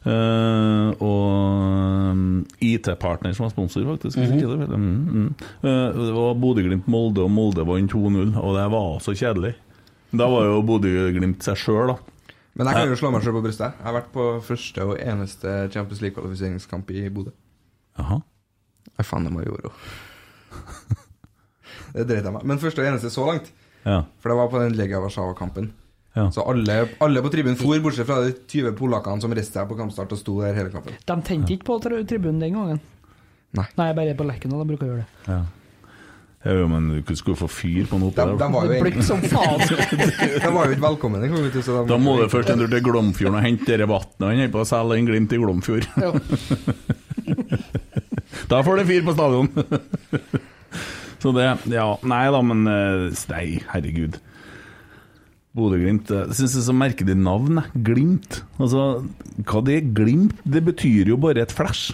Speaker 3: Eh, og mm, IT-partner som var sponsor, faktisk.
Speaker 6: Mhm.
Speaker 3: hvis ikke det vel. Mm, mm. Eh, det var Bodø-Glimt-Molde, og Molde vant 2-0. Og det var så kjedelig. Da var jo Bodø-Glimt seg sjøl, da.
Speaker 6: Men jeg kan jo slå meg selv på brystet. Jeg har vært på første og eneste Champions League-kvalifiseringskamp i Bodø.
Speaker 3: Jaha.
Speaker 6: Jeg faen det må jeg gjøre òg. Det dreit jeg meg. Men første og eneste så langt.
Speaker 3: Ja.
Speaker 6: For det var på den Legia Warszawa-kampen.
Speaker 3: Ja.
Speaker 6: Så alle, alle på tribunen for, bortsett fra de 20 polakkene som reiste seg på kampstart og sto der hele kampen.
Speaker 5: De tente ikke på tri- tribunen den gangen.
Speaker 6: Nei.
Speaker 5: bare på Lerkendal. De bruker å gjøre det.
Speaker 3: Ja, jo, men du skulle få fyr på noe oppe der.
Speaker 6: De, de, var, jo
Speaker 5: Det
Speaker 6: egentlig,
Speaker 5: blir som faen.
Speaker 6: de var jo ikke velkomne. den gangen, så de-
Speaker 3: Da må du først en tur til Glomfjorden og hente det vannet han holder på å selge en Glimt i Glomfjord.
Speaker 5: Ja.
Speaker 3: Da får det fyr på stadion! Så det Ja, nei da, men eh, Nei, herregud. Bodø-Glimt eh, Jeg syns det er så merkelig navn, jeg. Glimt. Altså, hva det er Glimt? Det betyr jo bare et flash.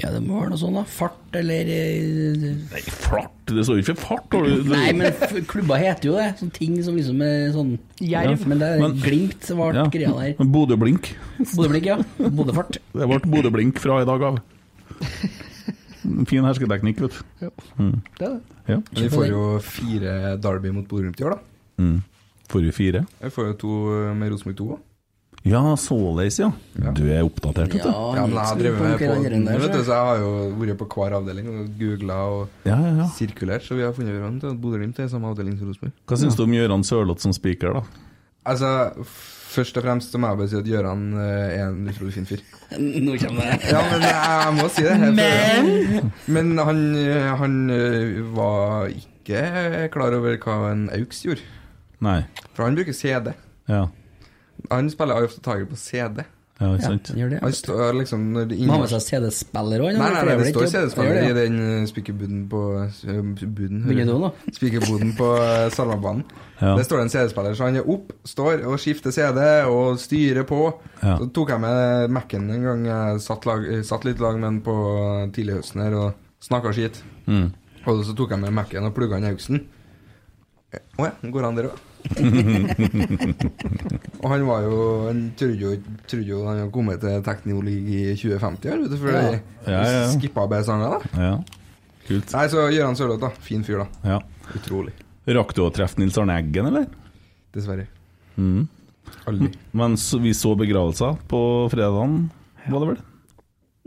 Speaker 4: Ja, det må være noe sånn, da. Fart eller eh,
Speaker 3: Nei, flart! Det står jo ikke fart. har du-
Speaker 4: Nei, men f- klubber heter jo det. Sånne ting som liksom er sånn
Speaker 5: Jerv.
Speaker 4: Men det er
Speaker 3: Men-
Speaker 4: Glimt som ble
Speaker 3: Ja.
Speaker 4: greia der.
Speaker 3: Bodø-blink.
Speaker 4: Bodø-blikk, ja. Bodø-fart.
Speaker 3: Det ble Bodø-blink fra i dag av. Fin hersketeknikk, vet du. Mm.
Speaker 5: Det er det.
Speaker 3: Ja.
Speaker 6: Vi får jo fire Derby mot Bodø-Glimt i år, da.
Speaker 3: Forrige fire.
Speaker 6: Jeg får jo to eh, med Rosenborg 2 òg.
Speaker 3: Ja, såleis, ja. Du er oppdatert, vet
Speaker 4: Ja,
Speaker 3: du. Ja,
Speaker 6: Ja, men jeg har drevet med
Speaker 4: på
Speaker 6: podden,
Speaker 4: der,
Speaker 6: vet du,
Speaker 4: så.
Speaker 6: så jeg har jo vært på hver avdeling og googla og
Speaker 3: ja, ja.
Speaker 6: sirkulert, så vi har funnet hverandre til at Bodø-Glimt er i samme avdeling som Rosenborg.
Speaker 3: Hva syns du om Gøran Sørloth som spiker, da?
Speaker 6: Altså, først og fremst så må jeg bare si at Gøran eh, er en utrolig fin fyr.
Speaker 4: Nå kommer det.
Speaker 6: Ja, men jeg må si det. jeg føler det. Men han, eh, han eh, var ikke klar over hva en AUX gjorde.
Speaker 3: Nei.
Speaker 6: For han bruker CD.
Speaker 3: Ja.
Speaker 6: Han spiller Eye of the Tiger på CD.
Speaker 3: Ja, ikke
Speaker 4: Ja,
Speaker 3: sant?
Speaker 4: gjør det.
Speaker 6: Han står liksom når det
Speaker 4: Må ha med seg CD-spiller òg.
Speaker 6: Nei, nei, nei, det står CD-spiller i den eh, spikerbuden på eh, buden, hører
Speaker 4: Begynner
Speaker 6: du?
Speaker 4: nå, da.
Speaker 6: Spikerbuden på eh, Salmabanen.
Speaker 3: Ja.
Speaker 6: Der står det en CD-spiller, så han er opp, står og skifter CD og styrer på.
Speaker 3: Ja.
Speaker 6: Så tok jeg med Mac-en en gang jeg satt, lag, eh, satt litt lag med han på eh, tidlig høsten her og snakka skit.
Speaker 3: Mm.
Speaker 6: Og så tok jeg med Mac-en og plugga den i auksen. Eh, Å ja, går han der òg? og han var jo Han trodde jo, trodde jo han hadde kommet til Teknolig i 2050, han, vet du, for
Speaker 4: Ja.
Speaker 3: Ja, ja, ja.
Speaker 6: skippa bare sanger, da.
Speaker 3: Ja. Kult.
Speaker 6: Nei, så Gøran Sørloth, da. Fin fyr, da.
Speaker 3: Ja.
Speaker 6: Utrolig.
Speaker 3: Rakk du å treffe Nils Arne Eggen, eller?
Speaker 6: Dessverre.
Speaker 3: Mm.
Speaker 6: Aldri.
Speaker 3: Men så, vi så begravelser på fredagen, var det vel?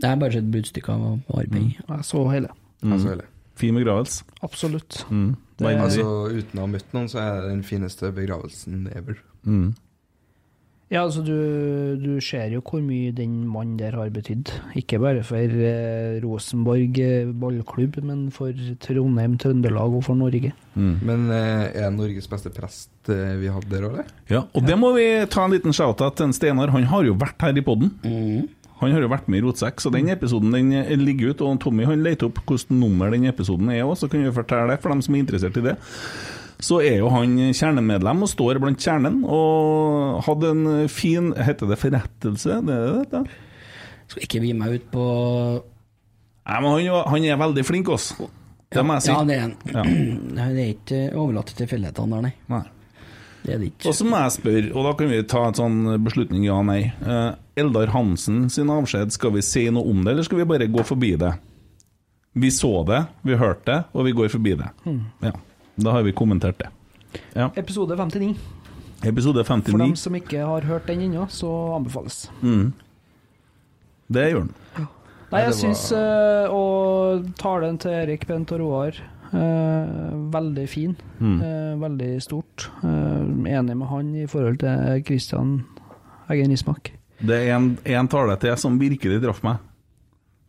Speaker 4: Jeg har bare sett bruddstykker av arbeid.
Speaker 3: Mm.
Speaker 5: Jeg så hele.
Speaker 6: Altså, hele.
Speaker 3: Fin begravelse.
Speaker 5: Absolutt.
Speaker 3: Mm. Veldig.
Speaker 6: altså, uten å ha møtt noen, så er det den fineste begravelsen ever.
Speaker 3: mm.
Speaker 5: Ja, altså du, du ser jo hvor mye den mannen der har betydd. Ikke bare for eh, Rosenborg eh, ballklubb, men for Trondheim, Trøndelag og for Norge.
Speaker 3: Mm.
Speaker 6: Men eh, er Norges beste prest eh, vi hadde der òg, eller?
Speaker 3: Ja, og det må vi ta en liten shout-out til en Steinar. Han har jo vært her i poden. Han har jo vært med i Rotsekk, så den episoden den eh, ligger ut. Og Tommy han leter opp hvilket nummer den episoden er òg, så kan vi fortelle det for dem som er interessert i det. Så er jo han kjernemedlem og står blant kjernen, og hadde en eh, fin Heter det forrettelse? Det er det, det.
Speaker 4: Skal ikke vi meg ut på
Speaker 3: Nei, men han, var- han er veldig flink, også. Det må jeg si.
Speaker 4: Ja, det er han.
Speaker 3: Ja.
Speaker 4: Han er ikke overlatt til tilfeldighetene der, nei.
Speaker 3: Nei.
Speaker 4: Det er det ikke.
Speaker 3: Og så må jeg spørre, og da kan vi ta en sånn beslutning ja nei. Eh, Eldar Hansen sin avskjed, skal vi si noe om det, eller skal vi bare gå forbi det? Vi så det, vi hørte det, og vi går forbi det.
Speaker 5: Hmm.
Speaker 3: Ja, Da har vi kommentert det. Ja.
Speaker 5: Episode 59.
Speaker 3: Episode
Speaker 5: For dem
Speaker 3: 59,
Speaker 5: som ikke har hørt den ennå, så anbefales.
Speaker 3: Mm. det gjør den.
Speaker 5: Nei,
Speaker 6: Nei,
Speaker 5: jeg
Speaker 6: det var-
Speaker 5: syns eh, Og talen til Erik, Bent og Roar eh, Veldig fin.
Speaker 6: Mm.
Speaker 5: eh, veldig stort. Eh, enig med han i forhold til Christian Eggen Rismark.
Speaker 3: Det er en, en tale til som virkelig traff meg.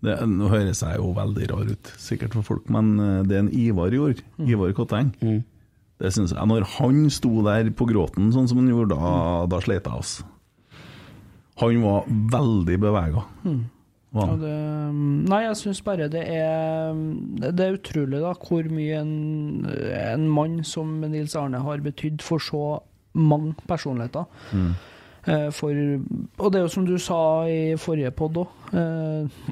Speaker 3: Det, nå høres jeg jo veldig rar ut, sikkert for folk, men eh, det er en Ivar gjorde. Ivar Kotteng. Det synes jeg, Når han sto der på gråten sånn som han gjorde, da, da sleit jeg oss. Han var veldig bevega. Var
Speaker 5: Ja,
Speaker 3: han.
Speaker 5: det, nei, jeg syns bare det er Det er utrolig da hvor mye en, en mann som Nils Arne har betydd for så mange personligheter. Eh, For, og det er jo som du sa i forrige pod òg,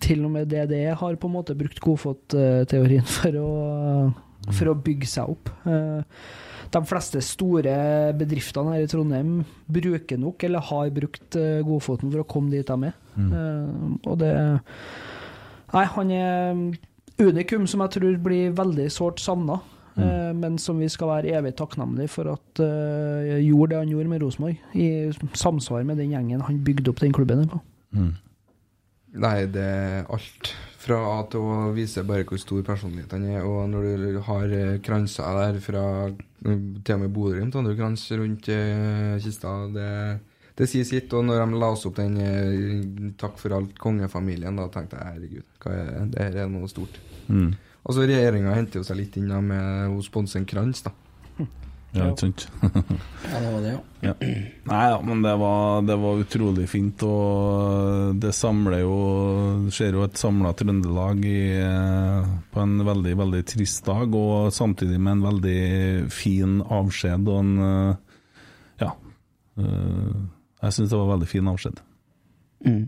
Speaker 5: til og med DDE har på en måte brukt Godfot-teorien for å, for å bygge seg opp. Eh, De fleste store bedriftene her i Trondheim bruker nok, eller har brukt, eh, Godfoten for å komme dit de er. Eh, Og det Nei, han er um, unikum som jeg tror blir veldig sårt savna. eh, Men som vi skal være evig takknemlige for at eh, gjorde det han gjorde med Rosenborg, i samsvar med den gjengen han bygde opp den klubben her på.
Speaker 6: Nei, det er alt. Fra A til Å viser bare hvor stor personlighet han er. Og når du har eh, kranser der fra mm, til og med Bodø-Glimt, hadde du krans rundt eh, kista. Det, det sier sitt. Og når de la oss opp den eh, 'Takk for alt, kongefamilien', da tenkte jeg herregud, hva er det? det her er noe stort.
Speaker 3: Mm.
Speaker 6: Og så regjeringa henter jo seg litt inn da med å sponse en krans, da.
Speaker 3: Ja, ikke sant?
Speaker 4: Ja, det var det, ja.
Speaker 3: Ja. Nei ja, men det var, det var utrolig fint, og det samler jo det Ser jo et samla Trøndelag i, eh, på en veldig, veldig trist dag, og samtidig med en veldig fin avskjed og en eh, Ja. eh, Jeg syns det var veldig fin avskjed.
Speaker 4: Mm.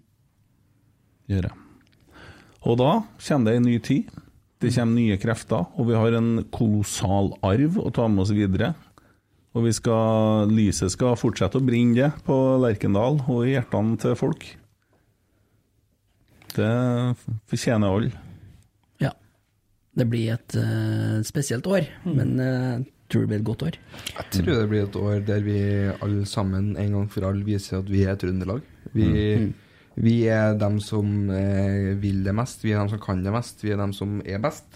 Speaker 3: Gjør jeg. Og da kommer det en ny tid. Det kommer nye krefter, og vi har en kolossal arv å ta med oss videre. Og vi skal, lyset skal fortsette å brenne det på Lerkendal og i hjertene til folk. Det fortjener alle.
Speaker 4: ja. Det blir et eh, spesielt år,
Speaker 3: Mm.
Speaker 4: men jeg tror det blir et godt år.
Speaker 6: Jeg tror det blir et år der vi alle sammen en gang for alle viser at vi er Trøndelag. Vi, vi er dem som eh, vil det mest, vi er dem som kan det mest, vi er dem som er best.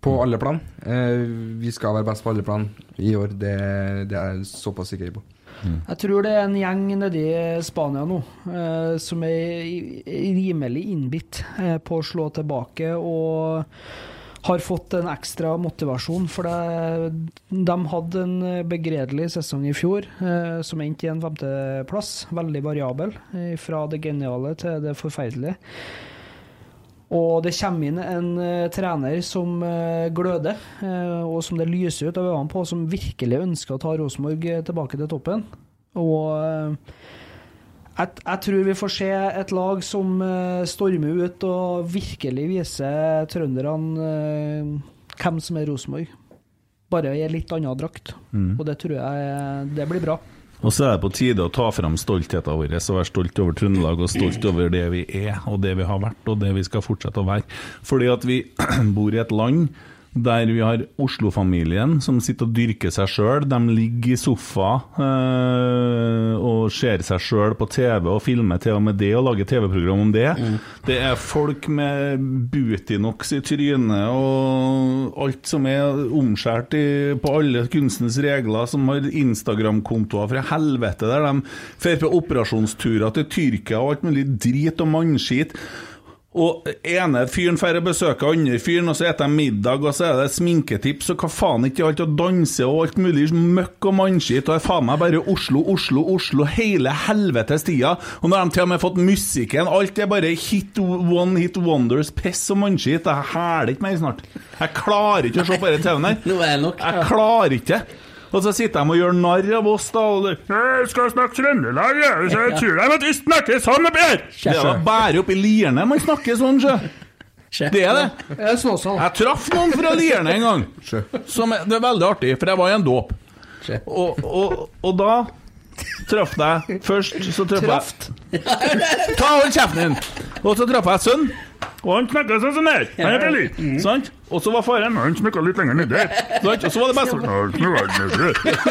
Speaker 6: På alle plan. Eh, vi skal være best på alle plan i år, det, det er jeg såpass sikker på.
Speaker 5: Jeg tror det er en gjeng nedi Spania nå eh, som er i- rimelig innbitt eh, på å slå tilbake og har fått en ekstra motivasjon. For det, de hadde en begredelig sesong i fjor eh, som endte i en femteplass. Veldig variabel, eh, fra det geniale til det forferdelige. Og det kommer inn en eh, trener som eh, gløder, eh, og som det lyser ut av øynene på, som virkelig ønsker å ta Rosenborg eh, tilbake til toppen. Og eh, jeg, jeg tror vi får se et lag som eh, stormer ut og virkelig viser trønderne eh, hvem som er Rosenborg. Bare i en litt annen drakt. Og det tror jeg eh, det blir bra.
Speaker 3: Og så er det på tide å ta fram stoltheten vår og være stolt over Trøndelag og stolt over det vi er, og det vi har vært, og det vi skal fortsette å være. Fordi at vi bor i et land der vi har Oslo-familien som sitter og dyrker seg sjøl. De ligger i sofa øh, og ser seg sjøl på TV og filmer til og med det og lager TV-program om det. Det er folk med Butinox i trynet og alt som er omskjært i, på alle kunstens regler, som har Instagram-kontoer fra helvete, der de drar på operasjonsturer til Tyrkia og alt mulig drit og mannskit. Og ene fyren drar og besøker andre fyren, og så spiser de middag, og så er det sminketips og hva faen ikke alt, og danse og alt mulig møkk og mannskitt, og det er faen meg bare Oslo, Oslo, Oslo hele helvetes tida. Og nå har de til og med fått musikken, alt er bare hit one hit wonders, piss og mannskitt. Jeg hæler ikke mer snart. Jeg klarer ikke å se på denne TV-en her.
Speaker 4: Nå er det nok.
Speaker 3: Jeg klarer ikke. Og så sitter de og gjør narr av oss, da. Og det, «Jeg skal snakke Trøndelag, jeg, så jeg tror de at vi snakker sånn oppi her. Det er da bare oppi Lierne man snakker sånn, sjø. Det er det.
Speaker 5: Jeg så også
Speaker 3: Jeg traff noen fra Lierne en gang. Som er, det er veldig artig, for jeg var i en dåp. Og, og, og da traff jeg først så traff jeg Ta hold kjeften din! Og så traff jeg sønnen. Og han snakka sånn som her. Han er veldig,
Speaker 4: Mhm.
Speaker 3: sant? Og så var faren Han snakka litt lenger nedi der. Sant? Og så var det bestemoren.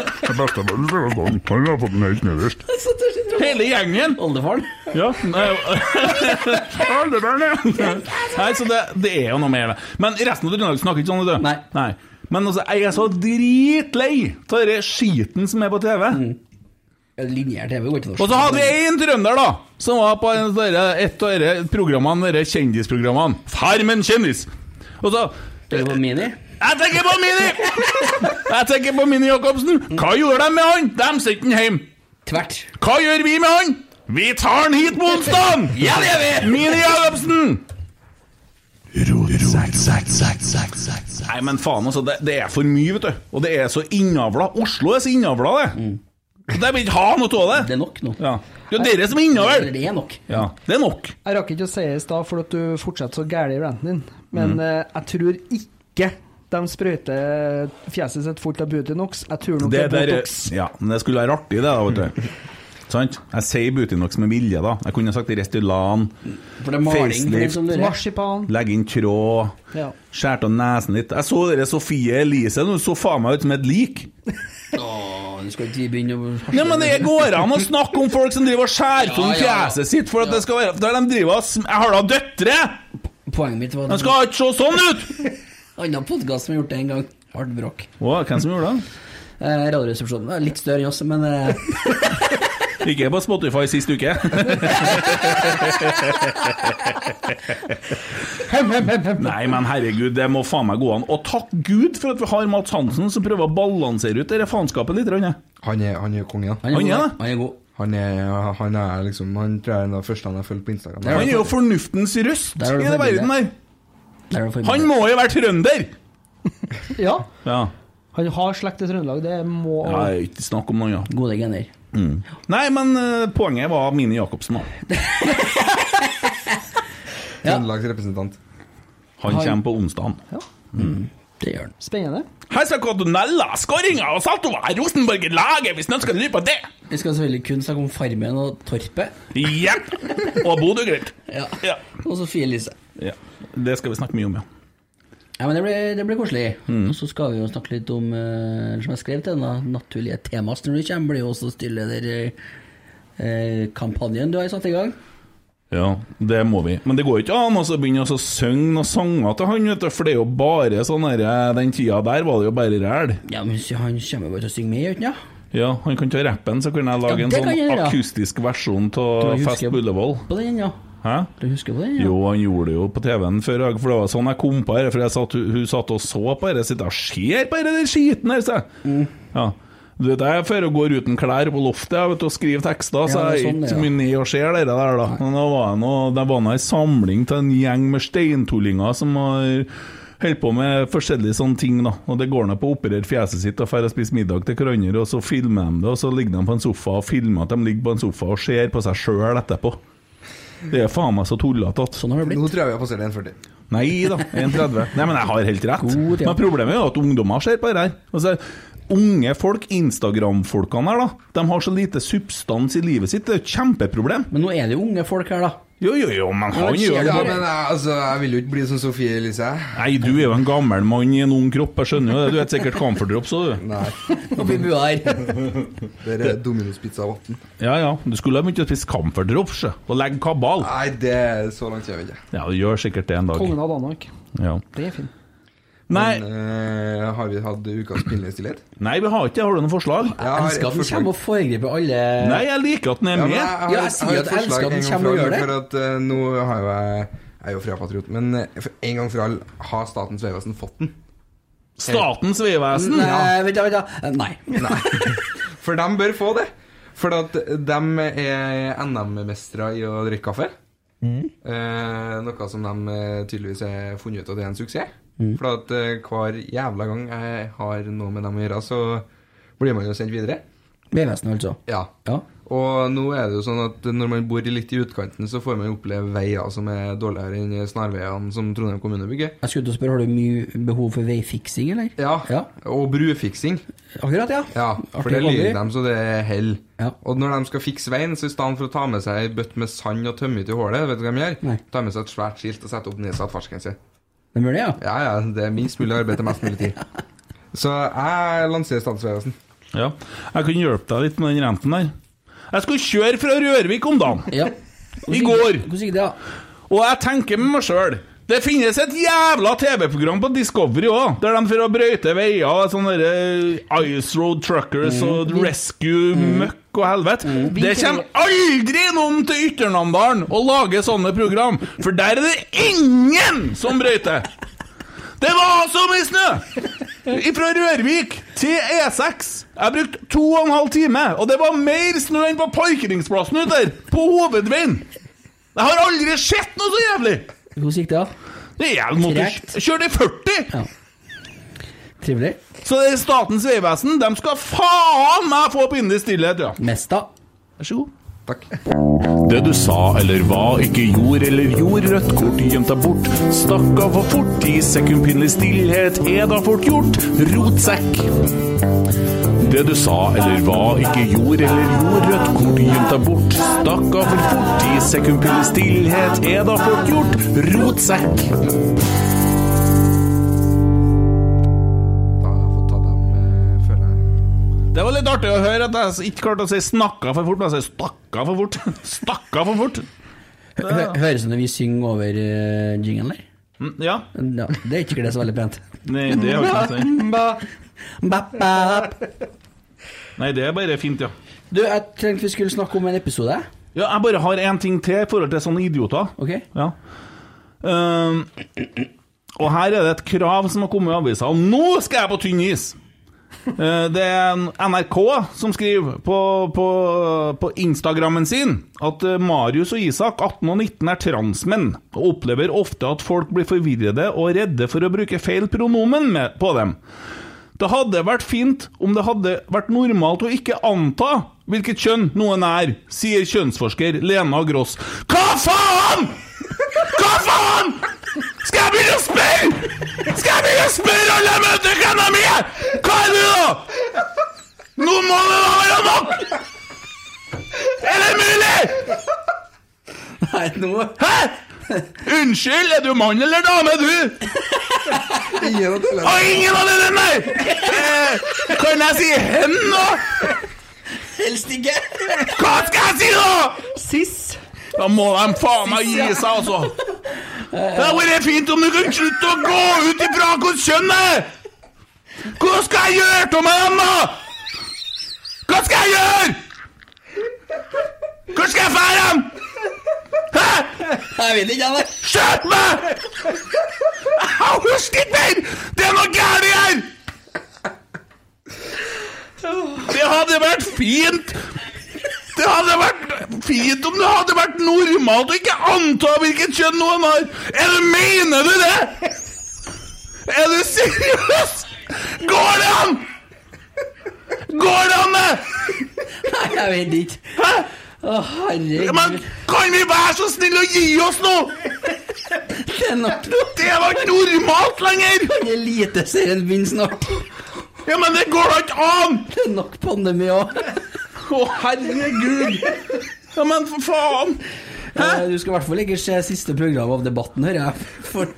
Speaker 3: Han har fått den helt nederst. Hele gjengen.
Speaker 4: Oldefaren.
Speaker 3: Ja. Alderen, ja. Nei, så det, det er jo noe mer. det. Men resten av Trøndelag snakker ikke sånn, vet du.
Speaker 4: Nei.
Speaker 3: Men altså, jeg er så dritlei av den skiten som er på TV.
Speaker 4: Linjær TV går ikke norsk.
Speaker 3: Og så hadde vi én trønder, da, som var på en av dere- et av disse programmene, disse kjendisprogrammene. Farmen kjendis! Og så
Speaker 4: Det var Mini.
Speaker 3: Jeg tenker på Mini! Jeg tenker på Mini Jacobsen. Hva gjorde de med han? De sendte han hjem.
Speaker 4: Tvert.
Speaker 3: Hva gjør vi med han? Vi tar han hit på onsdag!
Speaker 4: Ja, det gjør vi!
Speaker 3: Mini Jacobsen!
Speaker 7: Rotsekk.
Speaker 3: Nei, men faen, altså. Det, det er for mye, vet du. Og det er så innavla. Oslo er så innavla, det. De vil ikke ha noe av
Speaker 4: Det
Speaker 3: det.
Speaker 4: er nok nå.
Speaker 3: Ja. Det er dere som er innavl.
Speaker 4: Det er nok.
Speaker 3: Ja, det er nok.
Speaker 5: Jeg rakk ikke å si i stad, for at du fortsetter så gæren i ranten din, men
Speaker 3: Mhm.
Speaker 5: eh, jeg tror ikke de sprøyter fjeset sitt fullt av Butinox. Jeg tror nok det, er
Speaker 3: der-
Speaker 5: Botox.
Speaker 3: Ja, men det skulle være artig, det, da, vet du. Sant? Jeg sier Butinox med vilje, da. Jeg kunne sagt Restylan,
Speaker 4: For det er maling. for det
Speaker 3: Facelift.
Speaker 4: som dere.
Speaker 5: Marsipan.
Speaker 3: legge inn tråd,
Speaker 5: Ja.
Speaker 3: skjært av nesen litt. Jeg så dere Sofie Elise, hun så faen meg ut som et lik.
Speaker 4: Åh, nå skal ikke vi begynne å
Speaker 3: Nei, men det går an å snakke om folk som driver og skjærer sånn
Speaker 4: Ja, ja.
Speaker 3: fjeset sitt, for at det skal være Der de driver og sm- Jeg har da døtre!
Speaker 4: Poenget mitt var
Speaker 3: De
Speaker 4: at
Speaker 3: skal ikke se sånn ut!
Speaker 4: en annen podkast som har gjort det en gang. Hardt bråk.
Speaker 3: Å, hvem som gjorde det?
Speaker 4: Eh, Radioresepsjonen er litt større enn oss, men eh,
Speaker 3: Ikke på Spotify sist uke. Nei, men herregud, det må faen meg gå an. Og takk Gud for at vi har Mats Hansen, som prøver å balansere ut dette faenskapet litt. Rønne.
Speaker 6: Han er, han er kongen, da.
Speaker 4: han
Speaker 3: Han
Speaker 4: er
Speaker 3: er
Speaker 4: god.
Speaker 3: det.
Speaker 4: Han er god.
Speaker 6: Han er, han er liksom Han tror jeg er den av første han har fulgt på Instagram.
Speaker 3: Han er jo fornuftens røst i
Speaker 4: Der er det
Speaker 3: denne
Speaker 4: forbilde.
Speaker 3: verden her.
Speaker 4: Der er det
Speaker 3: Han
Speaker 4: forbilde.
Speaker 3: må jo være trønder!
Speaker 5: Ja.
Speaker 3: Ja.
Speaker 5: Han har slekt i Trøndelag, det må
Speaker 3: Nei, ikke snakk om noe annet.
Speaker 4: Gode gener.
Speaker 3: Nei, men eh, poenget var Mini Jacobsen, da.
Speaker 6: Trøndelags representant.
Speaker 3: Han kommer på onsdag.
Speaker 4: Det gjør han.
Speaker 5: Spennende.
Speaker 3: Her skal Cordonella, skåringer og Saltovar Rosenborg-laget, hvis noen skal lure på det!
Speaker 4: Vi skal selvfølgelig kun snakke om Farmen og Torpet.
Speaker 3: Ja! Og Bodø-Glimt.
Speaker 4: Ja.
Speaker 3: Ja.
Speaker 4: Og Sofie Elise.
Speaker 3: Ja. Det skal vi snakke mye om, ja.
Speaker 4: Ja, men det blir, det blir koselig. Og så skal vi jo snakke litt om, eh, som jeg skrev til den, da, naturlige tema når du kommer, blir jo også stille der eh, kampanjen du har satt i gang.
Speaker 3: Ja, det må vi. Men det går jo ikke an å så begynne å så synge noen sanger til han, vet du, for det er jo bare sånn derre Den eh, tida der var det jo bare ræl.
Speaker 4: Ja, men han kommer jo bare til å synge med, gjør han ikke?
Speaker 3: Ja, han kan ta rappen, så kunne jeg lage
Speaker 4: Ja,
Speaker 3: en
Speaker 4: det kan jeg
Speaker 3: sånn
Speaker 4: gjøre.
Speaker 3: akustisk versjon av
Speaker 4: husker-
Speaker 3: Fest på Ullevål.
Speaker 4: På den, ja.
Speaker 3: Hæ?
Speaker 4: Du husker på den? Ja.
Speaker 3: Jo, han gjorde det jo på TV-en før, jeg- for det var sånn jeg kom på dette. For jeg satt, hun satt og så på dette, sitter og ser på dette, den skiten her, sa jeg.
Speaker 4: Mm.
Speaker 3: Ja. Du vet, jeg er før og går uten klær på loftet jeg vet, og skriver tekster, så
Speaker 4: Ja, det er
Speaker 3: jeg er
Speaker 4: sånn det,
Speaker 3: ikke
Speaker 4: ja.
Speaker 3: mye ned og ser dette der, da. Men da var jeg nå- det var nå en samling til en gjeng med steintullinger som har holdt på med forskjellige sånne ting, da. Og det går nå på å operere fjeset sitt og drar og spiser middag til hverandre, og så filmer de det, og så ligger de på en sofa og filmer at de ligger på en sofa og ser på seg sjøl etterpå. Det er faen meg så tullete at
Speaker 4: Sånn har det blitt.
Speaker 6: Nå tror jeg vi har passert 1,40.
Speaker 3: Nei da, 1,30. Nei, men jeg har helt rett.
Speaker 4: God, ja.
Speaker 3: Men problemet er jo at ungdommer ser på det her. Altså, unge folk, Instagram-folkene her, da, de har så lite substans i livet sitt. Det er jo et kjempeproblem.
Speaker 4: Men nå er det jo unge folk her, da.
Speaker 3: Jo, jo, jo, men han
Speaker 4: skjer
Speaker 3: gjør
Speaker 6: Ja,
Speaker 3: det.
Speaker 6: men jeg, altså, jeg vil jo ikke bli som Sofie Elise. jeg.
Speaker 3: Nei, du er jo en gammel mann i en ung kropp, jeg skjønner jo det. Du vet sikkert Comfort Drops òg, du.
Speaker 6: Nei.
Speaker 4: Oppi bua her.
Speaker 6: Det er Domino's-pizza av 18.
Speaker 3: Ja ja, du skulle ha begynt å spise Comfort Drops ja, og legge kabal.
Speaker 6: Nei, det er så langt kommer vi ikke.
Speaker 3: Ja, du gjør sikkert det en dag.
Speaker 5: Kongen av Danmark.
Speaker 3: Ja.
Speaker 5: Det er fint.
Speaker 3: Nei,
Speaker 6: Men, eh, har vi hatt ukas pinnestillhet?
Speaker 3: nei, vi har ikke det. Har du noen forslag?
Speaker 6: Jeg har
Speaker 4: Elsker
Speaker 6: et
Speaker 4: at den
Speaker 6: forslag.
Speaker 4: kommer og foregriper alle
Speaker 3: Nei, jeg liker at den er
Speaker 6: Ja, men
Speaker 3: med.
Speaker 6: jeg har-
Speaker 4: Ja, jeg sier
Speaker 6: har
Speaker 4: at
Speaker 6: et
Speaker 4: jeg elsker
Speaker 6: forslag
Speaker 4: at den
Speaker 6: en gang
Speaker 4: kommer og gjør
Speaker 6: for alle,
Speaker 4: det.
Speaker 6: For at eh, nå har jo jeg jeg er jo frøpatriot, men eh, for en gang for alle, har Statens vegvesen fått den?
Speaker 3: Statens vegvesen.
Speaker 4: Nei, vent da, vent da. Nei.
Speaker 6: For de bør få det! For at de er NM-mestere i å drikke kaffe.
Speaker 4: Mm.
Speaker 6: Eh, noe som de eh, tydeligvis har funnet ut at er en suksess.
Speaker 4: Mm.
Speaker 6: For at eh, hver jævla gang jeg har noe med dem å gjøre, så blir man jo sendt videre.
Speaker 4: Vegvesenet, altså.
Speaker 6: Ja.
Speaker 4: Ja.
Speaker 6: Og nå er det jo sånn at når man bor i litt i utkanten, så får man jo oppleve veier som er dårligere enn snarveiene som Trondheim kommune bygger.
Speaker 4: Jeg skulle til å spørre, har du mye behov for veifiksing, eller?
Speaker 6: Ja.
Speaker 4: Ja.
Speaker 6: Og brufiksing.
Speaker 4: Akkurat, ja.
Speaker 6: Ja, for
Speaker 4: Artig
Speaker 6: det lyver
Speaker 4: kombi.
Speaker 6: dem så det er hell.
Speaker 4: Ja.
Speaker 6: Og når de skal fikse veien, så i stedet for å ta med seg ei bøtte med sand og tømme ut i hullet, vet du hva de gjør?
Speaker 4: Nei.
Speaker 6: Ta med seg et svært skilt og sette opp nedsatt fartsgrense.
Speaker 4: Det bør det, ja.
Speaker 6: Ja ja, det er minst mulig arbeid til mest mulig tid. Så jeg lanserer Statens vegvesen.
Speaker 3: Ja, jeg kan hjelpe deg litt med den renten der. Jeg skulle kjøre fra Rørvik om dagen,
Speaker 4: ja.
Speaker 3: i går,
Speaker 4: Hvordan gikk det, da?
Speaker 3: og jeg tenker med meg sjøl det finnes et jævla TV-program på Discovery òg, der de får å brøyte veier og sånne der, eh, Ice Road Truckers og Rescue Møkk og helvete. Det kommer aldri noen til Ytternamdalen og lager sånne program, for der er det ingen som brøyter! Det var så mye snø! Fra Rørvik til E6. Jeg brukte to og en halv time, og det var mer snø enn på parkeringsplassen ute der! På hovedveien! Jeg har aldri sett noe så jævlig!
Speaker 4: Hvordan gikk det, da?
Speaker 3: Det er jævlig måte
Speaker 4: Tregt.
Speaker 3: Kjør det 40!
Speaker 4: Ja. Trivelig.
Speaker 3: Så det er Statens vegvesen. De skal faen meg få pinlig stillhet, ja.
Speaker 4: Mest, da?
Speaker 3: Vær så god.
Speaker 6: Takk.
Speaker 8: Det du sa eller hva, ikke gjorde eller gjorde, rødt kort gjemt deg bort. Stakk av for fort, ti sekund pinlig stillhet er da fort gjort. Rotsekk. Det du sa eller hva, ikke gjorde eller gjorde, rødt kort gjemt deg bort. Stakk av for fort, ti sekund pinlig stillhet er da fort gjort. Rotsekk.
Speaker 6: Da har jeg fått tatt dem, eh, føler jeg.
Speaker 3: Det var litt artig å høre at jeg ikke klarte å si 'snakka for fort', men jeg sier 'stakka for fort'. Stakka for fort.
Speaker 4: Hø hø høres det når vi synger over uh, jingen, eller?
Speaker 3: Mm, Ja.
Speaker 4: Ja, det er ikke det så veldig pent.
Speaker 3: Nei, det har ikke noe å si.
Speaker 4: Ba, ba, ba.
Speaker 3: Nei, det er bare fint, ja.
Speaker 4: Du, jeg tenkte vi skulle snakke om en episode.
Speaker 3: Ja, jeg bare har én ting til i forhold til sånne idioter.
Speaker 4: Ok?
Speaker 3: Ja. Ehm, og her er det et krav som har kommet i avisa, og nå skal jeg på tynn is! Eh, det er en NRK som skriver på, på, på Instagrammen sin at eh, Marius og Isak, 18 og 19, er transmenn, og opplever ofte at folk blir forvirrede og redde for å bruke feil pronomen med, på dem. Det hadde vært fint om det hadde vært normalt å ikke anta hvilket kjønn noen er, sier kjønnsforsker Lena Gross. Hva faen?! Hva faen?! Skal jeg begynne å spørre?! Skal jeg begynne å spørre alle jeg møter hvem de er?! Hva er du, da?! Nå må det da være nok! Er det mulig?!
Speaker 4: Nei, nå
Speaker 3: Hæ?! Unnskyld, er du mann eller dame, du?
Speaker 6: Ingen av delene.
Speaker 3: Og ingen av dere, nei! Eh, kan jeg si hen nå?
Speaker 4: Helst ikke!
Speaker 3: Hva skal jeg si nå?!
Speaker 4: Siss!
Speaker 3: Da må de faen meg gi seg, altså. Det hadde vært fint om du kunne slutte å gå ut ifra hvilket kjønn jeg er! Hva skal jeg gjøre av meg, da?!
Speaker 4: Jeg vet ikke, jeg.
Speaker 3: Skjøt meg! Jeg har husk ikke mer! Det er noe gærent her! Det hadde vært fint Det hadde vært fint om det hadde vært normalt å ikke anta hvilket kjønn noen har. Eller mener du det?! Er du seriøs?! Går det an?! Går det an, det?!
Speaker 4: Nei, jeg vet ikke.
Speaker 3: Hæ?
Speaker 4: Å,
Speaker 3: Men
Speaker 4: herregud.
Speaker 3: kan vi være så snille å gi oss nå?!
Speaker 4: Det er nok
Speaker 3: Det var ikke normalt lenger!
Speaker 4: Eliteserien vinner snart.
Speaker 3: Ja, men det går da ikke an!
Speaker 4: Det er nok pandemi òg.
Speaker 3: Å, herregud! Ja, men for faen!
Speaker 4: Eh, Du skal i hvert fall ikke se siste program av Debatten, hører jeg. For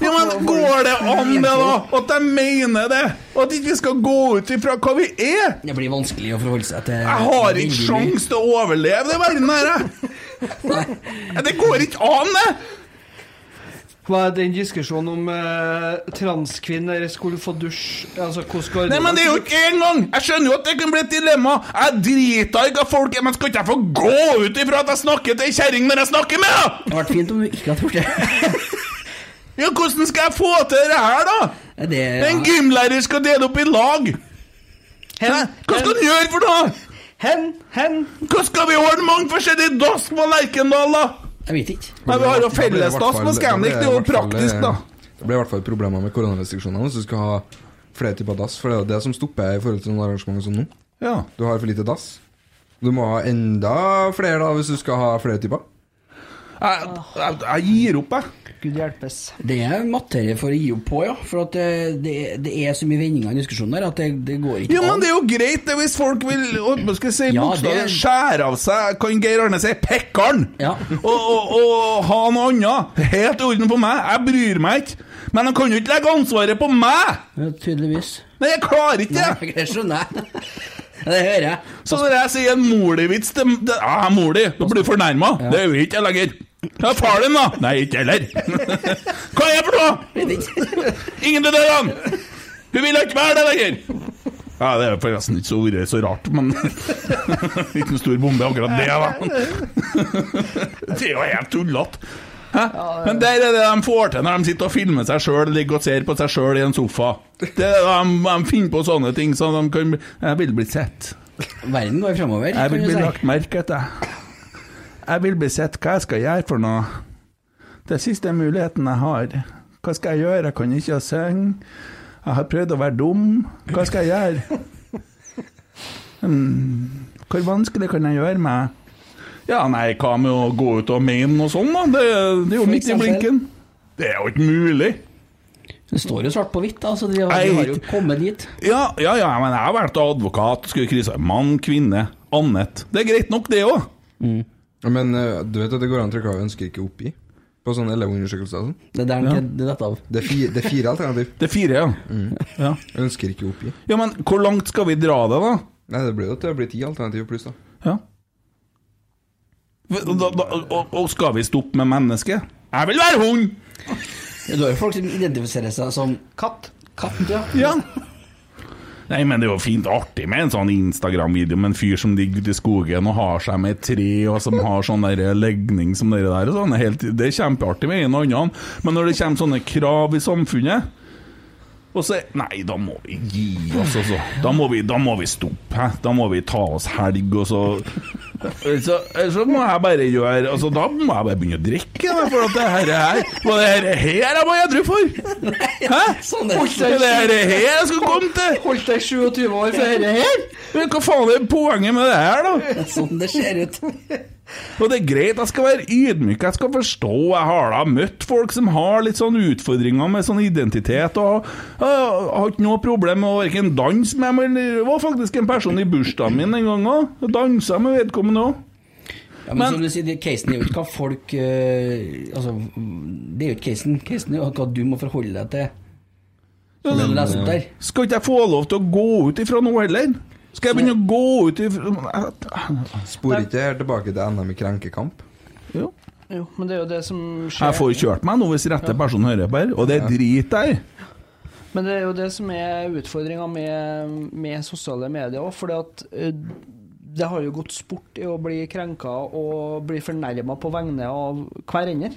Speaker 3: Ja, men Går det an, det, da? At de mener det? Og at ikke vi skal gå ut ifra hva vi er?
Speaker 4: det blir vanskelig å forholde seg til
Speaker 3: Jeg har ikke sjans til å overleve den verden her, jeg! Ja, Det går ikke an, det!
Speaker 5: Hva er den diskusjonen om eh, transkvinner skulle få dusj Altså, hvordan skal
Speaker 3: Nei, men det er jo ikke engang! Jeg skjønner jo at det kan bli et dilemma. Jeg driter i hva folk er, men skal ikke jeg få gå ut ifra at jeg snakker til ei kjerring når jeg snakker med henne?!
Speaker 4: Det hadde vært fint om du ikke hadde gjort det.
Speaker 3: Ja, hvordan skal jeg få til det her, da?
Speaker 4: Nei, Det
Speaker 3: En gymlærer skal dele opp i lag! Hæ? Hva skal han gjøre for noe?!
Speaker 5: Hen, hen
Speaker 3: Hva skal vi ordne mange forskjellige dass på Lerkendal, da?!
Speaker 4: Jeg vet ikke.
Speaker 3: Nei, vi har jo fellesdass på
Speaker 6: Da blir det i hvert fall-
Speaker 3: Scandic,
Speaker 6: da
Speaker 3: det er
Speaker 6: blir
Speaker 3: jo
Speaker 6: det i
Speaker 3: praktisk,
Speaker 6: hvert fall-
Speaker 3: da.
Speaker 6: Det blir i hvert fall problemer med koronarestriksjonene hvis du skal ha flere typer dass. For det er jo det som stopper i forhold til noen arrangementer som nå.
Speaker 3: Ja.
Speaker 6: Du har for lite dass. Du må ha enda flere da hvis du skal ha flere typer.
Speaker 3: Jeg, jeg, jeg gir opp, jeg.
Speaker 5: Gud hjelpes.
Speaker 4: Det er materie for å gi opp på, ja. For at det, det, det er så mye vendinger i diskusjonen her at det, det går ikke
Speaker 3: Ja, men det er jo greit det hvis folk vil å, hva skal jeg si,
Speaker 4: Ja,
Speaker 3: bokstavelig
Speaker 4: det-
Speaker 3: skjære av seg Kan Geir Arne si 'pekkeren'?
Speaker 4: Ja.
Speaker 3: Og, og, og ha noe annet. Helt i orden for meg. Jeg bryr meg ikke. Men de kan jo ikke legge ansvaret på meg!
Speaker 4: Ja, tydeligvis.
Speaker 3: Nei, jeg klarer ikke det!
Speaker 4: Det skjønner jeg. Det hører jeg.
Speaker 3: Så når jeg sier en morlig-vits til til- Ja, mor di, da blir du fornærma. Det er jo ikke jeg lenger. Ja, far din, da? Nei, ikke heller. Hva er jeg for noe?!
Speaker 4: Vet ikke.
Speaker 3: Ingen til dørene! Hun vil ikke være der lenger! Ja, Det er forresten ikke så ordet så rart, men Ikke noen stor bombe, akkurat det, da. Det er jo helt tullete. Hæ? Men der er det de får til når de sitter og filmer seg sjøl ligger og ser på seg sjøl i en sofa. Det er de, de finner på sånne ting, så de kan Jeg vil bli sett.
Speaker 4: Verden går fremover.
Speaker 3: Jeg vil
Speaker 4: kan du
Speaker 3: bli
Speaker 4: si.
Speaker 3: lagt merke til. Jeg vil bli sett hva jeg skal gjøre for noe. Det er siste muligheten jeg har. Hva skal jeg gjøre? Jeg kan ikke synge. Jeg har prøvd å være dum. Hva skal jeg gjøre? Hmm, Hvor vanskelig kan jeg gjøre meg? Ja, nei, hva med å gå ut og mene noe sånt, da? Det, det er jo
Speaker 4: For
Speaker 3: midt i
Speaker 4: eksempel?
Speaker 3: blinken. Det er jo ikke mulig.
Speaker 4: Det står jo svart på hvitt, da, så de har,
Speaker 3: Nei,
Speaker 4: de har jo
Speaker 3: ikke-
Speaker 4: kommet dit.
Speaker 3: Ja, ja, ja, men jeg har vært advokat, skulle krysse Mann, kvinne, annet. Det er greit nok, det òg.
Speaker 6: Men eh, du vet at det går an å trykke av ønsker ikke oppgi på sånne elevundersøkelser. og sånn.
Speaker 4: Det er der den det detter av.
Speaker 6: Det, er fi- det er fire alternativ.
Speaker 3: Det er fire, ja. ja.
Speaker 6: Ønsker ikke oppgi.
Speaker 3: Ja, men hvor langt skal vi dra det, da?
Speaker 6: Nei, det blir jo til å bli ti alternativer pluss, da.
Speaker 3: Ja. Da, da, og, og skal vi stoppe med mennesket? Jeg vil være hund!
Speaker 4: Du har jo folk som identifiserer seg som katt. Katt, ja.
Speaker 3: Ja. Nei, men det er jo fint artig med en sånn Instagram-video med en fyr som ligger ute i skogen og har seg med et tre, og som har sånn der legning som dere der og sånn. Det er helt- Det er kjempeartig med en og annen, men når det kommer sånne krav i samfunnet og så, Nei, da må vi gi oss, altså. Da må vi, da må vi stoppe. Hæ? Da må vi ta oss helg, og så så, så må jeg bare gjøre altså, Da må jeg bare begynne å drikke, da, for at det her er Hva det her er her jeg må edru for? Hæ?
Speaker 4: sånn er det.
Speaker 3: Hva er det her er her jeg skal komme til?
Speaker 5: Holdt deg 27 år for dette her?
Speaker 3: Men hva faen er poenget med det her, da?
Speaker 4: Det er sånn det ser ut.
Speaker 3: Og det er greit, jeg skal være ydmyk, jeg skal forstå. Jeg har da møtt folk som har litt sånn utfordringer med sånn identitet, og jeg har ikke noe problem med å verken danse med dem, eller det var faktisk en person i bursdagen min en gang òg. Dansa med vedkommende òg.
Speaker 4: Ja, men,
Speaker 3: Men-
Speaker 4: som du sier, det- casen er jo ikke hva folk eh, Altså, det er jo ikke casen. Casen er jo hva du må forholde deg til. Som du leser
Speaker 3: eh,
Speaker 4: opp der.
Speaker 3: Skal ikke jeg få lov til å gå ut ifra noe heller? Skal jeg begynne å gå ut ifra
Speaker 6: Sporer ikke det her tilbake til NM i krenkekamp.
Speaker 3: Jo.
Speaker 5: Jo, men det er jo det som skjer.
Speaker 3: Jeg får kjørt meg nå hvis rette person hører på her, og det er drit der.
Speaker 5: Men det er jo det som er utfordringa med, med sosiale medier òg, fordi at eh, det har jo gått sport i å bli krenka og bli fornærma på vegne av hverandre.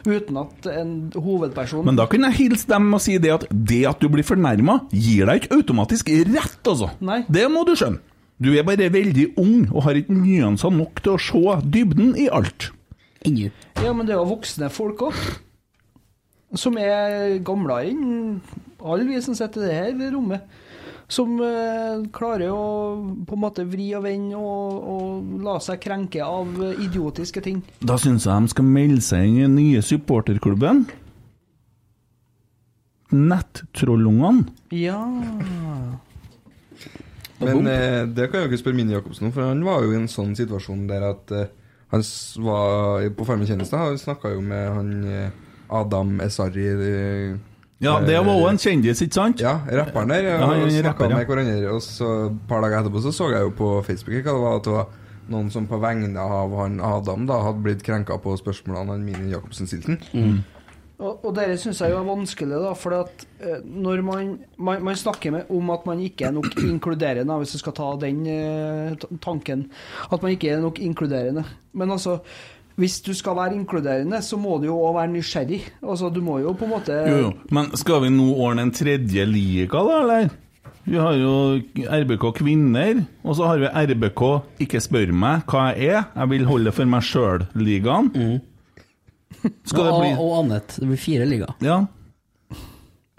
Speaker 5: Uten at en hovedperson
Speaker 3: Men da kunne jeg hilse dem og si det at det at du blir fornærma, gir deg ikke automatisk rett, altså.
Speaker 5: Nei.
Speaker 3: Det må du skjønne. Du er bare veldig ung og har ikke nyanser nok til å se dybden i alt.
Speaker 4: Ingen.
Speaker 5: Ja, men det er jo voksne folk òg. Som er gamlere enn alle vi som sitter i det her rommet. Som eh, klarer å på en måte vri og vende og, og la seg krenke av eh, idiotiske ting.
Speaker 3: Da syns jeg de skal melde seg inn i den nye supporterklubben. Nettrollungene.
Speaker 5: Ja
Speaker 6: Men eh, det kan jeg jo ikke spørre Mini Jacobsen om, for han var jo i en sånn situasjon der at eh, han s- var på Farmen kjendis. Han snakka jo med han eh, Adam Esari eh,
Speaker 3: Ja, det var òg en kjendis, ikke sant?
Speaker 6: ja, rapperen der.
Speaker 3: Ja, han er
Speaker 6: og
Speaker 3: rapper,
Speaker 6: snakka
Speaker 3: ja.
Speaker 6: med hverandre. Og så et par dager etterpå så så jeg jo på Facebook ikke, hva det var at det var noen som på vegne av han Adam da hadde blitt krenka på spørsmålene han Mini Jacobsen stilte.
Speaker 3: Mm.
Speaker 6: han.
Speaker 5: Og, og dette syns jeg jo er vanskelig, da, for at eh, når man, man, man snakker med, om at man ikke er nok inkluderende, hvis du skal ta den eh, ta- tanken, at man ikke er nok inkluderende. Men altså, hvis du skal være inkluderende, så må du jo òg være nysgjerrig. Altså, du må jo på en måte
Speaker 3: Jo, jo. Men skal vi nå ordne en tredje liga, da, eller? Vi har jo RBK kvinner, og så har vi RBK ikke spør meg hva jeg er, jeg vil holde for meg sjøl-ligaen. Skal det
Speaker 4: og,
Speaker 3: bli
Speaker 4: og annet. Det blir fire liga.
Speaker 3: Ja.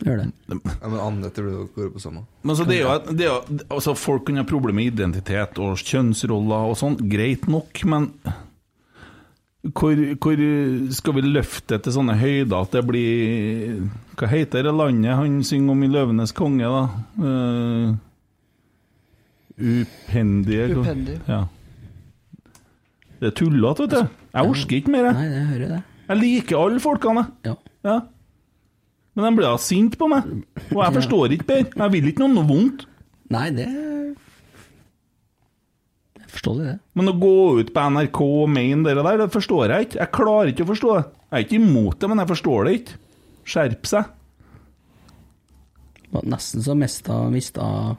Speaker 4: Gjør det.
Speaker 6: Ja, men Anette ble jo går på samme.
Speaker 3: Men så det er jo, et- det er jo altså Folk kan ha problemer med identitet og kjønnsroller og sånn, greit nok, men hvor, hvor skal vi løfte til sånne høyder at det blir Hva heter det landet han synger om i 'Løvenes konge', da? Uh, Upendige hva-
Speaker 5: Upendig.
Speaker 3: Ja. Det er tullete, vet du. Jeg orker ikke mer.
Speaker 4: Nei,
Speaker 3: jeg.
Speaker 4: det hører jeg det.
Speaker 3: Jeg liker alle folkene. jeg.
Speaker 4: Ja.
Speaker 3: Ja. Men de blir da sinte på meg. Og jeg forstår ikke bedre. Jeg vil ikke noen noe vondt.
Speaker 4: Nei, det Jeg forstår det, det.
Speaker 3: Men å gå ut på NRK og mene det der, det forstår jeg ikke. Jeg klarer ikke å forstå det. Jeg er ikke imot det, men jeg forstår det ikke. Skjerp seg.
Speaker 4: Var nesten så mista mista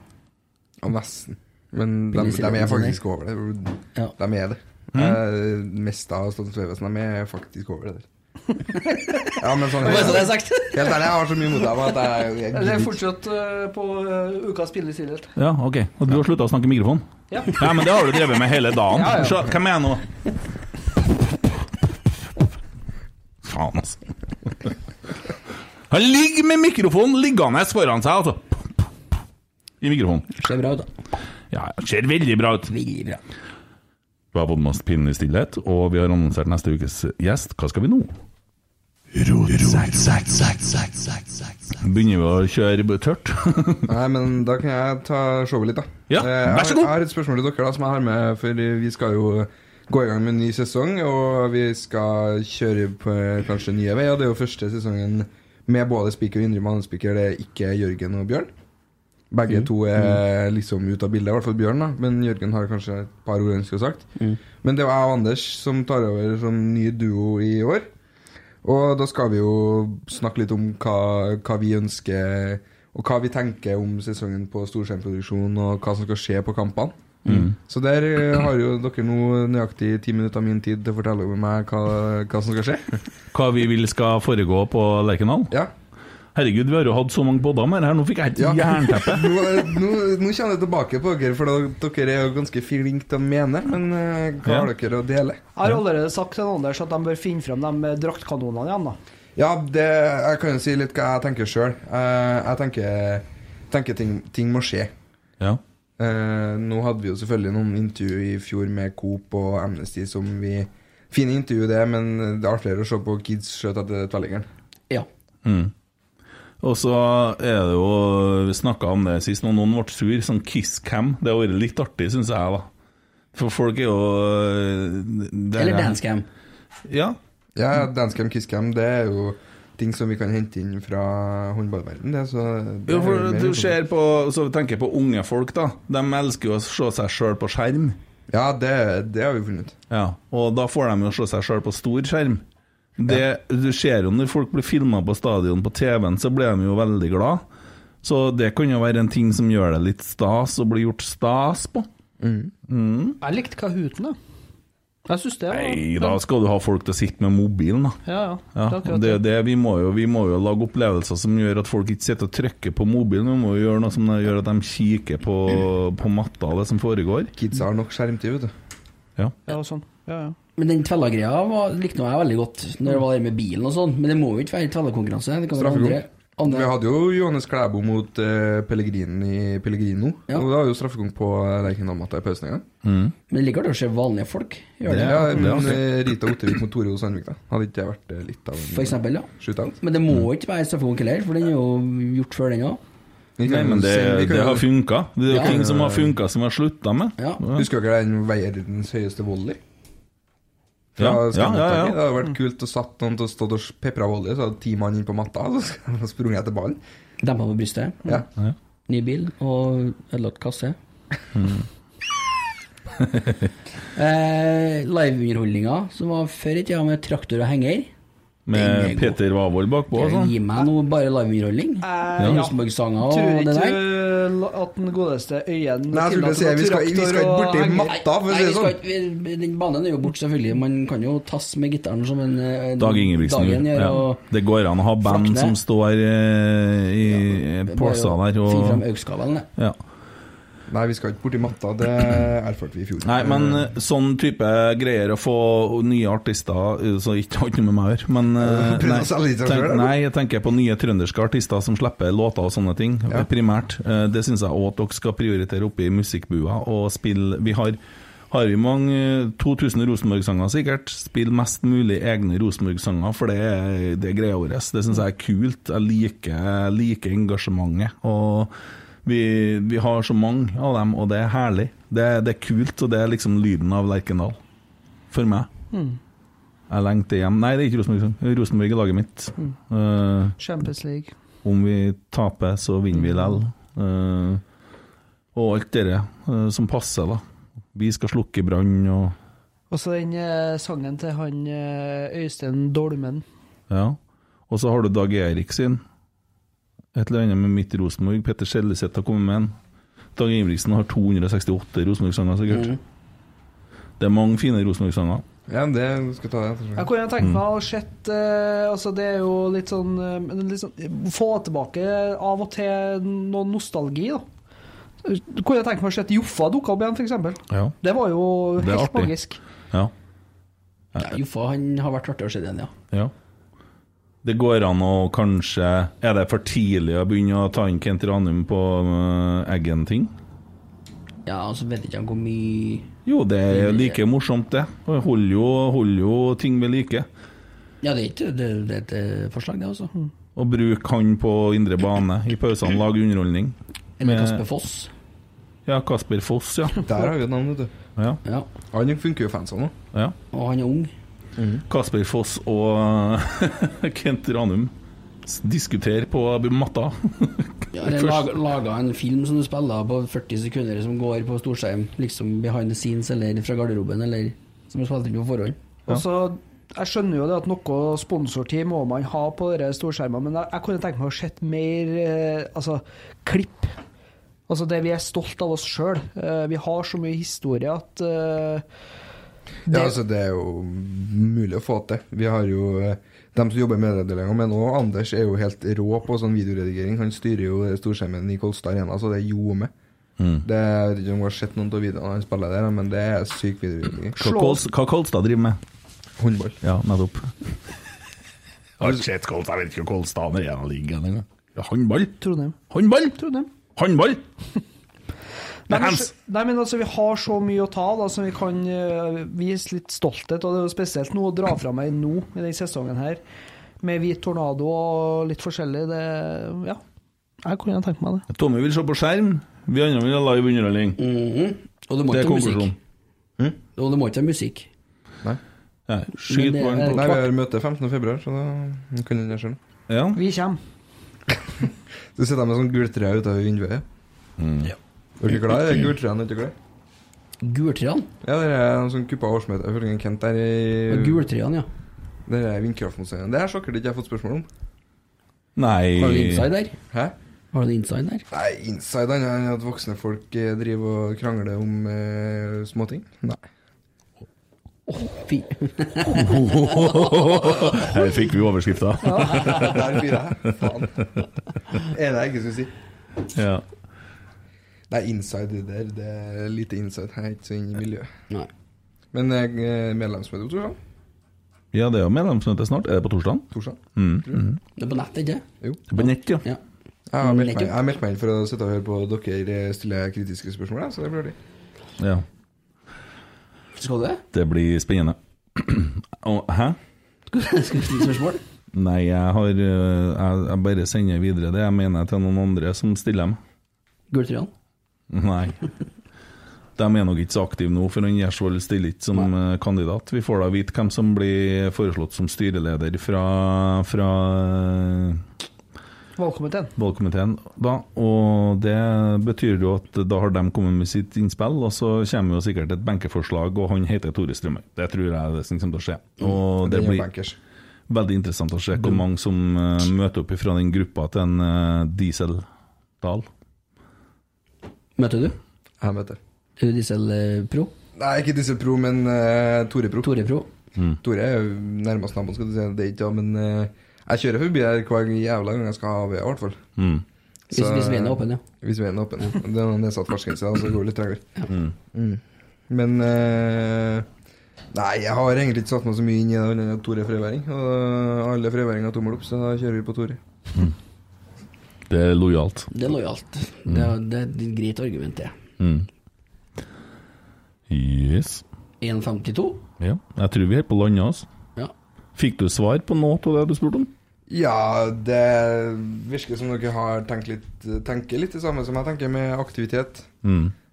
Speaker 6: Ja, nesten. Men de, de
Speaker 4: Penicillin,
Speaker 6: er faktisk over det.
Speaker 4: Ja.
Speaker 6: De er det. Mm. Mest av Statens vegvesen, de er faktisk over det der. Ja, men sånn
Speaker 4: Bare så det er
Speaker 6: helt,
Speaker 4: sagt.
Speaker 6: helt ærlig, jeg har så mye mot dem at jeg, jeg
Speaker 5: Det
Speaker 6: gidder
Speaker 5: er
Speaker 6: ikke.
Speaker 5: fortsatt eh, på eh, ukas spillestillhet.
Speaker 3: Ja, OK. Og du har slutta å snakke i mikrofon?
Speaker 5: Ja.
Speaker 3: Nei, men det har du drevet med hele dagen.
Speaker 5: Ja, ja.
Speaker 3: Så, hvem er jeg nå? Faen, altså. Han ligger med mikrofonen liggende foran seg, altså. I mikrofonen.
Speaker 4: Ser bra ut, da.
Speaker 3: Ja, ja, ser veldig bra ut.
Speaker 4: Veldig bra.
Speaker 3: Vi har fått med oss pinlig stillhet, og vi har annonsert neste ukes gjest. Hva skal vi nå? Begynner vi å kjøre tørt?
Speaker 6: Nei, men da kan jeg ta showet litt, da.
Speaker 3: Ja,
Speaker 6: Eh, jeg har-
Speaker 3: vær så god.
Speaker 6: Jeg har et spørsmål til dere da, som jeg har med, for vi skal jo gå i gang med en ny sesong. Og vi skal kjøre på eh, kanskje nye veier. Det er jo første sesongen med både spiker og indre mannespiker. Det er ikke Jørgen og Bjørn. Begge
Speaker 3: Mm.
Speaker 6: to er liksom ute av bildet, i hvert fall Bjørn, da. Men Jørgen har kanskje et par ord han skulle ha sagt.
Speaker 3: Mm.
Speaker 6: Men det er jo jeg og Anders som tar over som ny duo i år. Og da skal vi jo snakke litt om hva, hva vi ønsker, og hva vi tenker om sesongen på storskjermproduksjon, og hva som skal skje på kampene. Så der eh, har jo dere nå nøyaktig ti minutter av min tid til å fortelle om meg hva, hva som skal skje.
Speaker 3: Hva vi vil skal foregå på Lerkendal?
Speaker 6: Ja.
Speaker 3: Herregud, vi har jo hatt så mange podder med det her, nå fikk jeg et
Speaker 6: Ja.
Speaker 3: jernteppe.
Speaker 6: Nå, nå, nå kjenner jeg tilbake på dere, for da, dere er jo ganske flinke til å mene. Men eh, hva har
Speaker 3: Ja.
Speaker 6: dere å dele?
Speaker 5: Jeg har allerede sagt til Anders at de bør finne fram de eh, draktkanonene igjen, da.
Speaker 6: Ja, det, jeg kan jo si litt hva jeg tenker sjøl. jeg tenker, tenker ting, ting må skje.
Speaker 3: Ja.
Speaker 6: Eh, nå hadde vi jo selvfølgelig noen intervju i fjor med Coop og Amnesty som vi Fine intervju, det, men det er artigere å se på kids skjøt etter tverrliggeren.
Speaker 4: Ja.
Speaker 3: Mm. Og så er det jo Vi snakka om det sist, og noen ble sur. Sånn kisscam. Det har vært litt artig, syns jeg, da. For folk er jo det er-
Speaker 4: Eller dancecam.
Speaker 3: Ja.
Speaker 6: Ja, Dancecam, Kisscam, det er jo ting som vi kan hente inn fra håndballverden, det. Så det
Speaker 3: Jo,
Speaker 6: er jo
Speaker 3: for
Speaker 6: mer
Speaker 3: du
Speaker 6: sånn-
Speaker 3: ser på, så tenker jeg på unge folk, da. De elsker jo å se seg sjøl på skjerm.
Speaker 6: Ja, det, det har vi funnet ut.
Speaker 3: Ja, og da får de jo se seg sjøl på stor skjerm. Det, Du ser jo når folk blir filma på stadion på TV-en, så blir de jo veldig glad. Så det kan jo være en ting som gjør det litt stas å bli gjort stas på.
Speaker 5: Jeg likte Kahooten, da. Jeg syns det var
Speaker 3: Nei, da skal du ha folk til å sitte med mobilen, da.
Speaker 5: Ja, ja.
Speaker 3: Ja,
Speaker 5: det er akkurat
Speaker 3: det, er
Speaker 5: det.
Speaker 3: det, vi, må jo, vi må jo lage opplevelser som gjør at folk ikke sitter og trykker på mobilen. Vi må jo gjøre noe som gjør at de kikker på, på matta, det som foregår.
Speaker 6: Kidsa har nok skjermtid, vet du.
Speaker 5: Ja, og sånn. Ja, ja.
Speaker 4: Men den tvella-greia var- likte nå jeg veldig godt, når det var det med bilen og sånn. Men det må jo ikke være tvellakonkurranse. Det kan være andre,
Speaker 6: Straffekonk. Vi
Speaker 4: andre
Speaker 6: hadde jo Johannes Klæbo mot eh, Pellegrin i Pellegrino.
Speaker 4: Ja.
Speaker 6: Og da var jo straffekonk på eh, Lerkendal-matta i pausen en gang.
Speaker 4: Men det ligger artig å se vanlige folk gjøre det.
Speaker 6: Ja, men
Speaker 3: det er artig.
Speaker 6: eh, Rita Ottervik mot Tore O. Sandvik, da. Hadde ikke det vært eh, litt av en
Speaker 4: For eksempel, ja.
Speaker 6: shootout?
Speaker 4: Men det
Speaker 3: Mm.
Speaker 4: må ikke være straffekonk heller, for den er jo gjort før, den òg.
Speaker 6: Vi
Speaker 3: Nei,
Speaker 6: kan jo
Speaker 3: men det,
Speaker 6: sende- vi kan
Speaker 3: det
Speaker 6: jo-
Speaker 3: har funka. Det er jo
Speaker 4: Ja.
Speaker 3: ting som har funka, som vi har slutta med.
Speaker 4: Ja.
Speaker 6: Husker dere den verdens høyeste volley? Fra
Speaker 3: Ja, ja, ja, Mm.
Speaker 6: skammottaket? Det
Speaker 3: ja.
Speaker 6: hadde vært kult å satt noen til å stå og pepre volley, så hadde ti mann inn på matta, og så sprang jeg til ballen.
Speaker 4: Dempa på brystet. Mm.
Speaker 6: Ja.
Speaker 4: Ny bil og ødelagt kasse.
Speaker 3: Mm.
Speaker 4: eh, Liveunderholdninga som var før i tida med traktor og henger. Den
Speaker 3: Med
Speaker 4: er god.
Speaker 3: Peter Wavold bakpå og sånn.
Speaker 4: Gi meg nå bare liveunderholdning.
Speaker 5: Eh, ja.
Speaker 4: Rosenborg-sanger
Speaker 5: Tror
Speaker 4: og det
Speaker 5: ikke
Speaker 4: der.
Speaker 5: du at den godeste øyen
Speaker 6: Nei, jeg skulle
Speaker 5: tillater
Speaker 6: si,
Speaker 5: både
Speaker 6: vi skal, vi
Speaker 5: traktor
Speaker 6: skal ikke
Speaker 5: og
Speaker 6: borti
Speaker 5: henger.
Speaker 6: matta, for å
Speaker 4: Nei,
Speaker 6: si
Speaker 4: vi
Speaker 6: det
Speaker 4: skal
Speaker 6: sånn.
Speaker 4: ikke, vi, den banen er jo borte, selvfølgelig. Man kan jo tasse med gitaren som en, eh,
Speaker 3: Dag Ingebrigtsen.
Speaker 4: Dagen gjør.
Speaker 3: ja.
Speaker 4: og
Speaker 3: Det går an å ha band
Speaker 4: Flakne.
Speaker 3: som står eh, i eh, påsa
Speaker 4: bare
Speaker 3: der
Speaker 4: å Finne fram
Speaker 3: og
Speaker 4: augskabelen, det.
Speaker 3: ja.
Speaker 6: Nei, vi skal ikke borti matta. Det erfarte vi i fjor.
Speaker 3: Nei, men eh, sånn type greier å få nye artister eh, Så ikke har ikke noe med meg å gjøre, men eh,
Speaker 6: Prøvde å
Speaker 3: nei,
Speaker 6: selge litt av
Speaker 3: tenk,
Speaker 6: selv, eller?
Speaker 3: nei, jeg tenker på nye trønderske artister som slipper låter og sånne ting,
Speaker 6: Ja.
Speaker 3: primært. Eh, Det syns jeg òg at dere skal prioritere oppe i musikkbua og spille Vi har, har vi mange eh, 2000 Rosenborg-sanger sikkert. Spill mest mulig egne Rosenborg-sanger, for det er, det er greia vår. Det syns jeg er kult. Jeg liker, jeg liker engasjementet. og vi, vi har så mange av dem, og det er herlig. Det, det er kult, og det er liksom lyden av Lerkendal. For meg. Jeg lengter hjem Nei, det er ikke Rosenborg. liksom. Rosenborg er laget mitt. Eh,
Speaker 5: Champions League.
Speaker 3: om vi taper, så vinner vi lell. Eh, og alt det eh, som passer, da. Vi skal slukke brann og
Speaker 5: Og så den eh, sangen til han eh, Øystein Dolmen.
Speaker 3: Ja. Og så har du Dag Erik sin. Et eller annet med mitt Rosenborg. Petter Skjelleseth har kommet med en. Dag Ingebrigtsen har 268 Rosenborg-sanger, sikkert. Det er mange fine Rosenborg-sanger.
Speaker 6: Ja, men det vi skal ta det. ettersom.
Speaker 5: Jeg kunne
Speaker 3: Mm.
Speaker 5: tenkt meg å sett eh, Altså, det er jo litt sånn, eh, men litt sånn Få tilbake av og til noe nostalgi, da. Jeg kunne tenkt meg å sett Joffa dukke opp igjen, f.eks.
Speaker 3: Ja.
Speaker 5: Det var jo
Speaker 3: Det er
Speaker 5: helt
Speaker 3: artig.
Speaker 5: magisk.
Speaker 3: ja.
Speaker 4: Ja, Joffa han har vært artig å se den, ja.
Speaker 3: Ja. Det går an å kanskje Er det for tidlig å begynne å ta inn Kent Ranum på øh, Eggen-ting?
Speaker 4: Ja, altså vet ikke han hvor mye
Speaker 3: Jo, det er like morsomt, det. Og jeg Holder jo, holder jo ting ved like.
Speaker 4: Ja, det er ikke det, det er et eh, forslag, det, altså.
Speaker 3: Og bruk han på indre bane i pausene, lage underholdning.
Speaker 4: Eller
Speaker 3: Med-
Speaker 4: Kasper Foss.
Speaker 3: Ja, Kasper Foss, ja.
Speaker 6: Der har vi et navn, vet du.
Speaker 3: ja,
Speaker 4: Ja.
Speaker 6: Han funker jo fansa nå.
Speaker 3: ja.
Speaker 4: Og han er ung.
Speaker 3: Kasper Foss og eh, Kent Ranum s- diskuterer på matta.
Speaker 4: Ja, eller
Speaker 3: Først-
Speaker 4: lag- laga en film som du spiller på 40 sekunder, som går på storskjerm. Liksom behind the scenes, eller fra garderoben, eller som du spilte inn på forhånd.
Speaker 5: Og så, jeg skjønner jo det at noe sponsortid må man ha på dere storskjermene, men jeg, jeg kunne tenke meg å sett mer eh, altså, klipp. Altså det vi er stolt av oss sjøl. Eh, vi har så mye historie at eh, det,
Speaker 6: Ja, altså, det er jo mulig å få til. Vi har jo eh, dem som jobber med medieavdelinga, men òg Anders er jo helt rå på sånn videoredigering. Han styrer jo storskjermen i Kolstad Arena, så det ljomer. Det Jeg vet ikke om du har sett noen av videoene han spiller der, men det er syk videoredigering.
Speaker 3: Hva Kols- hva Kolstad driver med.
Speaker 6: Håndball.
Speaker 3: Ja, nettopp. Har ikke sett Kolstad, jeg vet ikke hva Kolstad er i en liga engang. Ja, Håndball?
Speaker 5: Trondheim.
Speaker 3: Håndball?
Speaker 5: Trondheim.
Speaker 3: Håndball?
Speaker 5: Nei, men,
Speaker 3: Hands.
Speaker 5: nei, men altså, vi har så mye å ta av, da, som vi kan eh, vise litt stolthet. Og det er jo spesielt noe å dra fra meg nå, i den sesongen her, med hvit tornado og litt forskjellig. Det, ja. Jeg kunne tenkt meg det.
Speaker 3: Tommy vil se på skjerm, vi andre vil ha live underholdning.
Speaker 4: Mhm. Og det må
Speaker 3: Det er
Speaker 4: ikke være musikk.
Speaker 3: konklusjonen.
Speaker 4: Og det må ikke være musikk.
Speaker 3: Nei, Skyt
Speaker 4: Men eh, det
Speaker 3: ballen
Speaker 4: er-
Speaker 3: på
Speaker 6: Nei, vi har møte 15.2, så da kan du det sjøl.
Speaker 3: Ja.
Speaker 5: Vi kommer.
Speaker 6: Så sitter jeg med sånn gultre utover vinduet.
Speaker 4: Ja.
Speaker 6: Er dere glad i gultrærne? Ikke glad?
Speaker 4: Gultrærne.
Speaker 6: Ja, det er en sånn kuppa årsmøte. Jeg følger en Kent der
Speaker 4: Og
Speaker 6: i
Speaker 4: Gultrærne, ja.
Speaker 6: Det er vindkraftmuseet. Det er sjokkert ikke jeg har fått spørsmål om.
Speaker 4: Har du
Speaker 3: Nei
Speaker 4: inside der?
Speaker 6: Hæ?
Speaker 4: Har du noe inside der?
Speaker 6: Nei, inside han er at voksne folk eh, driver og krangler om eh, småting. Nei.
Speaker 4: Å, fy.
Speaker 3: Her fikk vi overskrifta.
Speaker 6: Der blir jeg. Faen. Er det jeg ikke skulle si?
Speaker 3: Ja.
Speaker 6: Nei, inside det der. Det er lite inside. Jeg er ikke så inne i miljøet.
Speaker 4: Nei.
Speaker 6: Men jeg er medlemsmøte på torsdag.
Speaker 3: ja, det er jo medlemsmøte snart. Er det på torsdag? Mm.
Speaker 6: Torsdag.
Speaker 4: Det er på nett, ikke
Speaker 6: Jo.
Speaker 3: På nett, ja.
Speaker 4: Ja.
Speaker 6: Jeg har meldt meg, jeg har meldt meg inn for å sitte og høre på dere eh, stille kritiske spørsmål, jeg, så det blir artig.
Speaker 3: ja.
Speaker 4: Skal du det?
Speaker 3: Det blir spennende. Å, hæ?
Speaker 4: Skal vi stille spørsmål?
Speaker 3: Nei, jeg har eh, Jeg, jeg bare sender videre det jeg mener til noen andre som stiller dem.
Speaker 4: Gulltrøyen?
Speaker 3: Nei. De er nok ikke så aktive nå, for han Gjersvold stiller ikke som eh, kandidat. Vi får da vite hvem som blir foreslått som styreleder fra, fra eh,
Speaker 5: Valgkomiteen.
Speaker 3: valgkomiteen. Da. Og det betyr jo at da har de kommet med sitt innspill, og så kommer jo sikkert et benkeforslag, og han heter Tore Strømøy. Det tror jeg er det som kommer til å skje. Og Mm. det
Speaker 6: Det er
Speaker 3: blir
Speaker 6: bankers.
Speaker 3: Veldig interessant å se hvor mange som eh, møter opp fra den gruppa til en eh, Dieseldal.
Speaker 4: Møter du?
Speaker 6: Jeg møter.
Speaker 4: Er du dieselpro?
Speaker 6: Nei, ikke disse pro, men eh, Tore Pro.
Speaker 4: eh, Tore Pro?
Speaker 6: Tore er jo nærmest naboen, skal du si. Det er ikke, ja, men eh, jeg kjører forbi her hver jævla gang jeg skal ha ved, i hvert fall.
Speaker 3: Mm.
Speaker 4: Hvis,
Speaker 6: Så-
Speaker 4: hvis veien er åpen, ja.
Speaker 6: Hvis veien er åpen. Det er noen nedsatt fartsgrense, så det går litt tregere. Mm. Men eh, Nei, jeg har egentlig ikke satt meg så mye inn i det, annet enn at Tore er frøværing. Og alle frøværinger har tommel opp, så da kjører vi på Tore.
Speaker 3: Det er lojalt.
Speaker 4: Det er lojalt.
Speaker 6: Mm.
Speaker 4: Det, er- det er et greit argument, det.
Speaker 3: Yes.
Speaker 4: 1,52?
Speaker 3: Ja. Jeg tror vi er på landet, altså.
Speaker 4: Ja.
Speaker 3: Fikk du svar på noe av det du spurte om?
Speaker 6: Ja, det virker som dere har tenkt litt Tenker litt det samme som jeg tenker med aktivitet.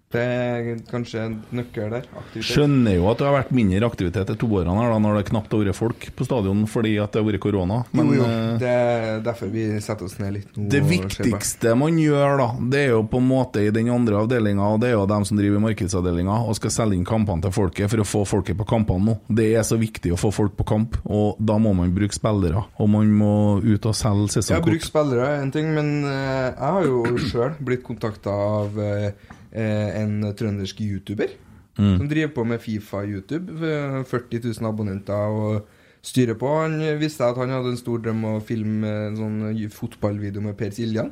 Speaker 6: Det er kanskje en nøkkel der. Aktivitet.
Speaker 3: Skjønner jo at det har vært mindre aktivitet de to årene her, da, når det knapt har vært folk på stadion fordi at det har vært korona. Men
Speaker 6: jo, jo.
Speaker 3: eh,
Speaker 6: Det er derfor vi setter oss ned litt nå.
Speaker 3: Det
Speaker 6: og ser på.
Speaker 3: viktigste man gjør, da, det er jo på en måte i den andre avdelinga, og det er jo dem som driver markedsavdelinga og skal selge inn kampene til folket for å få folket på kampene nå. Det er så viktig å få folk på kamp, og da må man bruke spillere. Og man må ut og selge
Speaker 6: Ja, bruk
Speaker 3: sesongkort.
Speaker 6: spillere er en ting, men eh, jeg har jo sjøl blitt kontakta av eh, eh, en trøndersk YouTuber som driver på med Fifa-YouTube. eh, 40 000 abonnenter og styrer på. Han visste at han hadde en stor drøm å filme en sånn fotballvideo med Per Siljan.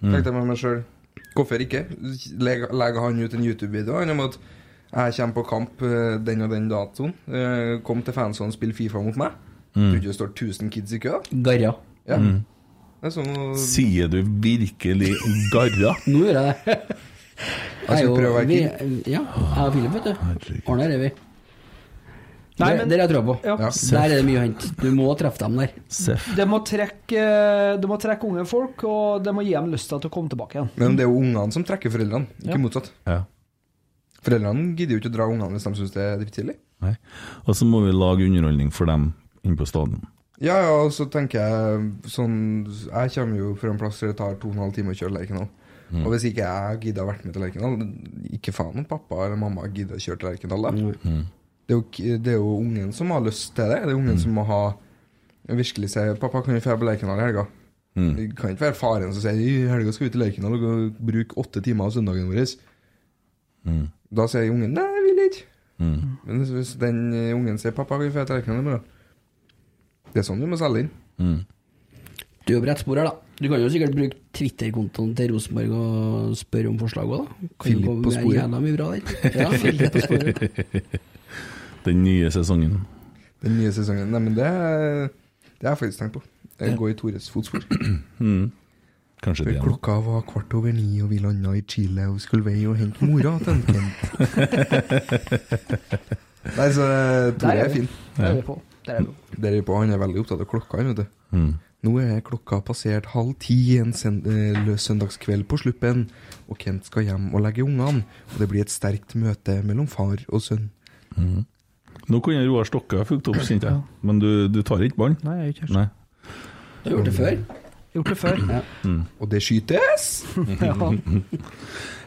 Speaker 6: Tenkte jeg med meg sjøl, hvorfor ikke? Legger legger han ut en YouTube-video han om at jeg kommer på kamp eh, den og den datoen. eh, Kom til fansonen, spill Fifa mot meg. Tror ikke det står 1000 kids i kø. da.
Speaker 4: Garra.
Speaker 6: Ja. Det er som å
Speaker 3: Sier du virkelig garra?
Speaker 4: Nå gjør jeg det. Jeg er
Speaker 6: skal
Speaker 4: jo-
Speaker 6: prøve Altså, å være
Speaker 4: vi- Ja, jeg og Philip, vet du.
Speaker 3: Herregud.
Speaker 4: Ordner er vi.
Speaker 5: Nei,
Speaker 4: Der-
Speaker 5: men-
Speaker 4: Der er jeg troa på.
Speaker 5: Ja.
Speaker 6: Ja.
Speaker 4: Der er det mye å hente. Du må treffe dem der.
Speaker 3: Seff.
Speaker 5: Det må trekke, det må trekke unge folk, og det må gi dem lysta til å komme tilbake igjen.
Speaker 6: Men det er jo ungene som trekker foreldrene, ikke
Speaker 5: Ja.
Speaker 6: motsatt.
Speaker 3: Ja.
Speaker 6: Foreldrene gidder jo ikke å dra ungene hvis de syns det er drittkjedelig.
Speaker 3: Nei. Og så må vi lage underholdning for dem inne på stadion.
Speaker 6: Ja, ja, og så tenker jeg sånn Jeg kommer jo fra en plass der det tar to og en halv time å kjøre Lerkendal. Og hvis ikke jeg gidder å vært med til Lerkendal, ikke faen om pappa eller mamma gidder å kjøre til Lerkendal, da. Det, er jo, k- det er jo ungen som har lyst til det. Det er ungen som må ha virkelig si 'Pappa, kan vi dra på Lerkendal i helga?' Det kan ikke være faren som sier 'I helga skal vi til Lerkendal og gå- bruke åtte timer av søndagen vår'. Da sier ungen 'Nei, jeg vil ikke'. Men hvis- hvis den eh, ungen sier 'Pappa, kan vi dra til Lerkendal i morgen', det er sånn du må selge inn.
Speaker 4: Du er på rett spor her, da. Du kan jo sikkert bruke Twitter-kontoen til Rosenborg og spørre om forslag òg, da. Kan
Speaker 6: Philip
Speaker 4: jo komme
Speaker 6: på
Speaker 4: med
Speaker 6: sporet.
Speaker 4: Jævla mye bra, der. Ja, Philip på sporet.
Speaker 3: Den nye sesongen.
Speaker 6: Den nye sesongen. Nei, men det, det har jeg faktisk tenkt på. Jeg går i Tores fotspor.
Speaker 3: Mm. Kanskje det. er noe.
Speaker 6: Klokka var kvart over ni, og vi landa i Chile og skulle vei og hente mora til en Kent. Nei, så eh, Tore
Speaker 5: Der
Speaker 6: er
Speaker 5: vi.
Speaker 6: fin.
Speaker 5: Der er vi på. Der er vi på.
Speaker 6: Der er vi på, Han er veldig opptatt av klokka, han, vet du.
Speaker 3: Mm.
Speaker 6: Nå er klokka passert halv ti en sen- eh, løs søndagskveld på Sluppen, og Kent skal hjem og legge ungene. Og det blir et sterkt møte mellom far og sønn.
Speaker 3: Nå kunne Roar Stokke ha fulgt opp, kjente jeg. Men du, du tar ikke ballen?
Speaker 5: Nei, jeg har ikke hørt.
Speaker 3: Nei.
Speaker 4: Du har gjort det før.
Speaker 5: gjort det før.
Speaker 6: Og det skytes!
Speaker 5: Ja.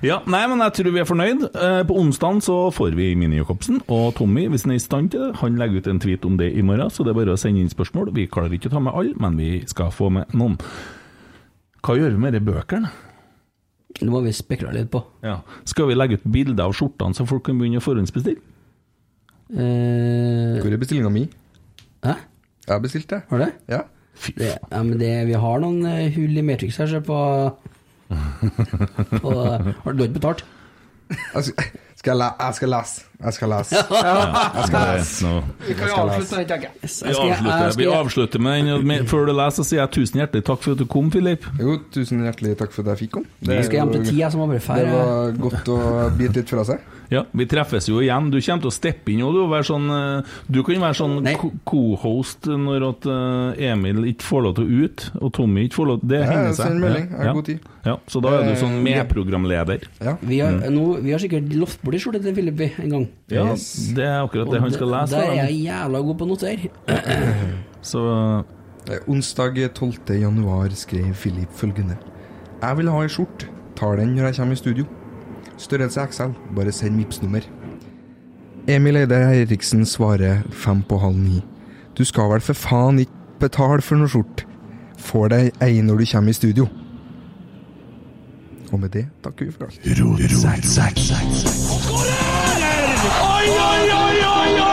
Speaker 3: Ja, nei, men jeg tror vi er fornøyd. Eh, På onsdag så får vi Mini Jacobsen, og Tommy, hvis han er i stand til det, han legger ut en tweet om det i morgen, så det er bare å sende inn spørsmål. Vi klarer ikke å ta med alle, men vi skal få med noen. Hva gjør vi med de bøkene?
Speaker 4: Det må vi spekulere litt på.
Speaker 3: Ja. Skal vi legge ut bilder av skjortene, så folk kan begynne å forhåndsbestille?
Speaker 4: Eh,
Speaker 6: Hvor er bestillinga mi?
Speaker 4: hæ?
Speaker 6: Jeg har bestilt det.
Speaker 4: Har du det?
Speaker 6: Ja.
Speaker 3: Fy
Speaker 4: det ja, men det, vi har noen eh, hull i Matrix her, se på, på Har du ikke betalt?
Speaker 6: Jeg skal, Altså, skal jeg, le- jeg skal lese. Jeg skal lese.
Speaker 3: faen.
Speaker 5: Vi kan jo avslutte den, tenker jeg.
Speaker 3: Vi avslutter, vi avslutter med den. og med- Før du leser, så sier jeg tusen hjertelig takk for at du kom, Filip.
Speaker 6: Jo, tusen hjertelig takk for at jeg fikk komme. Det,
Speaker 4: Vi skal hjem til eh.
Speaker 6: var-
Speaker 4: ti, jeg som har bare
Speaker 6: det
Speaker 4: fær.
Speaker 6: var godt å bite litt fra seg.
Speaker 3: Ja, vi treffes jo igjen. Du kommer til å steppe inn og du, og være sånn, eh, du kan være sånn
Speaker 4: Nei.
Speaker 3: ko- co-host når at eh, Emil ikke får lov til å ut, og Tommy ikke får lov til Det
Speaker 6: Ja,
Speaker 3: hender
Speaker 6: jeg
Speaker 3: seg.
Speaker 6: sender melding.
Speaker 3: Ja,
Speaker 6: Jeg har
Speaker 3: ja.
Speaker 6: god tid.
Speaker 3: Ja, så da er du sånn
Speaker 6: Eh, ja.
Speaker 3: medprogramleder.
Speaker 6: Ja.
Speaker 4: Vi har, nå, vi har sikkert lovt bort ei skjorte til Philip vi, en gang.
Speaker 3: Mm. Ja,
Speaker 6: Yes.
Speaker 3: det er akkurat det han skal
Speaker 4: Og
Speaker 3: lese.
Speaker 4: Der er
Speaker 3: da.
Speaker 4: jeg jævla god på å notere.
Speaker 3: Så
Speaker 6: Eh, Onsdag 12. januar skrev Philip følgende. Jeg vil ha ei skjorte. Tar den når jeg kommer i studio. Størrelse XL. Bare send Vipps-nummer. Emil Eide Eriksen svarer fem på halv ni. Du skal vel for faen ikke betale for noe skjorte. Får deg ei når du kommer i studio. Og med det takker vi for alt.
Speaker 1: oi, oi, oi, oi, oi!